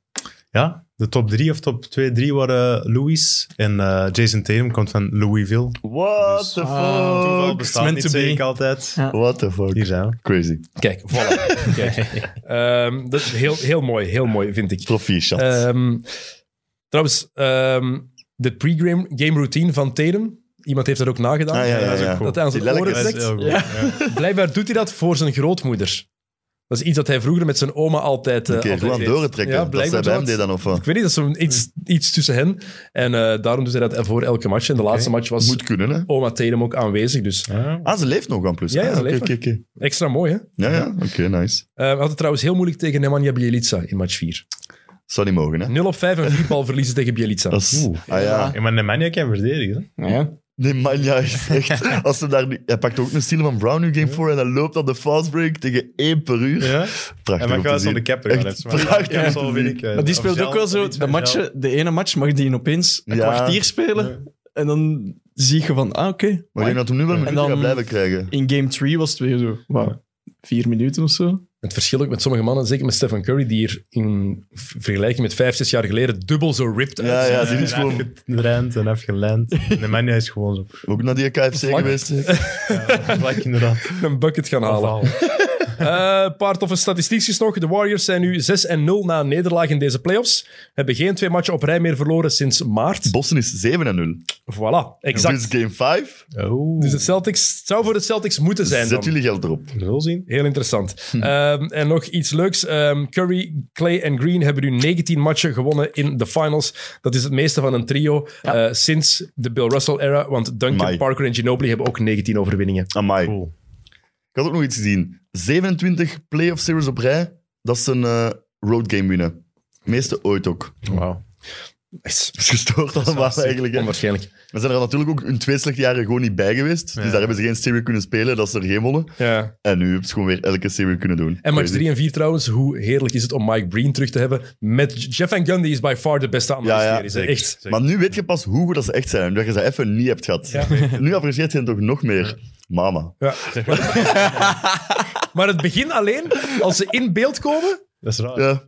B: Ja, de top 3 of top 2, 3 waren Louis. En eh, Jason Tatum komt van Louisville.
C: What
B: Dus-
C: the fuck?
D: Ah,
B: Toeval
D: It's
B: bestaat
D: meant
B: niet,
D: to
B: zeg
D: be.
B: ik altijd.
D: Ja.
C: What the
B: Hier
C: fuck?
B: zijn we.
C: Crazy.
A: Kijk, voilà. Kijk. Ehm, dat is heel, heel mooi, heel mooi, vind ik.
C: Proficiat.
A: Ehm, trouwens, ehm, de pre-game game routine van Tatum. Iemand heeft dat ook nagedaan.
C: Ah, ja, ja,
B: dat is ook
C: ja.
B: cool.
A: Dat hij aan
C: Die
A: zijn oren
C: lelijke-
B: Dat is
A: trekt.
B: heel goed.
D: Ja.
B: ja.
A: Blijkbaar doet hij dat voor zijn grootmoeder. Dat is iets dat hij vroeger met zijn oma altijd, eh
C: Oké,
A: altijd
C: gewoon
A: deed.
C: doortrekken.
A: Ja,
C: dat zij
A: blijkbaar
C: bij
A: zou
C: hem deed
A: het-
C: dan of wat?
A: Ik weet niet, dat is zo'n iets, iets tussen hen. En eh, daarom doet hij dat voor elke match. En de laatste match was
C: Moet kunnen, hè?
A: oma Tatum ook aanwezig. Dus
C: Ah, ze leeft nog aan plus.
A: Ja, ja,
C: Ah,
A: ze
C: oké,
A: leeft
C: oké, oké.
A: extra mooi, hè?
C: Ja, ja, oké, nice.
A: Eh, we hadden het trouwens heel moeilijk tegen Nemanja Bjelica in match 4.
C: Zou niet mogen, hè?
A: 0 op 5 en 4 bal verliezen tegen Bjelica.
C: Dat is... Ah ja,
B: Ja, maar Nemanja kan verdedigen.
D: Ja.
C: Nee, Manja is echt... Als ze daar nu, hij pakt ook een steal van Brown nu game 4 en dan loopt dat de fast break tegen één per uur.
B: Ja?
C: Prachtig
B: En maar
C: om
B: ik
C: te
B: was
C: zien.
B: aan de capper.
C: Echt prachtig om te zien.
D: Maar die speelt ook wel zo. De, matchen, de ene match mag die opeens een
C: Ja.
D: kwartier spelen. En dan zie je van, ah oké.
C: Maar ik denk dat we hem nu wel een
D: En
C: minuutje
D: dan-
C: gaat blijven krijgen.
D: In game 3 was het weer zo. Wow, vier minuten of zo.
A: Het verschil ook met sommige mannen, zeker met Stephen Curry, die hier in v- vergelijking met vijf, zes jaar geleden dubbel zo ripped uit.
C: Ja, ja, die is
B: is gewoon
C: gewoon...
B: getraind en afgeland. Nee, mijn is gewoon zo.
C: Ook naar die KFC geweest.
B: Ja, vlak inderdaad.
A: Een bucket gaan halen.
B: Afhaal.
A: Eh, Een paar toffe statistiekjes nog. De Warriors zijn nu 6 en 0 na een nederlaag in deze playoffs. Hebben geen twee matchen op rij meer verloren sinds maart.
C: Boston is 7-0.
A: Voilà, exact.
C: Dus game 5.
B: Oh.
A: Dus de Celtics, het zou voor de Celtics moeten zijn. Dan.
C: Zet jullie geld erop.
B: Zo zien.
A: Heel interessant. Ehm, en nog iets leuks. Ehm, Curry, Clay en Green hebben nu 19 matchen gewonnen in de finals. Dat is het meeste van een trio eh, sinds de Bill Russell-era. Want Duncan,
C: Amai.
A: Parker en Ginobili hebben ook 19 overwinningen.
C: Amai.
B: Cool.
C: Ik had ook nog iets gezien. 27 playoff series op rij. Dat is een eh, road game winnen. Meeste ooit ook.
B: Wauw.
A: Echt
C: Dat is gestoord allemaal eigenlijk. hè.
A: onwaarschijnlijk.
C: We zijn er natuurlijk ook in twee slechte jaren gewoon niet bij geweest. Dus
B: Ja.
C: daar hebben ze geen serie kunnen spelen. Dat is er geen wonnen.
A: Ja.
C: En nu hebben ze gewoon weer elke serie kunnen doen.
A: Eh, En match
C: Crazy.
A: 3 en 4 trouwens, hoe heerlijk is het om Mike Breen terug te hebben. Met Jeff Van Gundy is by far de beste analist
C: ja,
A: hier, is, hè.
B: zeker,
A: Echt.
B: zeker.
C: Maar nu weet je pas hoe goed dat ze echt zijn. Dat je ze even niet hebt gehad. Nu apprecieert je hen toch nog meer. Mama.
A: Ja. maar het begin alleen, als ze in beeld komen.
B: Dat is raar.
C: Ja,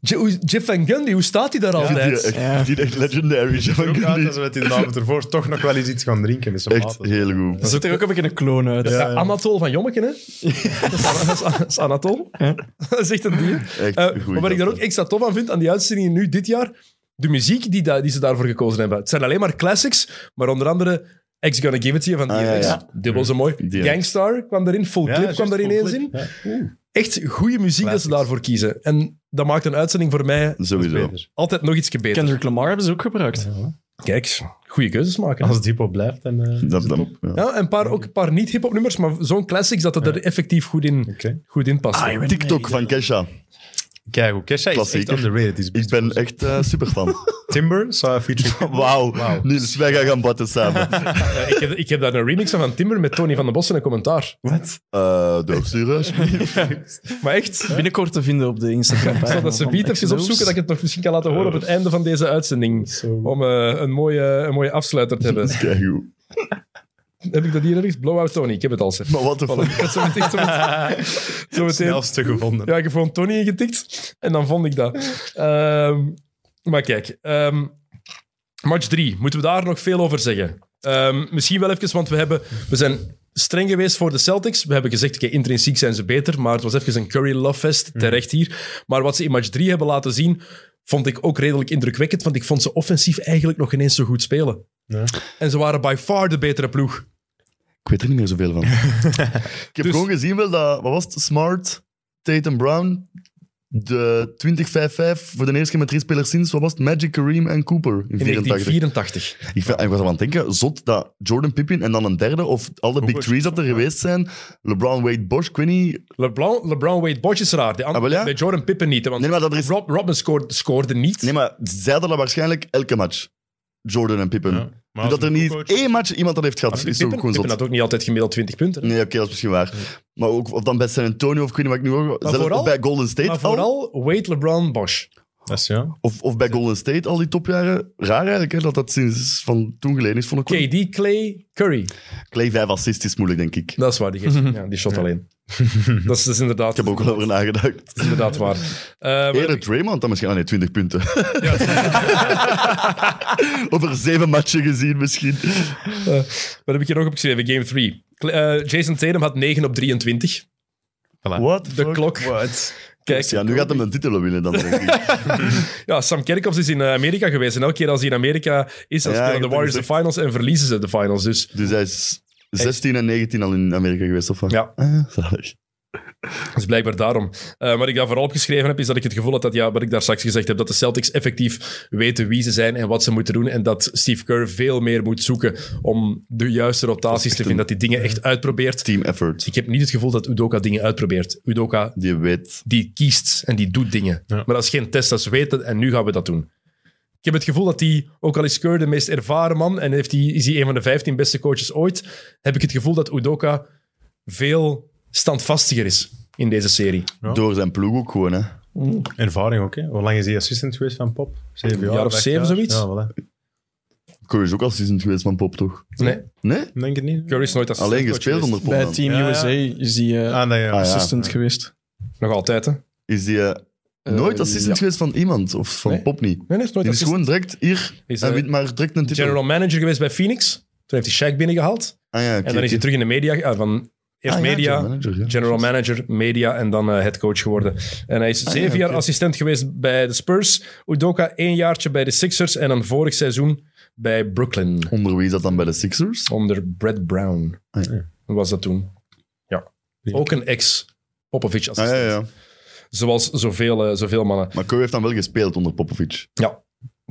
A: Je- hoe- Jeff Van Gundy, hoe staat hij daar
C: ik vind die
A: altijd?
C: echt, ik vind die echt legendary. Jeff Van
B: Ook
C: Gundy.
B: uit als we met die avond ervoor toch nog wel eens iets gaan drinken met z'n
C: Echt
B: maten.
C: heel goed.
D: Dat ziet er ook een beetje een kloon uit.
A: Ja, Anatol van Jommeken, hè? dat, is, Ana- dat is- dat is Anatol. dat is echt een dier.
C: Echt
A: Eh,
C: een goeie
A: maar wat ik daar
C: gast.
A: ook extra tof aan vind, aan die uitzendingen nu dit jaar, de muziek die, da- die ze daarvoor gekozen hebben. Het zijn alleen maar classics, maar onder andere X Gonna Give It To You van
C: Ah, ja,
A: DMX.
C: ja.
A: Dubbel zo mooi.
C: DMX.
A: Gangstar kwam erin, Full
B: Ja,
A: Clip
B: juist,
A: kwam daar
B: full
A: ineens
B: clip.
A: in.
B: Ja,
A: Echt goede muziek dat ze
B: Classics.
A: daarvoor kiezen. En dat maakt een uitzending voor mij
C: Sowieso.
B: beter.
A: altijd nog iets beter.
D: Kendrick Lamar hebben ze ook gebruikt.
A: Kijk, goede keuzes maken.
B: Als het hip-hop blijft, dan. eh,
C: Dat,
B: is het
C: dat,
B: top.
C: ja.
A: Ja, en een paar, ook een paar niet-hip-hop nummers, maar zo'n classics dat het er effectief goed in,
B: Oké.
A: goed in
C: Ah,
A: past.
C: TikTok van Kesha.
B: Kijk, hoe Kesha is echt
C: Klassieker.
B: underrated. Die
C: Ik
B: Is
C: ben echt eh, superfan.
B: Timber, Saw featuring. Timber.
C: Wauw.
B: Wauw.
C: Niels, wij gaan gaan batten samen.
A: Eh, ik, heb, ik heb daar een remix van van Timber met Tony van den Bossen een commentaar.
C: Eh doorsturen, alsjeblieft.
A: Maar echt,
D: Binnenkort te vinden op de Instagram.
A: dat ze beat even opzoeken, dat ik het nog misschien kan laten horen op het einde van deze uitzending.
B: Zo.
A: Om eh, een, mooie, een mooie afsluiter te hebben.
C: Keigoed.
A: Heb ik dat hier ergens? Blowout Tony, ik heb het al. Zeg.
C: Maar wat de
A: Voilà, ik
C: fuck.
A: had zo meteen... Zo meteen, zo meteen-
B: Snelste gevonden.
A: ja, ik heb gewoon Tony ingetikt en dan vond ik dat. Ehm, maar kijk, ehm, match 3, moeten we daar nog veel over zeggen? Ehm, misschien wel even, want we, hebben, we zijn streng geweest voor de Celtics. We hebben gezegd, oké, intrinsiek zijn ze beter, maar het was even een Curry love fest, terecht hier. Maar wat ze in match 3 hebben laten zien, vond ik ook redelijk indrukwekkend, want ik vond ze offensief eigenlijk nog ineens zo goed spelen.
B: Ja.
A: En ze waren by far de betere ploeg.
C: Ik weet er niet meer zoveel van. ik heb
A: Dus-
C: gewoon gezien wel dat, wat was het, Smart, Tatum Brown, de 20-5-5 voor de eerste keer met drie spelers sinds, wat was het, Magic, Kareem en Cooper
A: In
C: in 84.
A: 1984.
C: Ik, vind- ik was al aan het denken, zot dat Jordan Pippen en dan een derde, of al de big
B: Cooper.
C: threes dat er geweest zijn, LeBron, Wade, Bosch, ik weet niet,
A: LeBron, LeBron Wade Bosch is raar. De andere,
C: Ah, wel ja?
A: Bij Jordan Pippen niet. hè, Want
C: Nee, maar dat er is-
A: Rob, Robin scoorde, scoorde niet.
C: Nee, maar zij hadden dat waarschijnlijk elke match. Jordan en Pippen.
B: Ja. Maar
C: Dus
B: als
C: dat er
B: een
C: niet
B: coach-
C: één match iemand dat heeft gehad,
A: Pippen,
C: is toch gewoon
A: Pippen
C: zot.
A: had ook niet altijd gemiddeld 20 punten. hè.
C: Nee, oké, dat is misschien waar. Maar ook of dan bij San Antonio of ik weet niet wat ik nu hoor. Zelfs
A: vooral-
C: of bij Golden State
A: Maar
C: al.
A: vooral Wade, LeBron, Bosch.
B: Dat is ja.
C: Of, of bij Golden State al die topjaren. Raar eigenlijk, hè, dat dat sinds van toen geleden is, vond ik. wel.
A: KD, Clay, Curry.
C: Clay 5 assist is moeilijk, denk ik. Ik
A: Dat is waar, die, geeft- ja, die shot alleen. dat, is, dat is inderdaad,
C: heb ook wel over nagedacht.
A: dat is inderdaad waar. Eh, maar-
C: Eerder Draymond dan misschien. Ah nee, 20 punten. over zeven matchen gezien misschien.
A: eh, wat heb ik hier nog opgeschreven? Game 3. Jason Tatum had 9 op 23.
C: What the
A: De
C: fuck?
A: klok. Kijk,
C: Ja, nu gaat hem een titel winnen dan, denk ik.
A: Ja, Sam Kerkhoffs is in eh, Amerika geweest. En elke keer als hij in Amerika is, dan
C: Ja, ik
A: spelen de
C: heb
A: Warriors de
C: het
A: finals en verliezen ze de finals. Dus
C: Dus hij is 16 en 19 al in Amerika geweest, of wat?
A: Ja.
C: Ah, zalig.
A: Dus blijkbaar daarom. Eh, wat ik daar vooral opgeschreven heb, is dat ik het gevoel had dat, ja, wat ik daar straks gezegd heb, dat de Celtics effectief weten wie ze zijn en wat ze moeten doen. En dat Steve Kerr veel meer moet zoeken om de juiste rotaties te vinden. Dat hij dingen echt uitprobeert.
C: Team effort.
A: Ik heb niet het gevoel dat Udoka dingen uitprobeert. Udoka,
C: Die weet.
A: die kiest en die doet dingen.
B: Ja.
A: Maar dat is geen test, dat is weten en nu gaan we dat doen. Ik heb het gevoel dat hij, ook al is Keur de meest ervaren man en heeft die, is hij een van de 15 beste coaches ooit, heb ik het gevoel dat Udoka veel standvastiger is in deze serie.
B: Ja.
C: Door zijn ploeg ook gewoon, hè.
B: Ervaring ook, hè. Hoe lang is hij assistent geweest van Pop? Zeven jaar,
A: jaar of
B: acht
A: zeven,
B: jaar?
A: zoiets?
B: Ja, wel, hè.
C: Keur is ook assistent geweest van Pop, toch?
A: Nee,
C: Nee?
B: Denk het niet?
A: Curry is nooit assistent
C: Alleen gespeeld onder Pop
D: Bij
C: dan.
D: Team
B: Ja, ja.
D: USA is hij eh,
B: Ah, nee, ja.
C: Ah, ja.
D: assistent geweest.
A: Nog altijd, hè?
C: Is die eh, nooit
D: Eh,
C: assistent
D: ja.
C: geweest van iemand? Of van
A: Nee.
C: Pop niet?
A: Nee, nee, is nooit
C: Die is
A: assistent.
C: gewoon direct hier
A: Is,
C: en
A: eh,
C: wint maar direct een titel.
A: general manager geweest bij Phoenix. Toen heeft hij Shaq binnengehaald.
C: Ah ja, oké,
A: En dan is hij
C: oké.
A: terug in de media. eh, van eerst
C: Ah ja,
A: media,
C: general manager, ja.
A: general manager, media en dan eh, head headcoach geworden. En hij is
C: Ah,
A: zeven
C: ja,
A: jaar
C: oké.
A: assistent geweest bij de Spurs. Udoka één jaartje bij de Sixers en dan vorig seizoen bij Brooklyn.
C: Onder wie is dat dan bij de Sixers?
A: Onder Brett Brown.
C: Ah, ja.
A: Was dat toen. Ja. Ook een ex-Popovic
C: Ah,
A: assistent.
C: ja, ja.
A: Zoals zoveel, eh, zoveel mannen.
C: Maar Keur heeft dan wel gespeeld onder Popovic.
A: Ja.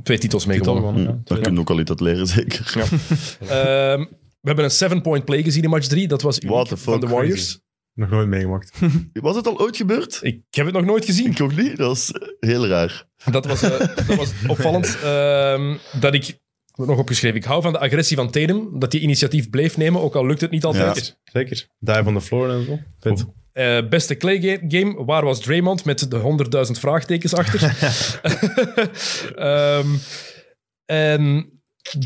A: Twee titels
B: Titel
A: meegewonnen.
B: gewonnen, ja.
C: Dat Hm, kun je ook al iets uit leren, zeker.
A: Ehm, we hebben een seven-point play gezien in match 3. Dat was uniek
C: What the
A: van de
C: fuck,
A: Warriors.
B: crazy. Nog nooit meegemaakt.
C: Was het al ooit gebeurd?
A: Ik heb het nog nooit gezien.
C: Ik ook niet. Dat is heel raar.
A: Dat was, eh, dat was opvallend. ehm, dat ik, nog opgeschreven, ik hou van de agressie van Tatum. Dat hij initiatief bleef nemen, ook al lukt het niet altijd.
C: Ja.
B: Zeker. Dive on the floor en zo. Vet.
A: Eh, beste Clay ga- game, waar was Draymond met de 100.000 vraagtekens achter? Ehm, en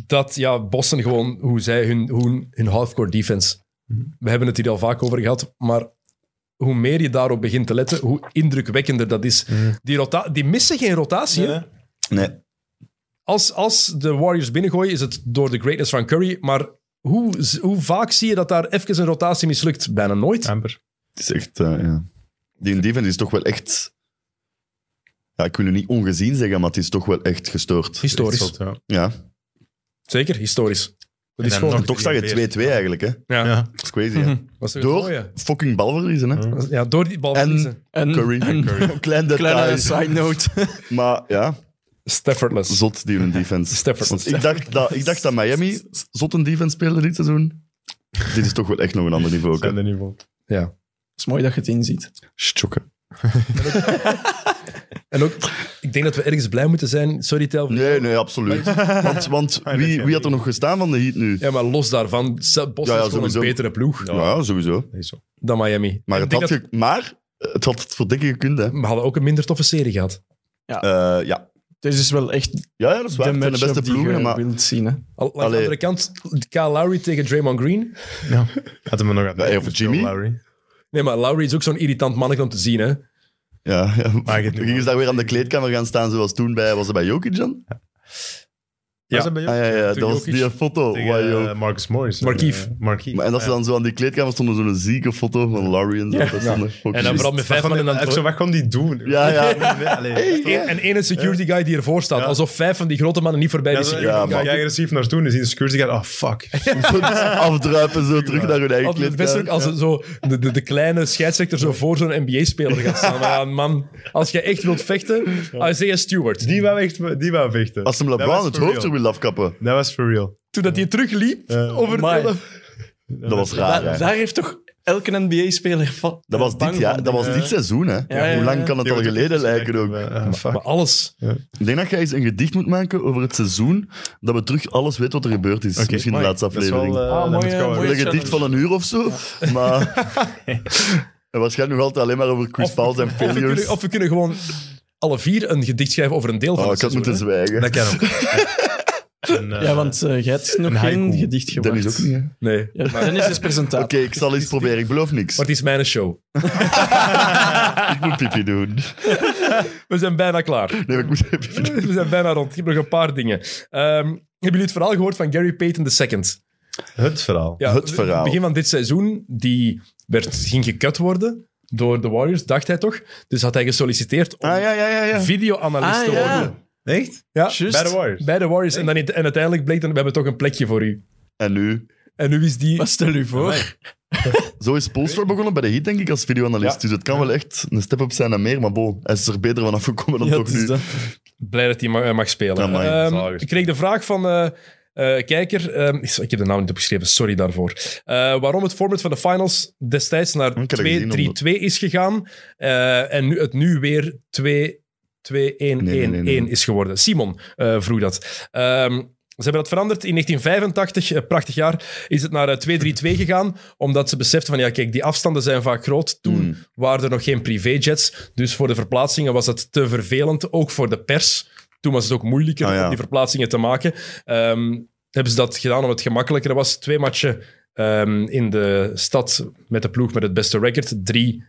A: dat, ja, Boston gewoon, hoe zij hun, hoe hun halfcore defense. We hebben het hier al vaak over gehad, maar hoe meer je daarop begint te letten, hoe indrukwekkender dat is. Die, rota- die missen geen rotatie. hè?
C: Nee.
A: Als, als de Warriors binnengooien, is het door de greatness van Curry, maar hoe, z- hoe vaak zie je dat daar even een rotatie mislukt? Bijna nooit.
B: Amper.
C: Het is echt... eh, ja. Die defense is toch wel echt... Ja, ik wil nu niet ongezien zeggen, maar het is toch wel echt gestoord.
A: Historisch.
B: Echt zot, ja.
C: Ja.
A: Zeker, historisch. Dat is
B: dan
A: gewoon...
B: nog-
C: Toch zag je 2-2 eigenlijk, hè.
A: Ja.
B: Ja.
C: Dat is crazy, hè.
A: Was toch het
C: Door
A: mooie?
C: fucking balverliezen, hè.
A: Ja, door die bal verliezen.
D: En
C: Curry. Klein
D: kleine
C: detail.
D: side note.
C: Maar ja,
A: Staffordless.
C: zot die hun defense.
A: Stafford.
C: Want ik dacht dat, ik dacht dat Miami zot een defense speelde dit seizoen. Dit is toch wel echt nog een ander niveau. ook, hè.
B: Zijn er niet van.
A: Ja.
D: Het is mooi dat je het inziet.
C: Sjokken.
A: En ook, ik denk dat we ergens blij moeten zijn. Sorry, Tel.
C: Nee, nee, absoluut. Want, want
B: dat
C: wie,
B: kan
C: wie had er
B: niet.
C: nog gestaan van de Heat nu?
A: Ja, maar los daarvan, Boston
C: Ja, ja,
A: is gewoon een
C: sowieso.
A: betere ploeg
C: Ja, ja, sowieso.
B: Nee, zo.
A: dan Miami. Ik
C: Maar het,
A: denk
C: had
A: dat-
C: ge- maar het had het verdikken gekund, hè.
A: We hadden ook een minder toffe serie gehad.
C: Eh, ja.
D: Het is dus wel echt
C: Ja, ja, dat is waar. Het zijn
D: de
C: de
D: matchup
C: beste
D: die je
C: ploegen, maar...
D: wilt zien. Hè.
A: Al, aan de
C: Allee.
A: andere kant, Kyle Lowry tegen Draymond Green.
B: Had hem er nog aan.
C: Ja, of Jimmy.
B: Lowry.
A: Nee, maar Lowry is ook zo'n irritant mannetje om te zien. Hè.
C: Ja, ja.
B: Maar je hebt nu-
C: Gingen ze daar weer aan de kleedkamer gaan staan, zoals toen bij... Was het bij Jokic dan?
A: Ja.
B: Was dat bij
C: Ah,
B: jou?
C: ja, ja, dat
A: Toen
C: was die
A: Jokic
C: foto. Waar
B: Tegen
C: je-
B: eh, Marcus Morris.
A: Markief.
B: Eh, Markief.
C: Maar en dat ze dan zo aan die kleedkamer stonden, zo'n zieke foto van Larry en zo. dat stonden fucking-
A: En dan vooral met vijf
B: Wat
A: man in
B: kon
A: Dus de
B: die- echt zo, Wat kon die doen?
C: Ja, ja.
B: Nee, allee, echt wel.
A: En ene security guy die ervoor staat.
B: Ja.
A: Alsof vijf van die grote mannen niet voorbij
B: Ja,
A: die
B: zo-
A: security
C: ja,
B: ja,
A: guy.
C: man.
B: kijk agressief naartoe en dan zie je de security guy, oh fuck.
C: afdruipen zo terug naar hun eigen
A: Altijd het beste ook
C: kleedkamer.
A: als het zo de, de, de kleine scheidsrechter zo voor zo'n NBA-speler gaat staan. Maar ja, man, als je echt wilt vechten, Isaiah Stewart.
B: Die wou echt die wou vechten.
C: Als hem
B: Dat was
C: LeBron het
B: for
C: hoofd er
B: real.
C: wil afkappen.
B: Dat was for real.
A: Toen dat hij terugliep
B: Eh,
A: over
D: amai.
A: de...
C: Dat was raar.
D: Daar-
C: hè.
D: daar heeft toch elke NBA-speler van.
C: Ah, Dat was dit, jaar, dat was dit seizoen, hè?
D: ja,
C: Hoe lang
D: ja.
C: kan het al geleden lijken ook?
B: Eh, fuck.
A: Maar alles.
C: Ik denk dat jij eens een gedicht moet maken over het seizoen, dat we terug alles weten wat er gebeurd is.
B: Oké,
C: Misschien de
B: mooi.
C: laatste
B: Dat is wel,
C: aflevering.
B: eh,
D: Ah,
B: dat
D: mooi,
B: moet
D: eh,
B: komen.
D: mooi.
C: een gedicht van een uur of zo, maar... En waarschijnlijk nog altijd alleen maar over Chris Paul en
A: Of we,
C: failures.
A: kunnen, of we kunnen gewoon alle vier een gedicht schrijven over een deel van
C: Oh, ik
A: het
C: had
A: seizoen,
C: moeten
A: hè.
C: zwijgen.
B: Dat kan ook. En, eh,
D: Ja, want eh, jij hebt nog
B: haiku.
D: geen gedicht gemaakt.
C: Dennis ook niet, hè?
A: Nee,
D: Ja, Dennis is presentator.
C: Oké, ik zal eens proberen. Ik beloof niks.
A: maar het is mijn show.
C: Ik moet pipi doen.
A: We zijn bijna klaar.
C: Nee, maar ik moet pipi doen.
A: We zijn bijna rond. Ik heb nog een paar dingen. Ehm, hebben jullie het verhaal gehoord van Gary Payton II?
B: Het verhaal.
A: Ja,
C: Het verhaal.
A: Begin van dit seizoen, die werd, ging gekut worden door de Warriors, dacht hij toch? Dus had hij gesolliciteerd om
C: Ah, ja, ja, ja. ja.
A: videoanalist
D: Ah,
A: te
D: ja.
A: worden.
B: Echt?
A: Ja,
D: Juist.
B: Bij de Warriors.
A: bij de Warriors. En, dan, en uiteindelijk bleek dan, we hebben toch een plekje voor u.
C: En nu?
A: En nu is die...
D: Maar stel u voor.
C: Zo is Polstra begonnen bij de Heat, denk ik, als videoanalist.
A: Ja.
C: Dus het kan wel echt een step-up zijn en meer. Maar bo, hij is er beter van afgekomen dan
D: Ja,
C: toch
D: het is
C: nu.
D: dat.
A: Blij dat hij ma- eh, mag spelen.
C: Amai,
A: Ehm,
B: zalig.
A: ik kreeg de vraag van... eh, eh, kijker, ehm, ik heb de naam niet opgeschreven, sorry daarvoor. Eh, waarom het format van de finals destijds naar
C: Ik heb dat gezien,
A: 2-3-2 is gegaan eh, en nu, het nu weer 2-2-2 2-1-1-1
C: Nee, nee, nee, nee.
A: is geworden. Simon eh, vroeg dat. Ehm, ze hebben dat veranderd. In 1985, eh, prachtig jaar, is het naar eh, 2-3-2 gegaan. Omdat ze beseften van, ja kijk, die afstanden zijn vaak groot. Toen
C: Mm.
A: waren er nog geen privéjets. Dus voor de verplaatsingen was dat te vervelend. Ook voor de pers. Toen was het ook moeilijker
C: Ah, ja.
A: om die verplaatsingen te maken. Ehm, hebben ze dat gedaan omdat het gemakkelijker was. Twee matchen ehm, in de stad met de ploeg met het beste record. Drie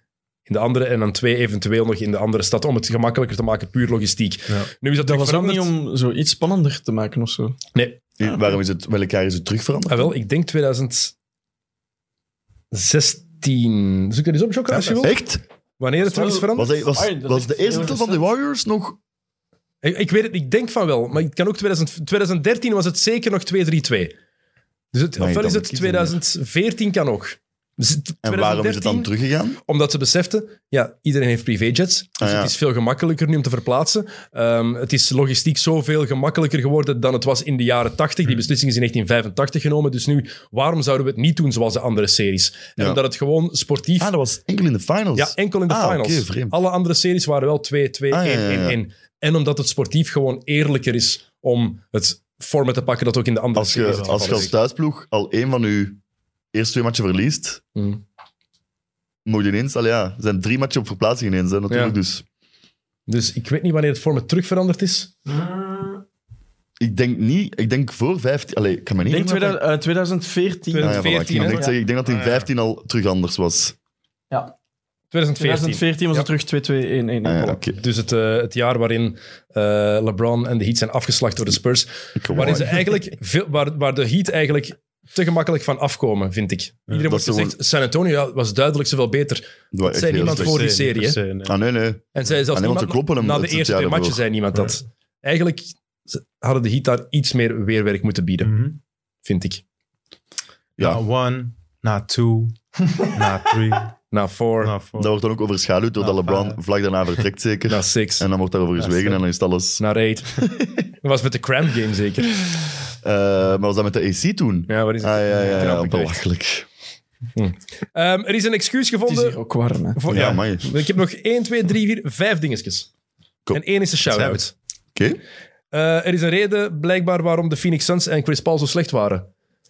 A: in de andere en dan twee eventueel nog in de andere stad. Om het gemakkelijker te maken, puur logistiek.
B: Ja.
A: Nu is dat,
D: Dat was ook
A: veranderd.
D: niet om zoiets spannender te maken of zo.
A: Nee,
C: Eh, Waarom is het, welk jaar is het terug veranderd?
A: ah, wel, ik denk 2016. Zoek er eens op, Jocke, als je wil.
C: Echt?
A: Wanneer het wel is veranderd?
C: Was, hij- was,
D: Ah, dat
C: was
D: is
C: de eerste
D: heel
C: titel van de Warriors nog...
A: Ik, ik weet het, ik denk van wel. Maar het kan ook 2000, 2013 was het zeker nog 2-3-2. Dus het,
C: Nee,
A: ofwel
C: dan
A: is het
C: moet ik kiezen, ja.
A: 2014 kan ook. Dus het-
C: En waarom is het dan
A: 2013
C: teruggegaan?
A: Omdat ze beseften, ja, iedereen heeft privéjets. Dus
C: Ah, ja.
A: het is veel gemakkelijker nu om te verplaatsen. Ehm, het is logistiek zoveel gemakkelijker geworden dan het was in de jaren 80.
C: Hmm.
A: Die beslissing is in 1985 genomen. Dus nu, waarom zouden we het niet doen zoals de andere series? En
C: Ja.
A: omdat het gewoon sportief...
C: Ah, dat was enkel in de finals.
A: Ja, enkel in de
C: Ah,
A: finals.
C: oké, vreemd.
A: Alle andere series waren wel 2, 2,
C: Ah,
A: 1,
C: ja, ja,
A: 1,
C: ja.
A: 1. En omdat het sportief gewoon eerlijker is om het format te pakken dat ook in de andere
C: Als
A: series
C: je
A: het
C: als, je
A: geval
C: als
A: is.
C: thuisploeg al één van je eerste twee matchen verliest,
A: Mm.
C: moet je ineens... Allee, ja, er zijn drie matchen op verplaatsing ineens, hè, natuurlijk.
A: Ja.
C: Dus
A: Dus ik weet niet wanneer het format terug veranderd is.
C: ik denk niet... Ik denk voor 15... Allee, ik kan me
D: Ik
C: niet
D: denk
C: herinneren.
D: 2000 eh, 2014.
C: Ah, ja, voilà.
A: 2014,
C: ik,
A: hè?
C: kan direct zeggen, ik denk dat het in
B: Ah, ja.
C: 15 al terug anders was.
A: 2014.
D: 2014 was het
A: Ja.
D: terug 2-2-1-1.
C: Ah, ja,
D: Voilà.
C: oké.
A: Dus het, eh, het jaar waarin eh, LeBron en de Heat zijn afgeslacht door de Spurs.
C: Kom
A: Waarin
C: maar.
A: ze eigenlijk veel, waar, waar de Heat eigenlijk te gemakkelijk van afkomen, vind ik. Iedereen
C: dat
A: wordt
C: is
A: gezegd, San Antonio ja, was duidelijk zoveel beter.
C: Dat was
A: Het zei
C: echt eh, heel
A: niemand
C: slecht.
A: voor die serie, hè?
B: Per se, nee.
C: Ah, nee, nee.
A: En zij zelfs
C: Ah, nee, want
A: na-
C: ze kloppen hem
A: na
C: het-
A: de
C: het
A: eerste
C: jaar
A: twee matchen
C: daarvoor.
A: zei niemand dat. Eigenlijk ze- hadden de Heat daar iets meer weerwerk moeten bieden,
B: Mhm.
A: vind ik.
C: Ja.
B: Not one, not two, not three,
A: Na four,
B: not four.
C: Dat wordt dan ook overschaduwd
A: Ah,
C: doordat
B: Nou,
C: LeBron
B: fijn, hè.
C: vlak daarna vertrekt, zeker.
A: na six,
C: En dan wordt daarover gezwegen en dan is het alles...
A: na eight. dat was met de cramp game zeker.
C: Eh, maar was dat met de AC toen?
A: Ja, waar is
C: Ah,
A: het?
C: ja, ja, ja,
A: Knap, ik weet.
C: belachelijk.
A: Ehm, er is een excuus
D: Het is
A: gevonden.
D: hier ook warm, hè.
A: Voor,
C: Ja,
A: ja,
C: man. Oké.
A: ik heb nog 1, 2, 3, 4, 5 dingetjes.
C: Cool.
A: En één is de shout-out. Eh, er is een reden blijkbaar waarom de Phoenix Suns en Chris Paul zo slecht waren.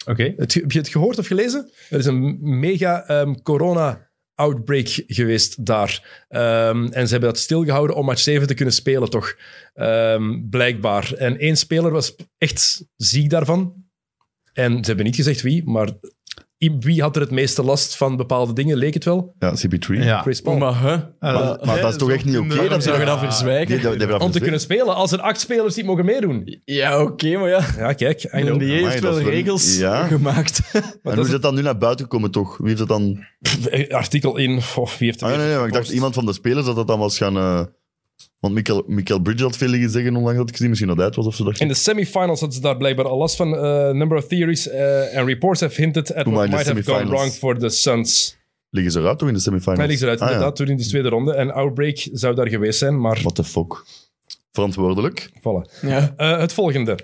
B: Oké.
A: Het, heb je het gehoord of gelezen? Er is een mega ehm, corona-outbreak geweest daar. Ehm, en ze hebben dat stilgehouden om match 7 te kunnen spelen, toch? Ehm, blijkbaar. En één speler was echt ziek daarvan. En ze hebben niet gezegd wie, maar i- wie had er het meeste last van bepaalde dingen, leek het wel?
C: Ja, CP3.
B: Ja.
A: Chris
C: Oh.
A: Paul.
D: Oh, Maar, hè?
C: Ah, maar dat is toch echt niet oké
D: Waarom zouden we dat verzwijgen?
C: Nee, dat- dat hebben we
A: om te
C: afgezegd.
A: kunnen spelen, als er acht spelers niet mogen meedoen.
D: Ja, oké, maar ja.
A: Ja, kijk. I
D: De
A: know.
D: NBA heeft
C: Amai, dat
D: wel
C: is wel-
D: regels
C: ja.
D: gemaakt.
C: En
A: Maar
C: hoe
A: dat
C: is
A: is
C: dat dan nu naar buiten gekomen, toch? Wie heeft dat dan...
A: het eh, artikel in... Oh, wie heeft
C: Ah, nee, nee, maar ik dacht iemand van de spelers dat dat dan was gaan... eh, Want Michael, Michael Bridge had veel liggen zeggen onlangs, had ik gezien. Misschien dat hij het was of zo. Dacht
A: In
C: ik.
A: de semifinals hadden ze daar blijkbaar al last van. Eh, number of theories eh, and reports have hinted at what
C: Hoe maar in de
A: might have gone
C: semifinals?
A: wrong for the Suns.
C: Liggen ze eruit toch in de semifinals?
A: Mij ligt eruit,
C: Ah, ja.
A: inderdaad, toen in de tweede ronde. En Outbreak zou daar geweest zijn, maar
C: What the fuck? Verantwoordelijk?
A: voilà.
D: Ja.
A: Eh, het volgende.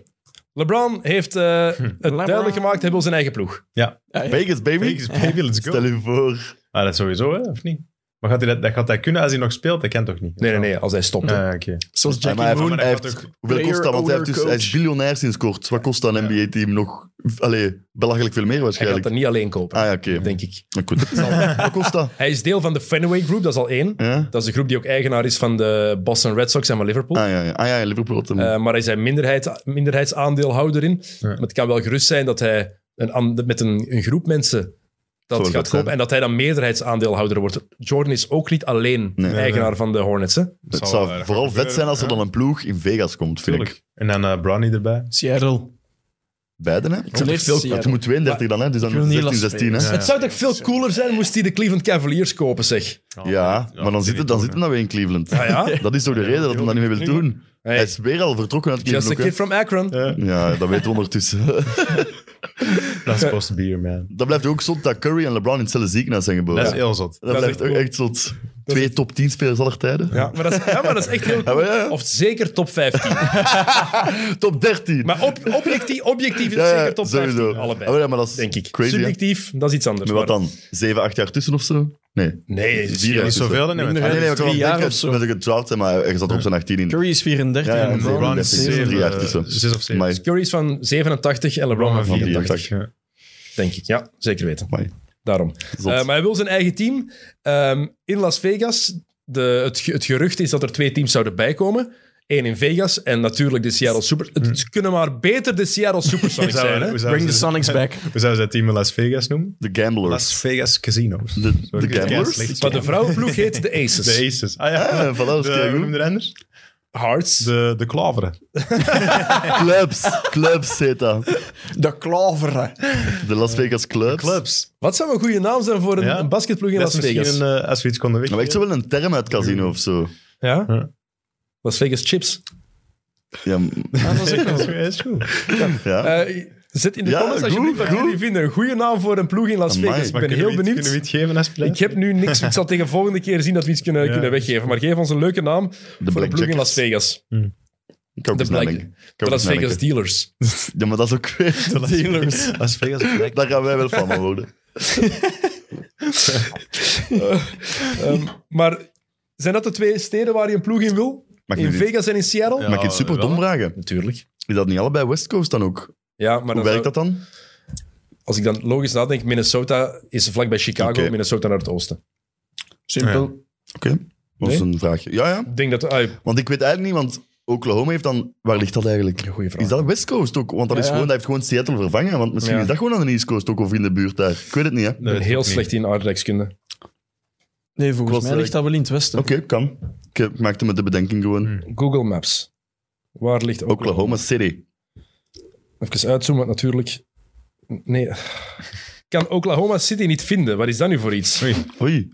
A: LeBron heeft eh, het duidelijk gemaakt, hij wil zijn eigen ploeg.
D: Ja, ja.
C: Vegas, dus baby!
B: Vegas, baby, let's go.
C: Stel je voor.
B: Ah, dat sowieso, hè? Of niet? Maar gaat hij dat, dat gaat hij kunnen als hij nog speelt? Dat kan toch niet?
A: Nee, nee, nee, als hij stopt. hè.
B: Ah, oké.
D: Zoals
C: Ja, maar hij heeft-
D: Jackie Moon.
B: dat
C: hij
B: gaat
C: heeft,
B: ook
C: hoeveel
D: player,
C: kost dat? Want hij, heeft
D: owner,
C: dus, hij is
D: coach.
C: biljonair sinds kort. Wat kost dat
B: Ja.
C: NBA-team nog? Allee, belachelijk veel meer
A: Hij gaat
C: waarschijnlijk.
A: er niet alleen kopen,
C: Ah ja, oké.
A: denk ik.
C: Goed. Wat kost dat?
A: Hij is deel van de Fenway Group, dat is al één.
C: Ja?
A: Dat is de groep die ook eigenaar is van de Boston Red Sox en van Liverpool.
C: Ah ja, ja. Ah, ja in Liverpool. had hem.
A: Eh, maar hij is een minderheid, minderheidsaandeelhouder in.
B: Ja.
A: Maar het kan wel gerust zijn dat hij een, an- met een, een groep mensen dat
C: Zou dat
A: gaat kopen.
C: zijn?
A: En dat hij dan meerderheidsaandeelhouder wordt. Jordan is ook niet alleen
C: Nee.
A: eigenaar
B: Nee,
A: van de Hornets. Hè?
C: het zou,
B: zal, eh, dat
C: vooral
B: gaat
C: vet zijn als er
B: gebeuren,
C: dan een ploeg in Vegas komt, vind
B: Tuurlijk.
C: ik.
B: En dan eh Brownie erbij.
D: Seattle.
C: Beiden, hè?
D: zou
C: Ja,
D: echt
C: veel-
D: Seattle.
C: Je moet 32 dan, hè? Dus dan
D: wil niet
C: 16,
D: Las
C: 16, hè?
B: Vegas.
C: Ja,
A: Het zou toch veel cooler zijn moest hij de Cleveland Cavaliers kopen, zeg.
C: maar dan zit het dan, zit hem dan weer in Cleveland.
A: Ah ja?
C: Dat is toch de reden dat hij dat niet meer wil doen.
A: Hey,
C: Hij is weer al vertrokken uit
A: just a
C: Cleveland. ook, hè?
A: kid from Akron.
C: Ja, dat weten we ondertussen.
B: Dat is supposed to be here, man.
C: dat blijft ook zot dat Curry en LeBron in hetzelfde ziekenhuis zijn geboren.
B: Dat is
C: Dat,
B: heel zot.
A: dat is
C: blijft
A: echt
C: ook
A: cool.
C: echt zot. Twee top 10 spelers aller tijden. Ah,
A: Ja, maar dat is, ja, maar dat is echt heel
C: Ja, maar ja, ja.
A: Of zeker top 15.
C: Top 13.
A: Maar op, objectief, objectief is het
C: ja, ja,
A: zeker top 15.
C: sowieso.
A: Allebei,
C: Ah, maar ja, maar dat is
A: denk ik.
C: Crazy, hè?
A: Subjectief, dat is iets anders.
C: Maar wat
A: maar-
C: dan? 7, 8 jaar tussen of zo? Nee.
A: Nee, het is
C: Vier
A: hier-
B: Niet zoveel, dan
D: Minder.
C: Ah,
B: hebben
C: nee, nee,
D: Drie
C: ik had
D: jaar
C: jaar
D: of zo.
C: dat ik het draft heb, maar hij zat op zijn 18 in.
D: Curry is 34
C: Ja, ja,
D: en
B: we
C: nee,
D: LeBron
B: LeBron
C: dat
D: is
B: is
C: is
B: zeven,
C: drie jaar
B: eh,
C: tussen.
B: zes of zeven.
C: Maar
A: Curry is van 87 en LeBron van 84,
C: 84.
B: Ja.
A: denk ik. Ja, zeker weten.
C: Amai.
A: Daarom.
C: zot.
A: Eh, maar hij wil zijn eigen team. Ehm, in Las Vegas, de, het, ge- het gerucht is dat er twee teams zouden bijkomen. Eén in Vegas en natuurlijk de Seattle Super... Het ze kunnen maar beter de Seattle Supersonics
B: Hoe Hmm. zouden-
A: zijn, hè?
B: hoe zouden
D: Bring the
B: ze-
D: Sonics back.
B: Hoe zouden ze dat team in Las Vegas noemen?
C: de Gamblers.
B: Las Vegas Casinos.
C: De, de
B: Sorry, ik weet het
C: Gamblers?
B: slecht.
A: Maar de vrouwenploeg heet de Aces.
B: De Aces. Ah ja,
C: Ah, voilà, dat is
B: de,
C: keigoed.
B: hoe noemde de anders?
A: Hearts.
B: De, de Klaveren.
C: Clubs. Clubs heet dat.
D: De klaveren.
C: De Las Vegas Clubs.
B: Clubs.
A: Wat zou een goede naam zijn voor een,
B: Ja.
A: een basketploeg in
B: Dat
A: Las
B: is misschien
A: Vegas?
B: een, eh, als we iets konden
C: Maar
B: weten.
C: echt zo wel een term uit casino of zo.
A: Ja?
B: eh, Ja.
A: Las Vegas Chips.
C: Ja, m-
D: Ah, dat is ook wel zo.
B: is goed.
C: ja.
A: Eh, zet in de
C: Ja,
A: comments alsjeblieft
C: goed,
A: wat jullie vinden. Een goede naam voor een ploeg in Las
C: Amai.
A: Vegas. Ik
B: Maar
A: ben
B: kunnen
A: heel
B: we iets- Kunnen we
A: benieuwd.
B: iets geven als
A: Ik heb nu niks. Ik zal tegen volgende keer zien dat we iets kunnen,
B: Ja.
A: kunnen weggeven. Maar geef ons een leuke naam
C: de
A: voor een
C: Black
A: ploeg in Las
C: Jackets.
A: Vegas.
C: Ik kan ook
A: De
C: eens
A: Black-
C: nadenken. Ik kan ook
A: De Las
C: eens nadenken.
A: Vegas Dealers.
C: Ja, maar dat is ook weer...
B: Dealers. Las Vegas Black.
C: Daar gaan wij wel van worden.
A: Ehm, maar zijn dat de twee steden waar je een ploeg in wil?
C: Mag ik
A: in
C: dit-
A: Vegas en in Seattle?
B: Ja.
C: Mag ik het super dom
B: wel.
C: vragen?
A: natuurlijk.
C: Is dat niet allebei West Coast dan ook?
A: Ja, maar
C: Hoe
A: dan
C: werkt
A: zou-
C: dat dan?
A: als ik dan logisch nadenk, Minnesota is vlakbij Chicago,
C: Oké.
A: Minnesota naar het oosten.
D: Simpel.
C: Oké, dat is
A: Nee?
C: een vraagje. Ja, ja.
A: Ik denk dat... ah,
C: Want ik weet eigenlijk niet, want Oklahoma heeft dan... Waar ligt dat eigenlijk?
A: goeie vraag.
C: Is dat West Coast ook? Want dat, is
D: Ja, ja.
C: gewoon, dat heeft gewoon Seattle vervangen. Want misschien
A: Ja.
C: is dat gewoon aan de East Coast ook of in de buurt daar. Ik weet het niet, hè. Oké,
A: Ik ben heel slecht in aardrijkskunde.
D: Nee, volgens
C: Klopt,
D: mij ligt
C: eh,
D: dat wel in het westen.
C: kan. Ik eh, maakte me de bedenking gewoon.
A: Hmm. Google Maps. Waar ligt Oklahoma?
C: Oklahoma City.
A: Even uitzoomen, want natuurlijk... Nee. Ik kan Oklahoma City niet vinden. Wat is dat nu voor iets?
C: Oei.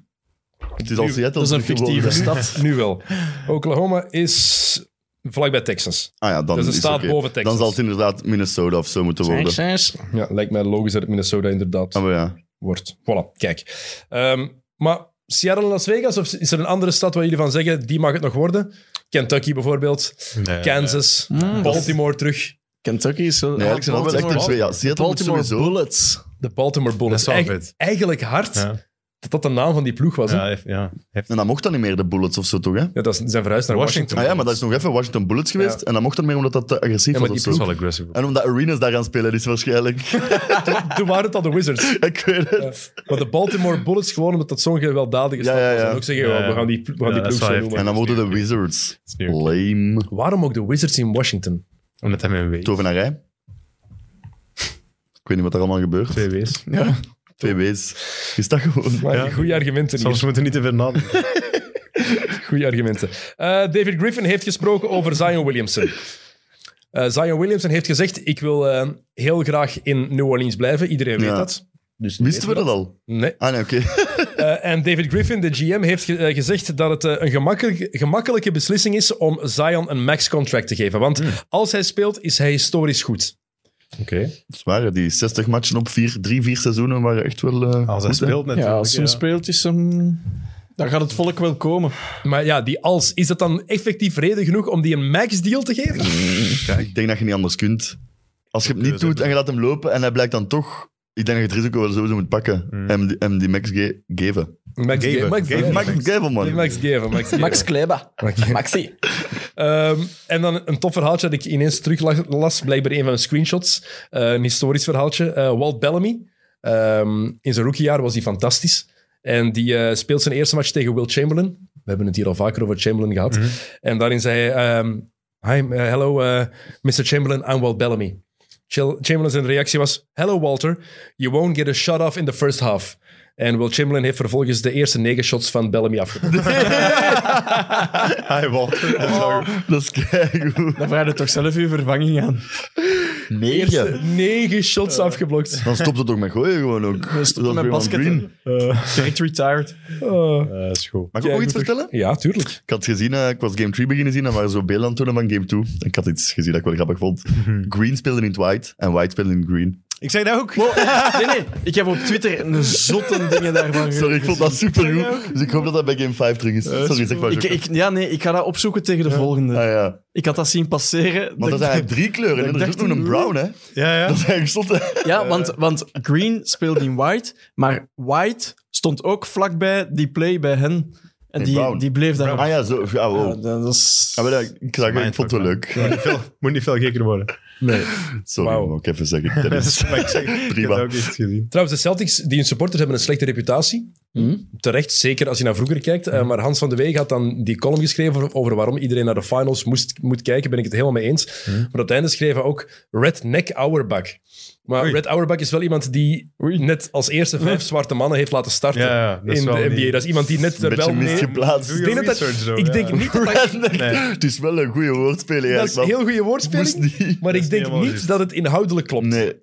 C: Het is al Seattle.
D: Dat is een
C: dus gewoon-
D: fictieve stad.
A: Nu wel. Oklahoma is vlakbij Texas.
C: Ah ja, dan
A: Dat is een staat
C: oké.
A: boven Texas.
C: Dan zal het inderdaad Minnesota of zo moeten worden.
A: Ja, lijkt mij logisch dat het Minnesota inderdaad...
C: Ah, maar ja.
A: wordt. Voilà, kijk. Ehm, maar Seattle en Las Vegas, of is er een andere stad waar jullie van zeggen, die mag het nog worden? Kentucky bijvoorbeeld, Kansas,
D: Mm,
A: Baltimore terug,
D: Kentucky is wel...
C: Nee, eigenlijk zijn dat wel echt de twee. Ja, Seattle moet
D: Baltimore
C: sowieso...
D: Bullets.
A: de Baltimore Bullets.
B: Dat is wel
A: Eigen-
B: vet.
A: eigenlijk hard
B: Ja.
A: dat dat de naam van die ploeg was. hè? Ja,
B: Ja, hef- ja. hef-
C: En dat mocht dan niet meer, de Bullets of zo, toch? Hè?
A: dat is, die zijn verhuisd naar Washington.
B: Washington.
C: Ah ja, maar dat is nog even Washington Bullets geweest.
A: Ja.
C: En dat mocht dan meer omdat dat te agressief
A: Ja, maar
C: was of
A: die
C: zo.
B: wel aggressive.
C: En omdat Arenas daar aan spelen is waarschijnlijk.
A: Toen waren het al de Wizards.
C: ik weet het.
A: Ja. Maar de Baltimore Bullets gewoon omdat dat zo'n gewelddadige
C: Ja,
A: stad
C: ja,
A: was.
C: ja.
A: En ook zeggen, oh,
B: Ja, ja.
A: we gaan die, we gaan
B: Ja,
A: die
B: dat is
A: ploeg
B: wel
A: zo
B: heftig.
A: noemen.
C: En dan worden de Wizards.
B: Sneer.
C: Lame.
A: Waarom ook de Wizards in Washington?
B: Omdat hij met een W.
C: Tovenarij. Ik weet niet wat er allemaal gebeurt.
B: Twee W's.
D: Ja.
C: Twee W's. Is dat gewoon...
A: Maar
B: Ja.
A: goede argumenten hier.
B: Soms moeten we niet te ver nadenken.
A: Goede argumenten. Eh, David Griffin heeft gesproken over Zion Williamson. Eh, Zion Williamson heeft gezegd: Ik wil eh, heel graag in New Orleans blijven. Iedereen weet
C: Ja.
A: dat. Dus
C: Wisten we dat al?
A: Nee.
C: Ah nee, oké.
A: Eh, en David Griffin, de GM, heeft ge- eh, gezegd dat het eh, een gemakkelijk- gemakkelijke beslissing is om Zion een max-contract te geven. Want
B: Hmm.
A: als hij speelt, is hij historisch goed.
B: Oké.
C: Het waren die 60 matchen op vier, drie, vier seizoenen waren echt wel... eh,
B: Als hij
C: goed, hè?
B: speelt natuurlijk.
D: Ja, als hem speelt is hem... Dan gaat het volk wel komen.
A: Maar ja, die als, is dat dan effectief reden genoeg om die een max-deal te geven?
C: Ik denk dat je niet anders kunt. Als je het niet
B: Keuze
C: doet
B: hebben.
C: en je laat hem lopen en hij blijkt dan toch... Ik denk dat je het risico wel sowieso moet pakken. Hem, die- hem die max ge- geven.
A: Max
B: Geven.
A: Max
B: Hmm. Geven.
C: Max
A: Max
C: geven, man.
A: Max geven. Max geven.
D: Kleba. Maxi.
A: Ehm, en dan een tof verhaaltje dat ik ineens teruglas, blijkbaar een van de screenshots. Eh, een historisch verhaaltje. Eh, Walt Bellamy, ehm, in zijn rookiejaar was hij fantastisch. En die eh, speelt zijn eerste match tegen Will Chamberlain. We hebben het hier al vaker over Chamberlain gehad. En daarin zei hij, ehm, Hi, eh, hello eh, Mr. Chamberlain, I'm Walt Bellamy. Chil- Chamberlain zijn reactie was, hello Walter, you won't get a shot off in the first half. En Will Chamberlain heeft vervolgens de eerste negen shots van Bellamy afgekomen.
B: Ah, Hij valt.
C: Oh, Dat is keigoed.
D: Dan vraag je toch zelf je vervanging aan.
C: Negen.
A: negen shots afgeblokt.
C: Dan stopt het ook met gooien gewoon ook.
D: We stoppen met basket. Eh, Direct retired.
A: Oh.
B: Dat Eh, is goed.
C: Mag ik
A: Ja,
C: ook nog iets
A: goed.
C: vertellen?
A: Ja, tuurlijk.
C: Ik had gezien, eh, ik was Game 3 beginnen zien en waren zo beelden aan het tonen van Game 2. Ik had iets gezien dat ik wel grappig vond. Green speelde in het white en white speelde in green.
B: Ik zeg dat ook.
D: Nee, nee. Ik heb op Twitter een zotte dingen daarvan gezien.
C: Sorry, ik vond dat supergoed. Dus ik hoop dat dat bij Game 5 terug is. Sorry, zeg maar.
D: Ik,
C: Jocko.
D: ik, ja, nee, ik ga dat opzoeken tegen de volgende.
C: Ah, ja.
D: Ik had dat zien passeren.
C: Maar dat
D: Dat-
C: zijn eigenlijk drie kleuren. hè.
D: dat
C: Er is
D: dacht
C: ook nog een
D: ik-
C: brown, hè?
B: Ja, ja.
C: Dat is eigenlijk zot, hè?
D: ja, want, want green speelde in white, maar white stond ook vlakbij die play bij hen. En
C: Nee,
D: die,
C: brown.
D: die bleef daar.
C: Ah ja, zo. Ja,
D: Ja,
C: wow.
D: dat is...
C: Ja, maar dat- ik, zag, het, ik vond het wel leuk.
B: Moet niet veel, moet niet veel gekker worden.
A: Nee.
C: Sorry,
A: Wauw.
C: maar ook even zeggen. Dat
B: Dat
C: is
B: is wat ik zeg. Ik heb
C: Prima.
B: dat ook echt gezien.
A: Trouwens, de Celtics, die hun supporters hebben een slechte reputatie.
B: Hmm.
A: Terecht, zeker als je naar vroeger kijkt. Eh, maar Hans van de Weeg had dan die column geschreven over waarom iedereen naar de finals moest, moet kijken. Ben ik het helemaal mee eens.
B: Hmm.
A: Maar op het einde schreef hij ook Redneck Auerbach. Maar
B: Oei.
A: Red Auerbach is wel iemand die net als eerste vijf zwarte mannen heeft laten starten
B: Ja, ja, dat is
A: in de
B: wel
A: NBA.
B: niet-
A: Dat is iemand die net
C: een
A: er wel
C: beetje
A: mee...
C: misgeplaatst.
B: Doe
A: Ik denk, dat dat-
B: Research zo,
A: ik
B: ja.
A: denk niet dat dat-
B: Nee.
C: Het is wel een goede woordspeling
A: dat is een
C: eigenlijk.
A: heel goede
C: maar moest
A: woordspeling.
C: niet.
A: Maar ik
B: niet
A: denk
B: helemaal
A: niet
B: juist.
A: dat het inhoudelijk klopt,
C: Nee,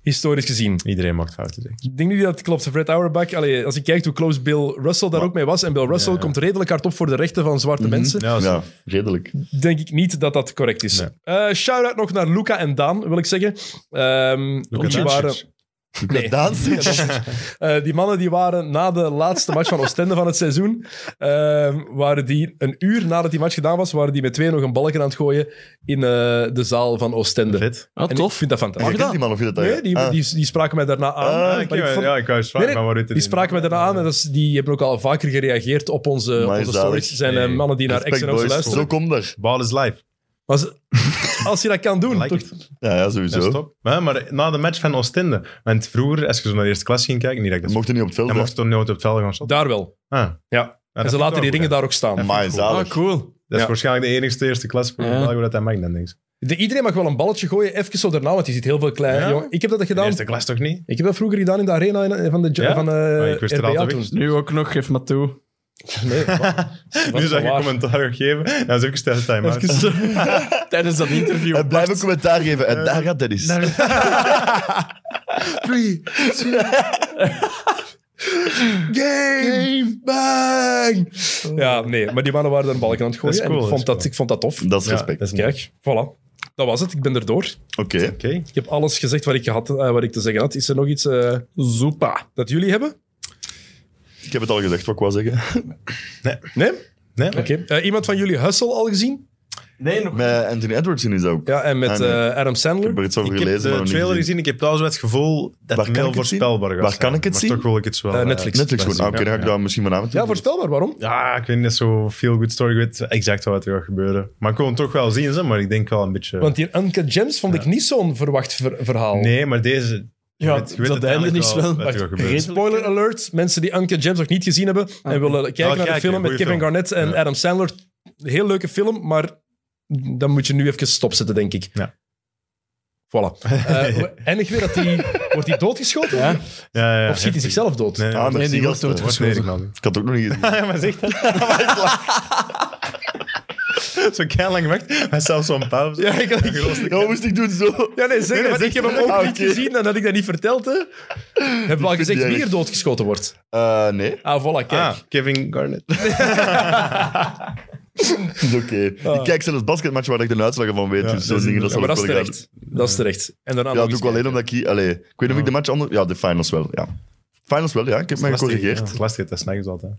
A: historisch gezien.
B: Iedereen maakt fouten, denk ik.
A: Ik denk niet dat het klopt. Fred Auerbach, allee, als je kijkt hoe close Bill Russell daar ook mee was, en Bill Russell
B: Ja. Mhm,
A: komt redelijk hard op voor de rechten van zwarte mensen,
B: Ja, zo.
C: ja, redelijk.
A: denk ik niet dat dat correct is.
B: Nee.
A: Eh, Shout-out nog naar Luca en Daan, wil ik zeggen. Ehm,
B: Luka
A: die,
B: Doncic.
A: waren, Nee.
C: Daansic.
A: eh, die mannen die waren na de laatste match van Oostende van het seizoen, ehm, waren die een uur nadat die match gedaan was, waren die met twee nog een balken aan het gooien in eh, de zaal van Oostende.
B: Vet.
D: Ah,
A: En
D: tof.
A: Ik vind dat
C: Mag
A: fantastisch.
C: dat? Die man of je dat
A: Nee, die,
C: Ah.
A: die, die spraken mij daarna aan.
C: Ah,
A: maar
B: Ah,
A: ik
B: ik wou-
A: vond-
B: Ja, ik wou
A: Nee,
B: zwaar,
A: nee,
B: maar waaruit
A: Die spraken mij daarna aan en dat is, die hebben ook al vaker gereageerd op onze, op
C: Maar
A: onze
C: zalig.
A: stories. zijn eh,
B: Nee.
A: mannen die naar
C: Respect,
A: X&O's
C: boys.
A: luisteren.
C: Zo komt er.
B: Ball is live.
A: Maar ze- als je dat kan doen,
B: Like
A: toch-
C: Ja, ja
B: Ja,
C: sowieso.
B: stop. Maar, maar na de match van Oostende. Want vroeger, als je zo naar de eerste klas ging kijken, niet dat ik dat
C: Mocht je niet op het veld.
B: Dan
C: hè?
B: mocht je toch nooit op het veld gaan shotten.
A: daar wel.
B: Ah.
A: Ja.
B: dat
A: en
B: vind
A: ze
B: ik
A: laten die
B: wel goed,
A: dingen
B: hè.
A: daar ook staan.
C: Amai, zalig.
D: Ah, cool.
B: Dat is
A: Ja.
B: waarschijnlijk de enige eerste klasse voor
D: Ja.
B: België dat hij mag dan, denk ik.
A: De, iedereen mag wel een balletje gooien, even zo daarna, want je ziet heel veel kleine
B: Ja?
A: jongen. Ik heb dat
B: De
A: gedaan.
B: eerste klas toch niet?
A: Ik heb dat vroeger gedaan in de arena in- van de jo-
B: Ja?
A: van, eh,
B: Ah, ik wist er
A: RBA
B: altijd
A: toen.
B: weg.
D: Nu ook nog, geef maar toe.
A: Nee, wa- was
B: Nu zag je
A: waar.
B: commentaar ook geven. Dat is ook een stijl time-out.
D: Tijdens dat interview.
C: En blijf een
D: Bart,
C: commentaar geven. En daar gaat Dennis. Three, two. Game. Bang.
A: Oh. Ja, nee, maar die mannen waren daar een balken aan het gooien.
B: Dat is cool,
A: en ik, vond
B: dat is
A: dat, ik vond dat tof.
C: Dat is
B: Ja,
C: respect.
B: dat is mooi.
A: Kijk, voilà. Dat was het, ik ben erdoor.
C: Oké.
B: Oké.
A: Ik heb alles gezegd wat ik, gehad, eh, wat ik te zeggen had. Is er nog iets eh,
D: Zoepa.
A: dat jullie hebben?
C: Ik heb het al gezegd wat ik wou zeggen.
A: Nee?
B: Nee?
A: Oké. Eh, iemand van jullie Hustle al gezien?
D: Nee, nog
C: Met Anthony Edwards in is ook.
A: Ja, en met
C: Ah, nee.
A: eh, Adam
C: Ik
A: Sandler.
C: heb er iets over
B: Ik heb
C: gelezen, maar
B: de
C: nog niet
B: trailer
C: gezien.
B: gezien. Ik heb trouwens wel het gevoel
C: Waar
B: dat het
C: kan ik
B: heel
C: het zien?
B: voorspelbaar gaat
C: Waar
B: zijn.
C: kan ik het
B: maar
C: zien?
B: toch wil ik het wel.
A: Eh,
B: eh,
A: Netflix.
C: Netflix gewoon. Ah, Oké, dan ga ik
B: Ja.
C: dat misschien vanavond
A: Ja,
C: doen.
A: voorspelbaar. Waarom?
B: Ja, ik weet niet zo veel good story. Ik weet exact wat er gaat gebeuren. Maar ik kon het toch wel zien, ze, maar ik denk wel een beetje...
A: Want die Uncut Gems vond ik niet zo'n verwacht ver- verhaal.
B: Nee, maar deze...
D: Ja, dat
B: uiteindelijk
D: einde is wel-
B: Wat er gaat gebeuren.
D: Redelijk-
A: Spoiler alert, mensen die Uncut Gems nog niet gezien hebben en willen kijken
B: Ja,
A: naar de
B: Oh, kijken,
A: film met
B: goeie
A: Kevin
B: film.
A: Garnett en
B: Ja.
A: Adam Sandler. Heel leuke film, maar dan moet je nu even stopzetten, denk ik.
B: Ja.
A: Voilà. Eh, we- eindig weer dat die... Wordt hij doodgeschoten?
D: Ja.
B: Ja, ja,
A: Of schiet hij
B: heftig.
A: zichzelf dood?
B: Nee,
C: Ah,
B: nee,
C: merci,
D: die wordt
C: gasten.
B: wordt
D: doodgeschoten.
B: neergeknald.
C: Ik had het ook nog niet gezien.
B: Ja, maar zeg dat. zo keihard lang wacht. Hij heeft zelfs zo'n pauze.
A: Ja, ik- ik-
C: Ja, wat moest ik doen zo?
A: Ja, nee, zeg
B: Nee,
A: het.
B: maar
A: Ik heb hem ook
C: Ah,
A: niet
C: oké.
A: gezien, dan had ik dat niet verteld, hè. Heb wel gezegd
C: erg.
A: wie er doodgeschoten wordt.
C: Eh, nee,
A: Ah, voilà, kijk.
B: Ah, Kevin Garnett.
C: het is oké. Ik kijk zelfs basketmatch waar ik de uitslagen van weet.
B: Ja,
C: dus
B: dat
C: zo'n
B: is
C: dingen, dat
A: ja,
C: zal
A: maar
C: ik
A: dat
C: wel
A: is
C: gaan.
A: terecht. Dat is terecht. En daarna
C: Ja,
A: nog
C: dat doe ik
A: eens
C: alleen
A: kijken.
C: omdat ik... hier- Allee, ik weet niet of ik de match anders... Ja, de finals wel, ja. Finals wel, ja. Ik heb mij
B: Lastig,
C: gecorrigeerd.
B: ja. Lastig, dat snack is altijd.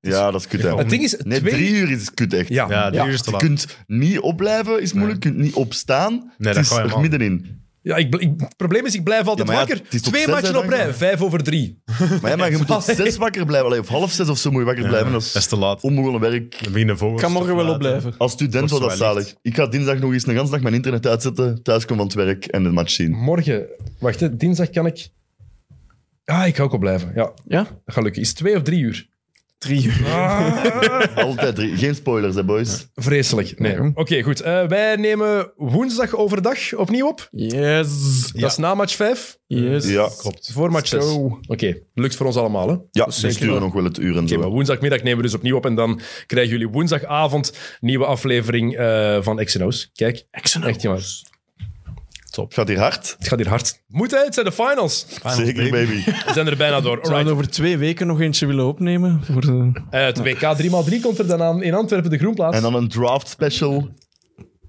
C: Ja, dat is kut, hè.
A: Het ding is,
C: Nee,
A: twee...
C: drie uur is kut, echt.
A: Ja,
B: Ja,
A: ja,
B: drie
A: ja.
B: uur is te
C: Je
B: laat.
C: kunt niet opblijven, is moeilijk. Je kunt niet opstaan.
B: dat
C: het is
B: kan je
C: er
B: helemaal
C: middenin.
A: ik, bl- ik- het probleem is, ik blijf altijd
C: Ja, maar ja,
A: wakker.
C: het is tot
A: Twee
C: zes,
A: matchen
C: hè,
A: op rij,
C: dan.
A: vijf over drie.
C: Maar, ja, maar je moet tot
A: Allee.
C: zes wakker blijven. Allee, of half zes of zo moet je wakker blijven. Dat
B: Dat is
C: is
B: te laat.
C: onbegonnen werk.
B: We beginnen voor.
D: Ik kan morgen wel opblijven.
C: Als student was
B: Kost
C: dat
B: wel licht.
C: zalig. Ik ga dinsdag nog eens een ganse dag mijn internet uitzetten, thuiskomen van het werk en de match zien.
A: Morgen, wacht, hè, dinsdag kan ik... Ah, ik ga ook al blijven. Ja,
D: Ja?
A: dat gaat lukken. Is het twee of drie uur?
D: Drie uur.
C: Altijd drie. Geen spoilers, hè, boys.
A: Vreselijk. Nee. Oké, goed. Eh, wij nemen woensdag overdag opnieuw op.
D: Yes.
A: Dat is na match vijf,
D: Yes.
C: Ja.
B: Klopt.
A: voor match zes.
D: Zo.
A: Oké, lukt voor ons allemaal, hè?
C: Ja, ze sturen nog wel het uur en
A: Oké,
C: zo.
A: maar woensdagmiddag nemen we dus opnieuw op en dan krijgen jullie woensdagavond nieuwe aflevering eh, van X&O's. Kijk, echt jongens.
C: Gaat hier hard?
A: Het gaat hier hard. Moet hè, het zijn de finals.
C: Zeker, baby.
A: We zijn er bijna door.
D: Zouden we
A: Alright.
D: over twee weken nog eentje willen opnemen? Voor de...
A: Eh, het WK 3x3 komt er dan aan in Antwerpen, de Groenplaats.
C: En dan een draft special.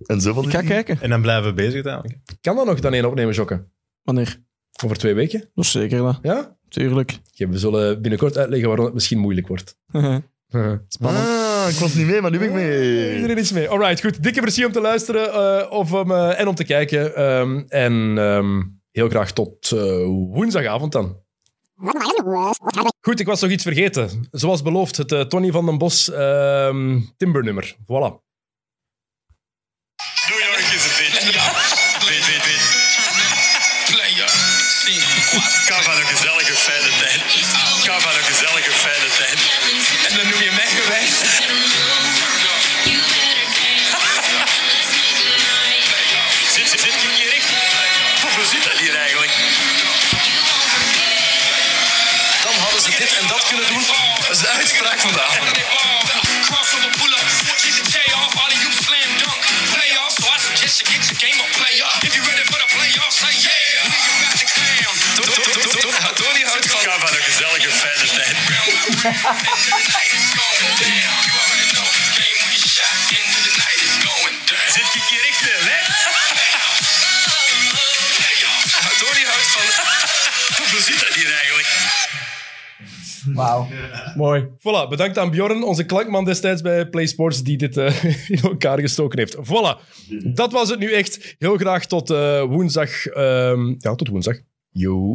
C: En zo van
D: Ik ga
C: die dingen.
D: kijken.
B: En dan blijven we bezig uiteindelijk.
A: Kan dat nog dan één opnemen, Jokke?
D: Wanneer?
A: Over twee weken?
D: Dat is zeker, dat.
A: Ja?
D: Tuurlijk.
A: Oké, we zullen binnenkort uitleggen waarom het misschien moeilijk wordt.
C: Spannend. Ah, ik was niet mee, maar nu ben ik mee.
A: Iedereen is mee. Alright, goed. Dikke merci om te luisteren eh, of om, eh, en om te kijken. Ehm, en ehm, heel graag tot eh, woensdagavond dan. Goed, ik was nog iets vergeten. Zoals beloofd, het eh, Tony van den Bos ehm Timber-nummer. Voilà.
E: New York is a bitch. Bitch, bitch, bitch. Kan van een gezellige fijne tijd. Kan van een gezellige fijne tijd. En dan noem je mij gewijs. Zit, zit, zit ik hier echt? Hoeveel zit dat hier eigenlijk? Dan hadden ze dit en dat kunnen doen. Dat is de uitspraak vandaag. Tony houdt van... Ga van een gezellige fijne tijd. Zit ik hier echt in, hè? Tony houdt van... Hoeveel zit dat hier eigenlijk?
D: Wauw. Mooi.
A: Voilà, bedankt aan Bjorn, onze klankman destijds bij PlaySports, die dit eh, in elkaar gestoken heeft. Voilà, dat was het nu echt. Heel graag tot eh, woensdag. ehm, ja, tot woensdag. Yo.